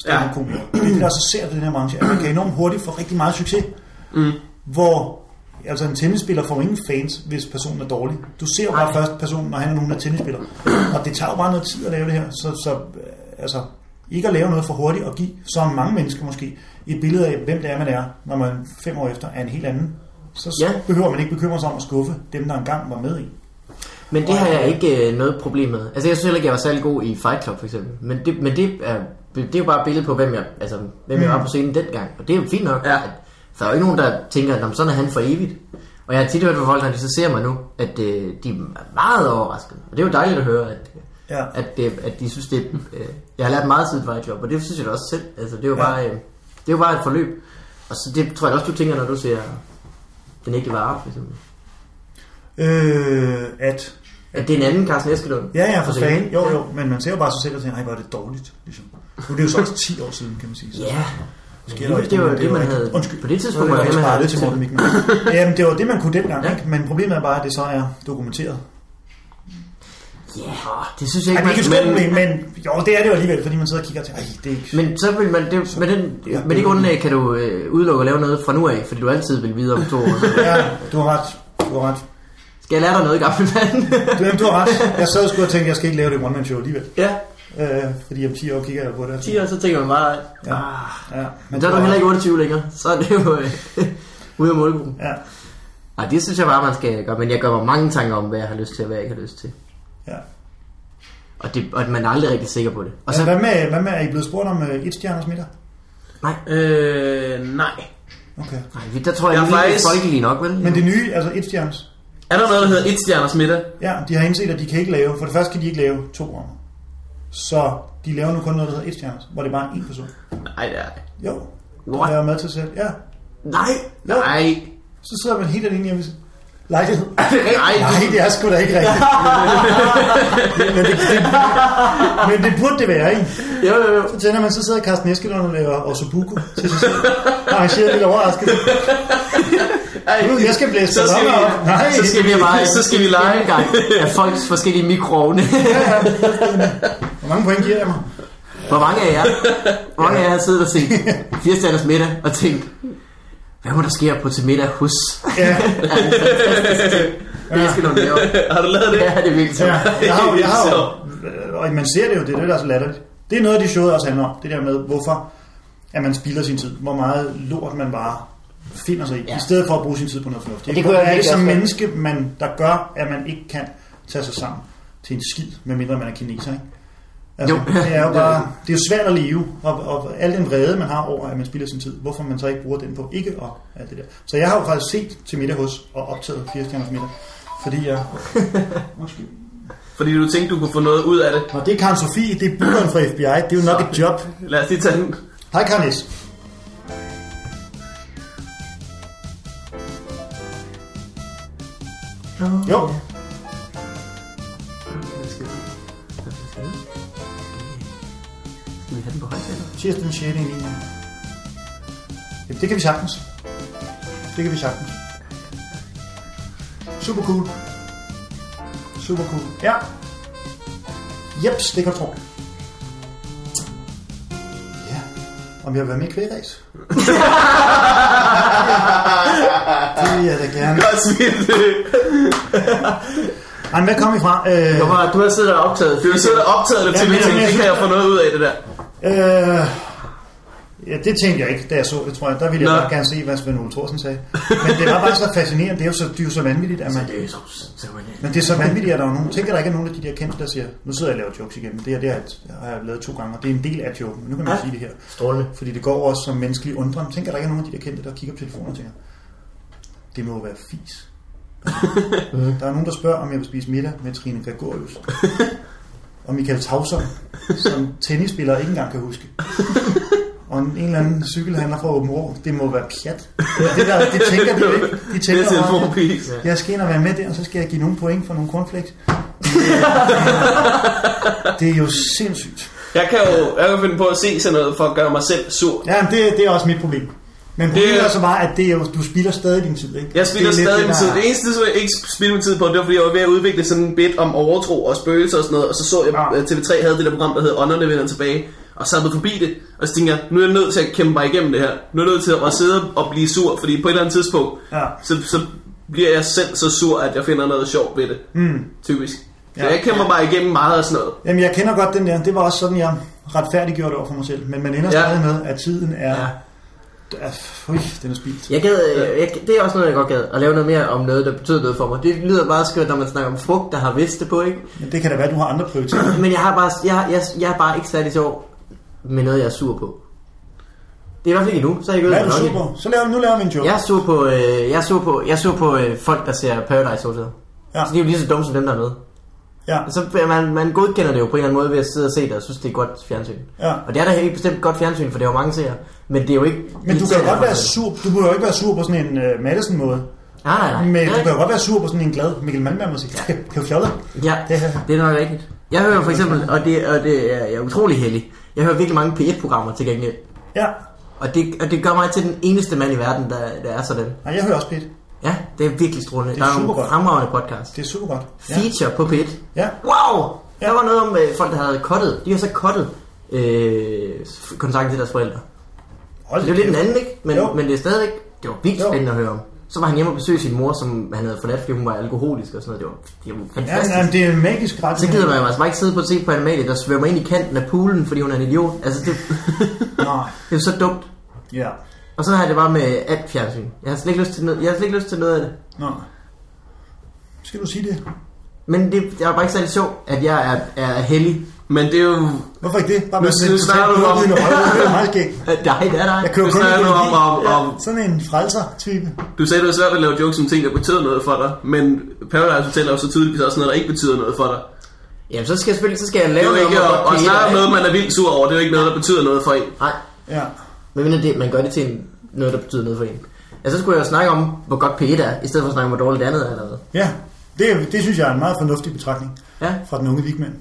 Speaker 2: stand up ja. Det er det, der er så ser på den her branche, at man kan enormt hurtigt få rigtig meget succes.
Speaker 3: Mm.
Speaker 2: Hvor altså en tennisspiller får ingen fans, hvis personen er dårlig. Du ser jo bare
Speaker 1: Nej.
Speaker 2: først personen, når han er nogen, der er tennisspiller. Og det tager jo bare noget tid at lave det her. Så, så øh, altså, ikke at lave noget for hurtigt og give så mange mennesker måske et billede af, hvem det er, man er, når man fem år efter er en helt anden. Så ja.
Speaker 1: Ja.
Speaker 2: behøver man ikke bekymre sig om at skuffe dem, der engang var med i.
Speaker 1: Men det har jeg ikke øh, noget problem med. Altså jeg synes heller ikke, jeg var særlig god i Fight Club for eksempel. Men det, men det, er, det er jo bare et billede på, hvem jeg, altså, hvem jeg
Speaker 2: Mm.
Speaker 1: var på scenen dengang. Og det er jo fint nok.
Speaker 3: Ja.
Speaker 1: At, der er jo ikke nogen, der tænker, at sådan er han for evigt. Og jeg har tit hørt fra folk, når de så ser mig nu, at øh, de er meget overraskede. Og det er jo dejligt at høre, at,
Speaker 2: Ja.
Speaker 1: at, det, at de synes, det er, øh, jeg har lært meget siden Fight Club. Og det synes jeg da også selv. Altså, det er jo
Speaker 2: Ja.
Speaker 1: ja. bare, øh, det er jo bare et forløb. Og så det tror jeg også, du tænker, når du ser den ægte vare, for eksempel.
Speaker 2: Øh, at
Speaker 1: At det er en anden Carsten Eskelund.
Speaker 2: Ja, ja, for
Speaker 1: Altså, det-
Speaker 2: fanden. Jo, jo, men man ser jo bare sig selv og tænker, nej, hvor er det dårligt. Ligesom. Nu er det jo så også 10 år siden, kan man sige. Så
Speaker 1: Ja,
Speaker 2: sker
Speaker 1: det,
Speaker 2: der
Speaker 1: var-
Speaker 2: ikke
Speaker 1: det var
Speaker 2: noget,
Speaker 1: det,
Speaker 2: er
Speaker 1: man
Speaker 2: rigtigt.
Speaker 1: havde.
Speaker 2: Undskyld.
Speaker 1: På det tidspunkt
Speaker 2: Så
Speaker 1: var
Speaker 2: er
Speaker 1: det, man havde.
Speaker 2: sparet til Morten Wigman. Jamen, det var det, man kunne dengang,
Speaker 1: Ja.
Speaker 2: ja. ikke? Men problemet er bare, at det så er dokumenteret.
Speaker 1: Ja, det synes jeg
Speaker 2: Ej,
Speaker 1: ikke,
Speaker 2: det er ikke et
Speaker 1: man,
Speaker 2: stort
Speaker 1: men,
Speaker 2: problem, men jo, det er det jo alligevel, fordi man sidder og kigger til, ej, det er ikke...
Speaker 1: men så vil man, det, med, den,
Speaker 2: Ja.
Speaker 1: med det grundlag kan du øh, udelukke at lave noget fra nu af, fordi du altid vil vide om to år. Så
Speaker 2: Ja, du har ret. Du har ret.
Speaker 1: Skal jeg lære dig noget, gammel mand?
Speaker 2: Du, jamen, du har ret. Jeg sad og skulle og tænkte, jeg skal ikke lave det one-man show alligevel.
Speaker 1: ja,
Speaker 2: Øh, fordi om 10 år kigger jeg på det.
Speaker 1: 10 år, så tænker man bare,
Speaker 2: Ja.
Speaker 1: ah,
Speaker 2: Ja,
Speaker 1: men så er du
Speaker 2: har
Speaker 1: heller
Speaker 2: ret.
Speaker 1: ikke 28 længere. Så er det jo øh, ude af målgruppen.
Speaker 2: Ja,
Speaker 1: Nej, det synes jeg bare, man skal gøre, men jeg gør mig mange tanker om, hvad jeg har lyst til, og hvad jeg ikke har lyst til.
Speaker 2: ja.
Speaker 1: Og, det, og man er aldrig rigtig sikker på det. Og
Speaker 2: Men
Speaker 1: så,
Speaker 2: hvad med, hvad med, er I blevet spurgt om øh, et stjerners middag?
Speaker 1: nej,
Speaker 3: Øh, nej.
Speaker 2: Okay.
Speaker 1: nej, vi- der tror jeg,
Speaker 3: Jeg er
Speaker 1: jeg faktisk...
Speaker 3: faktisk-
Speaker 1: er folkelige nok, vel?
Speaker 2: Men det nye, altså et stjerners,
Speaker 3: Er der noget, der hedder et stjerners middag?
Speaker 2: Ja, de har indset, at de kan ikke lave, for det første kan de ikke lave to år. Så de laver nu kun noget, der hedder et stjerners, hvor det er bare en person.
Speaker 3: Nej, det er det.
Speaker 2: Jo, de
Speaker 1: What?
Speaker 2: laver mad til sig selv. Ja,
Speaker 1: Nej,
Speaker 2: Jo.
Speaker 1: nej,
Speaker 2: så sidder man helt alene hjemme i sin lejlighed.
Speaker 3: Nej,
Speaker 2: Nej, det er sgu da ikke rigtigt. men, det, det, men det burde det være, ikke?
Speaker 1: jo, jo, jo.
Speaker 2: Så tænder man, så sidder Carsten Eskelund og laver Osobuku til sig selv. Arrangeret lidt overrasket.
Speaker 3: Ej,
Speaker 2: Nu, jeg skal blæse
Speaker 3: så skal vi,
Speaker 2: balloner op. Nej,
Speaker 3: så skal vi bare, så skal vi lege.
Speaker 1: en gang af folks forskellige mikroovne.
Speaker 2: Hvor mange point giver jeg mig?
Speaker 1: Hvor mange af jer, hvor mange af jer har siddet og set Firestjerners middag og tænkt, hvad må der ske på til middag hos?
Speaker 2: Ja,
Speaker 1: Det skal du lave.
Speaker 3: Har du lavet det?
Speaker 1: Ja, det er virkelig
Speaker 2: ja.
Speaker 1: sjovt.
Speaker 2: Jeg har, jo- jeg har jo, Øh, og man ser det jo, det er det, der er så latterligt. Det er noget af de showet også handler om, det der med, hvorfor at man spilder sin tid. Hvor meget lort man bare finder sig i, ja.
Speaker 1: Ja.
Speaker 2: i stedet for at bruge sin tid på noget fornuftigt.
Speaker 1: Ja, det
Speaker 2: Hvor
Speaker 1: kunne jeg
Speaker 2: er det
Speaker 1: virkelig
Speaker 2: som
Speaker 1: også godt.
Speaker 2: menneske, man, der gør, at man ikke kan tage sig sammen til en skid, medmindre man er kineser, ikke? Altså,
Speaker 1: Jo.
Speaker 2: det er jo bare, det er jo svært at leve, og, og al den vrede, man har over, at man spilder sin tid, hvorfor man så ikke bruger den på ikke og alt det der. Så jeg har jo faktisk set til middag hos og optaget 4 stjerners middag, fordi jeg... Måske.
Speaker 3: Fordi du tænkte, du kunne få noget ud af det.
Speaker 2: Og det er Karen Sofie, det er bukkeren fra FBI, det er jo nok et job.
Speaker 3: Lad os lige tage den.
Speaker 2: Hej Karen S. Jo,
Speaker 1: Skal vi have den på højtaler?
Speaker 2: tirsdag den 6. i 9. Jamen, det kan vi sagtens. Det kan vi sagtens. Super cool. Super cool. Ja. Jeps, det kan du tro. Ja. Om jeg vil være med i kvægræs? det vil jeg da gerne.
Speaker 3: Godt smidt.
Speaker 2: Ej, men hvad kom I fra? Øh,
Speaker 1: Hvorfor, du har siddet og optaget
Speaker 3: Det er jo siddet og optaget det
Speaker 2: Ja,
Speaker 3: til,
Speaker 2: men
Speaker 3: ja, tænkte,
Speaker 2: jeg
Speaker 3: det kan jeg få noget ud af det der.
Speaker 2: øh, ja, det tænkte jeg ikke, da jeg så det, tror jeg. Der ville jeg
Speaker 3: Nå.
Speaker 2: bare gerne se, hvad Svend Ole Thorsen sagde. Men det var bare så fascinerende. Det er jo så, det er jo så vanvittigt, at man...
Speaker 1: Det er jo så, så
Speaker 2: Men det er så vanvittigt, at der er nogen... Tænker der ikke er nogen af de der kendte, der siger, nu sidder jeg og laver jokes igen, men det her det har jeg- har jeg lavet to gange, og det er en del af joken, men nu kan man
Speaker 1: Ja.
Speaker 2: sige det her.
Speaker 1: strålende.
Speaker 2: Fordi det går over som menneskelig undren. Tænker der ikke er nogen af de der kendte, der kigger på telefonen og tænker, det må jo være fis. der er nogen, der spørger, om jeg vil spise middag med Trine Gregorius. og Michael Tauser, som tennisspiller ikke engang kan huske. Og en eller anden cykelhandler fra Åben Rå, det må være pjat. Det, der, det tænker de jo ikke. De
Speaker 3: Det
Speaker 2: tænker
Speaker 3: er
Speaker 2: bare,
Speaker 3: telefonpis.
Speaker 2: jeg skal ind og være med der, og så skal jeg give nogle point for nogle cornflakes. det er jo sindssygt.
Speaker 3: Jeg kan jo jeg kan finde på at se sådan noget for at gøre mig selv sur.
Speaker 2: Ja, men det, det er også mit problem. Men problemet det, er så bare, at det er jo, du spilder stadig din tid, ikke?
Speaker 3: Jeg spilder
Speaker 2: Det er lidt
Speaker 3: stadig min
Speaker 2: der-
Speaker 3: tid. Det eneste, som jeg ikke spildte min tid på, det var, fordi jeg var ved at udvikle sådan en bit om overtro og spøgelser og sådan noget. Og så så jeg,
Speaker 2: Ja.
Speaker 3: at TV3 havde det der program, der hedder Ånderne vender tilbage. Og så er jeg forbi det. Og så tænkte jeg, nu er jeg nødt til at kæmpe mig igennem det her. Nu er jeg nødt til at sidde og blive sur, fordi på et eller andet tidspunkt,
Speaker 2: Ja.
Speaker 3: så, så bliver jeg selv så sur, at jeg finder noget sjovt ved det.
Speaker 2: Mm.
Speaker 3: Typisk. Så
Speaker 2: Ja.
Speaker 3: jeg kæmper mig igennem meget af sådan noget.
Speaker 2: Jamen, jeg kender godt den der. Det var også sådan, jeg retfærdiggjorde det over for mig selv. Men man ender
Speaker 3: Ja.
Speaker 2: stadig med, at tiden er...
Speaker 1: Ja.
Speaker 2: er Ui, den er spildt.
Speaker 1: Jeg gad, øh, jeg, det er også noget, jeg godt gad, at lave noget mere om noget, der betyder noget for mig. Det lyder meget skønt, når man snakker om frugt, der har vidst det på, ikke?
Speaker 2: Men det kan da være, at du har andre prioriteter.
Speaker 1: Men jeg, har bare, jeg, har- jeg, jeg er bare ikke særlig sjov med noget, jeg er sur på. Det er i hvert fald ikke endnu, så er jeg ikke
Speaker 2: Hvad er
Speaker 1: med
Speaker 2: du
Speaker 1: nok
Speaker 2: sur
Speaker 1: endnu.
Speaker 2: på? Så laver, nu laver vi en joke.
Speaker 1: Jeg er sur på, øh, jeg er sur på, jeg er sur på øh, folk, der ser Paradise Hotel.
Speaker 2: Ja.
Speaker 1: Ja. Så de er jo lige så dumme som dem, der er med.
Speaker 2: Ja.
Speaker 1: Og så man, man godkender det jo på en eller anden måde ved at sidde og se det og synes, det er godt fjernsyn.
Speaker 2: ja.
Speaker 1: Og det er da helt bestemt godt fjernsyn, for det er jo mange seere. Men det er jo ikke...
Speaker 2: Men du kan jo godt være
Speaker 1: sur.
Speaker 2: sur, du må jo ikke være sur på sådan en uh, Madison-måde.
Speaker 1: Nej, nej,
Speaker 2: Men
Speaker 1: nej.
Speaker 2: du kan jo godt være sur på sådan en glad Mikkel Malmberg musik. Det er jo fjollet.
Speaker 1: Ja,
Speaker 2: Det her.
Speaker 1: det er nok rigtigt. Jeg hører for eksempel, og det, og det er, jeg er utrolig heldig, jeg hører virkelig mange P1-programmer til gengæld.
Speaker 2: Ja.
Speaker 1: Og det, og det gør mig til den eneste mand i verden, der, der er sådan.
Speaker 2: Nej, jeg hører også Pete.
Speaker 1: Ja, det er virkelig strålende.
Speaker 2: Det
Speaker 1: Det
Speaker 2: er
Speaker 1: er der er
Speaker 2: supergodt.
Speaker 1: nogle fremragende podcast.
Speaker 2: Det er super godt. Ja.
Speaker 1: Feature på P1.
Speaker 2: ja.
Speaker 1: Wow!
Speaker 2: Ja.
Speaker 1: Der var noget om øh, folk, der havde kottet. De har så kottet øh, kontakten til deres forældre.
Speaker 2: Hold
Speaker 1: Det er jo lidt en
Speaker 2: kæft.
Speaker 1: anden, ikke? Men,
Speaker 2: Jo.
Speaker 1: men det er stadigvæk... Det var vildt
Speaker 2: Jo.
Speaker 1: spændende at høre om. Så var han hjemme og besøgte sin mor, som han havde forladt, fordi hun var alkoholisk og sådan noget. Det var, det var
Speaker 2: Ja,
Speaker 1: fantastisk.
Speaker 2: ja, det er en magisk ret.
Speaker 1: Så gider man jo altså bare ikke sidde på et se på animalie, der svømmer ind i kanten af poolen, fordi hun er en idiot. Altså, det, det
Speaker 2: Nej,
Speaker 1: er jo så dumt.
Speaker 2: ja.
Speaker 1: Og sådan har jeg det bare med alt fjernsyn. Jeg har slet ikke lyst til noget, jeg har slet ikke lyst til noget af det.
Speaker 2: Nå. Skal du sige det?
Speaker 1: Men det, det er bare ikke særlig sjovt, at jeg er, er heldig.
Speaker 3: Men det er jo...
Speaker 2: Hvorfor ikke det? Bare med
Speaker 3: Nu-
Speaker 2: sådan
Speaker 3: nu
Speaker 2: en
Speaker 3: snakker du
Speaker 2: total
Speaker 3: om-
Speaker 2: blodlydende røv. Det er meget skægt.
Speaker 1: Øh, Nej, det er der.
Speaker 2: Jeg kører
Speaker 3: Nu
Speaker 2: kun
Speaker 3: snakker du om,
Speaker 2: ideologi.
Speaker 3: om, om,
Speaker 2: Sådan en frelser-type.
Speaker 3: Du sagde, det var svært at lave jokes om ting, der betyder noget for dig, men Paradise Hotel er jo så tydeligvis også noget, der ikke betyder noget for dig.
Speaker 1: Jamen, så skal jeg selvfølgelig så skal jeg
Speaker 3: Det er
Speaker 1: lave
Speaker 3: jo ikke
Speaker 1: hvor
Speaker 3: at,
Speaker 1: godt
Speaker 3: at
Speaker 1: det
Speaker 3: snakke
Speaker 1: hele
Speaker 3: om
Speaker 1: er.
Speaker 3: noget, man er vildt sur over, det er jo ikke noget, der betyder noget for en.
Speaker 1: Nej,
Speaker 2: Ja.
Speaker 1: men det, man gør det til en, noget, der betyder noget for en. Ja, så skulle jeg jo snakke om, hvor godt P1 er, i stedet for at snakke om, hvor dårligt det andet er. Eller hvad.
Speaker 2: Ja, det, det synes jeg er en meget fornuftig betragtning
Speaker 1: Ja,
Speaker 2: fra den unge vikmand.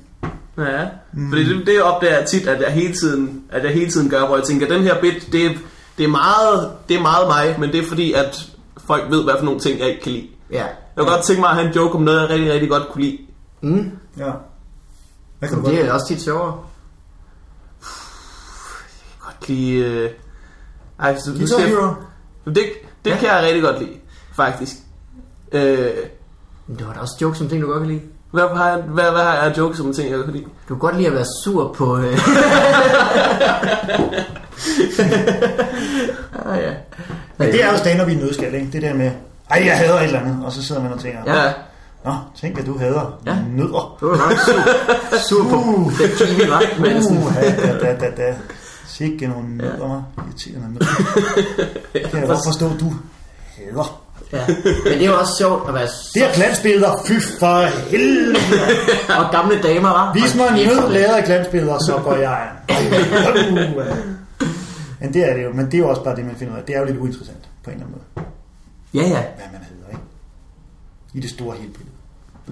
Speaker 3: Ja, fordi det, det opdager jeg tit, at jeg hele tiden, at jeg hele tiden gør, hvor jeg tænker, den her bit, det, er- det, er meget, det er meget mig, men det er fordi, at folk ved, hvad for nogle ting, jeg ikke kan lide.
Speaker 1: ja.
Speaker 3: Jeg kunne godt tænke mig at have en joke om noget, jeg rigtig, rigtig godt kunne lide.
Speaker 1: Mm.
Speaker 2: Ja. Hvad kan du
Speaker 1: Jamen,
Speaker 2: godt?
Speaker 1: det er også tit sjovere.
Speaker 3: Jeg kan godt lide... Øh... Ej, så, nu
Speaker 2: Guitar
Speaker 3: skal jeg...
Speaker 2: Hero.
Speaker 3: Det, det
Speaker 1: Ja.
Speaker 3: kan jeg rigtig godt lide, faktisk. Øh,
Speaker 1: Men det var da også jokes som ting, du godt kan lide.
Speaker 3: Hvad har jeg, hvad, hvad har jeg af jokes om ting, jeg kan lide?
Speaker 1: Du kan godt lide at være sur på... Øh... ah, ja.
Speaker 2: Men det er jo stand-up i en nødskal, ikke? Det der med, ej, jeg hader et eller andet, og så sidder man og tænker,
Speaker 1: Ja.
Speaker 3: Ja.
Speaker 2: nå, tænk, at du hader
Speaker 1: Ja.
Speaker 2: nødder.
Speaker 1: Du var nok sur, sur på
Speaker 2: Uh.
Speaker 1: den kiwi, var. Men sådan,
Speaker 2: Uh, da, da, da, da. Sikke nogle nødder, mig. Irriterende nødder. Det kan jeg godt forstå, du hader.
Speaker 1: ja. Men det er jo også sjovt at være sur.
Speaker 2: Det er glansbilleder. Fy for helvede.
Speaker 1: Og gamle damer, var.
Speaker 2: Vis mig en nød lavet af glansbilleder, så går jeg. Men det er det jo. Men det er jo også bare det, man finder ud af. Det er jo lidt uinteressant på en eller anden måde,
Speaker 1: Ja, ja.
Speaker 2: hvad man hedder, ikke? I det store hele billede.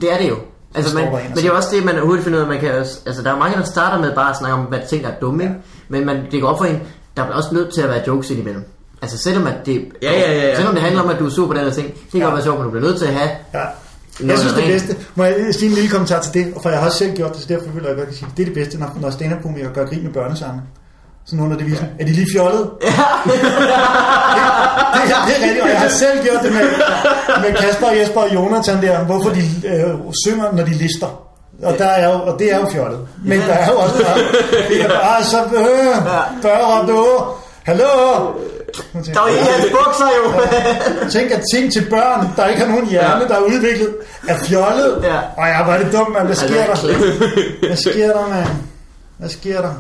Speaker 1: Det er det jo. Altså,
Speaker 2: Så
Speaker 1: man,
Speaker 2: står der en og
Speaker 1: men det er jo også det, man hurtigt finder ud af. Man kan, også- altså, der er jo mange, der starter med bare at snakke om, hvad ting der er dumme. Ikke? Men man, det går op for en, der er også nødt til at være jokes ind imellem. Altså selvom, at det,
Speaker 3: Ja, ja, ja, ja.
Speaker 1: selvom det handler om, at du er sur på den her ting, det kan
Speaker 2: Ja.
Speaker 1: godt være sjovt, men du bliver nødt til at have...
Speaker 2: Ja. Jeg
Speaker 1: noget
Speaker 2: synes det
Speaker 1: rent.
Speaker 2: bedste, må jeg lige sige en lille kommentar til det, og for jeg har også selv gjort det, så derfor føler jeg godt, at jeg kan sige, det er det bedste, når, når stand-up-komikere gør grin med børnesange. Sådan under det viser. Er de lige fjollede? Ja. det, det, det, er rigtigt, og jeg har selv gjort det med, med Kasper, Jesper og Jonathan der, hvorfor de øh, synger, når de lister. Og, der er jo, og det er jo fjollet. Men der er jo også bare, det er bare så, øh, børn du, hallo.
Speaker 1: Der var ikke hans bukser jo.
Speaker 2: Tænk at ting til børn, der ikke har nogen hjerne,
Speaker 1: Ja.
Speaker 2: der er udviklet, er fjollet.
Speaker 1: Ja.
Speaker 2: Og jeg var det dumt, mand. Hvad
Speaker 1: Altså,
Speaker 2: sker der?
Speaker 1: klasse.
Speaker 2: Hvad sker der, mand? Hvad sker der?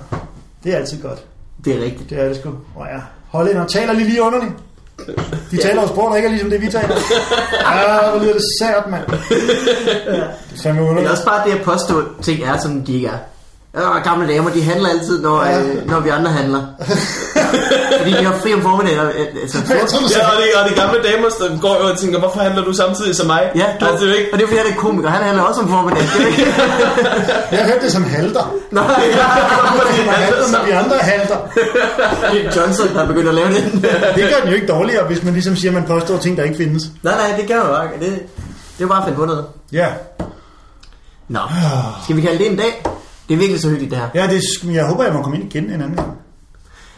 Speaker 2: Det er altid godt.
Speaker 1: det er rigtigt.
Speaker 2: Det er det sgu. Og ja, hold ind og taler lige lige underligt. De taler også sprog, der ikke er ligesom det, vi taler. Ja, hvor lyder det sært, mand. Det er fandme
Speaker 1: Men
Speaker 2: underligt.
Speaker 1: også bare det at påstå, at ting er, som de ikke er. Øh, gamle damer, de handler altid, når,
Speaker 2: Ja.
Speaker 1: øh, når vi andre handler. Fordi de har fri om formiddagen. og, øh, Altså,
Speaker 2: Jeg tror, du
Speaker 3: Ja,
Speaker 2: sagde,
Speaker 3: og de, og de gamle damer der går jo og tænker, hvorfor handler du samtidig som mig?
Speaker 1: ja, du,
Speaker 3: altså, det er jo ikke...
Speaker 1: og det er fordi, han er komiker. Han handler også om formiddagen. Det er ikke?
Speaker 2: jeg hørte det som halter.
Speaker 1: Nej,
Speaker 2: Det var halter, når vi andre halter.
Speaker 1: det er Johnson, der er begyndt at lave det.
Speaker 2: Det gør den jo ikke dårligere, hvis man ligesom siger, at man påstår ting, der ikke findes.
Speaker 1: nej, nej, det kan man jo ikke. Det, det er bare at finde på noget.
Speaker 2: Ja,
Speaker 1: Nå, skal vi kalde det en dag? Det er virkelig så hyggeligt, det her.
Speaker 2: ja det, er sk- jeg håber, jeg må komme ind igen en anden gang.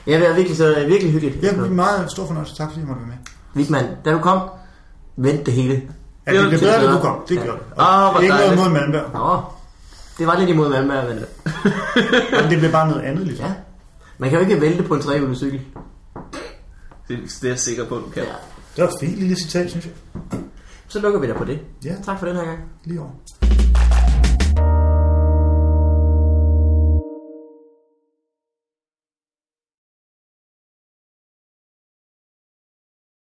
Speaker 1: Ja, det er virkelig, så, øh, virkelig hyggeligt.
Speaker 2: Det er en meget stor fornøjelse. Tak fordi jeg måtte være med.
Speaker 1: Vigman, da du kom, vent det hele.
Speaker 2: Ja, det blev bedre, da du kom. Det
Speaker 1: Ja.
Speaker 2: gjorde det.
Speaker 3: Åh, Ah, hvor
Speaker 2: Og ikke noget
Speaker 3: dejligt.
Speaker 2: mod Malmberg.
Speaker 1: Nå, det var lidt imod Malmberg, men...
Speaker 2: Men det blev bare noget andet, ligesom.
Speaker 1: Ja. Man kan jo ikke vælte på en trehjulet cykel.
Speaker 3: Det, det er jeg sikker på, du kan.
Speaker 1: Ja.
Speaker 2: Det var et fint lille citat, synes jeg.
Speaker 1: Så lukker vi da på det.
Speaker 2: Ja.
Speaker 1: Tak for den her gang.
Speaker 2: Lige over.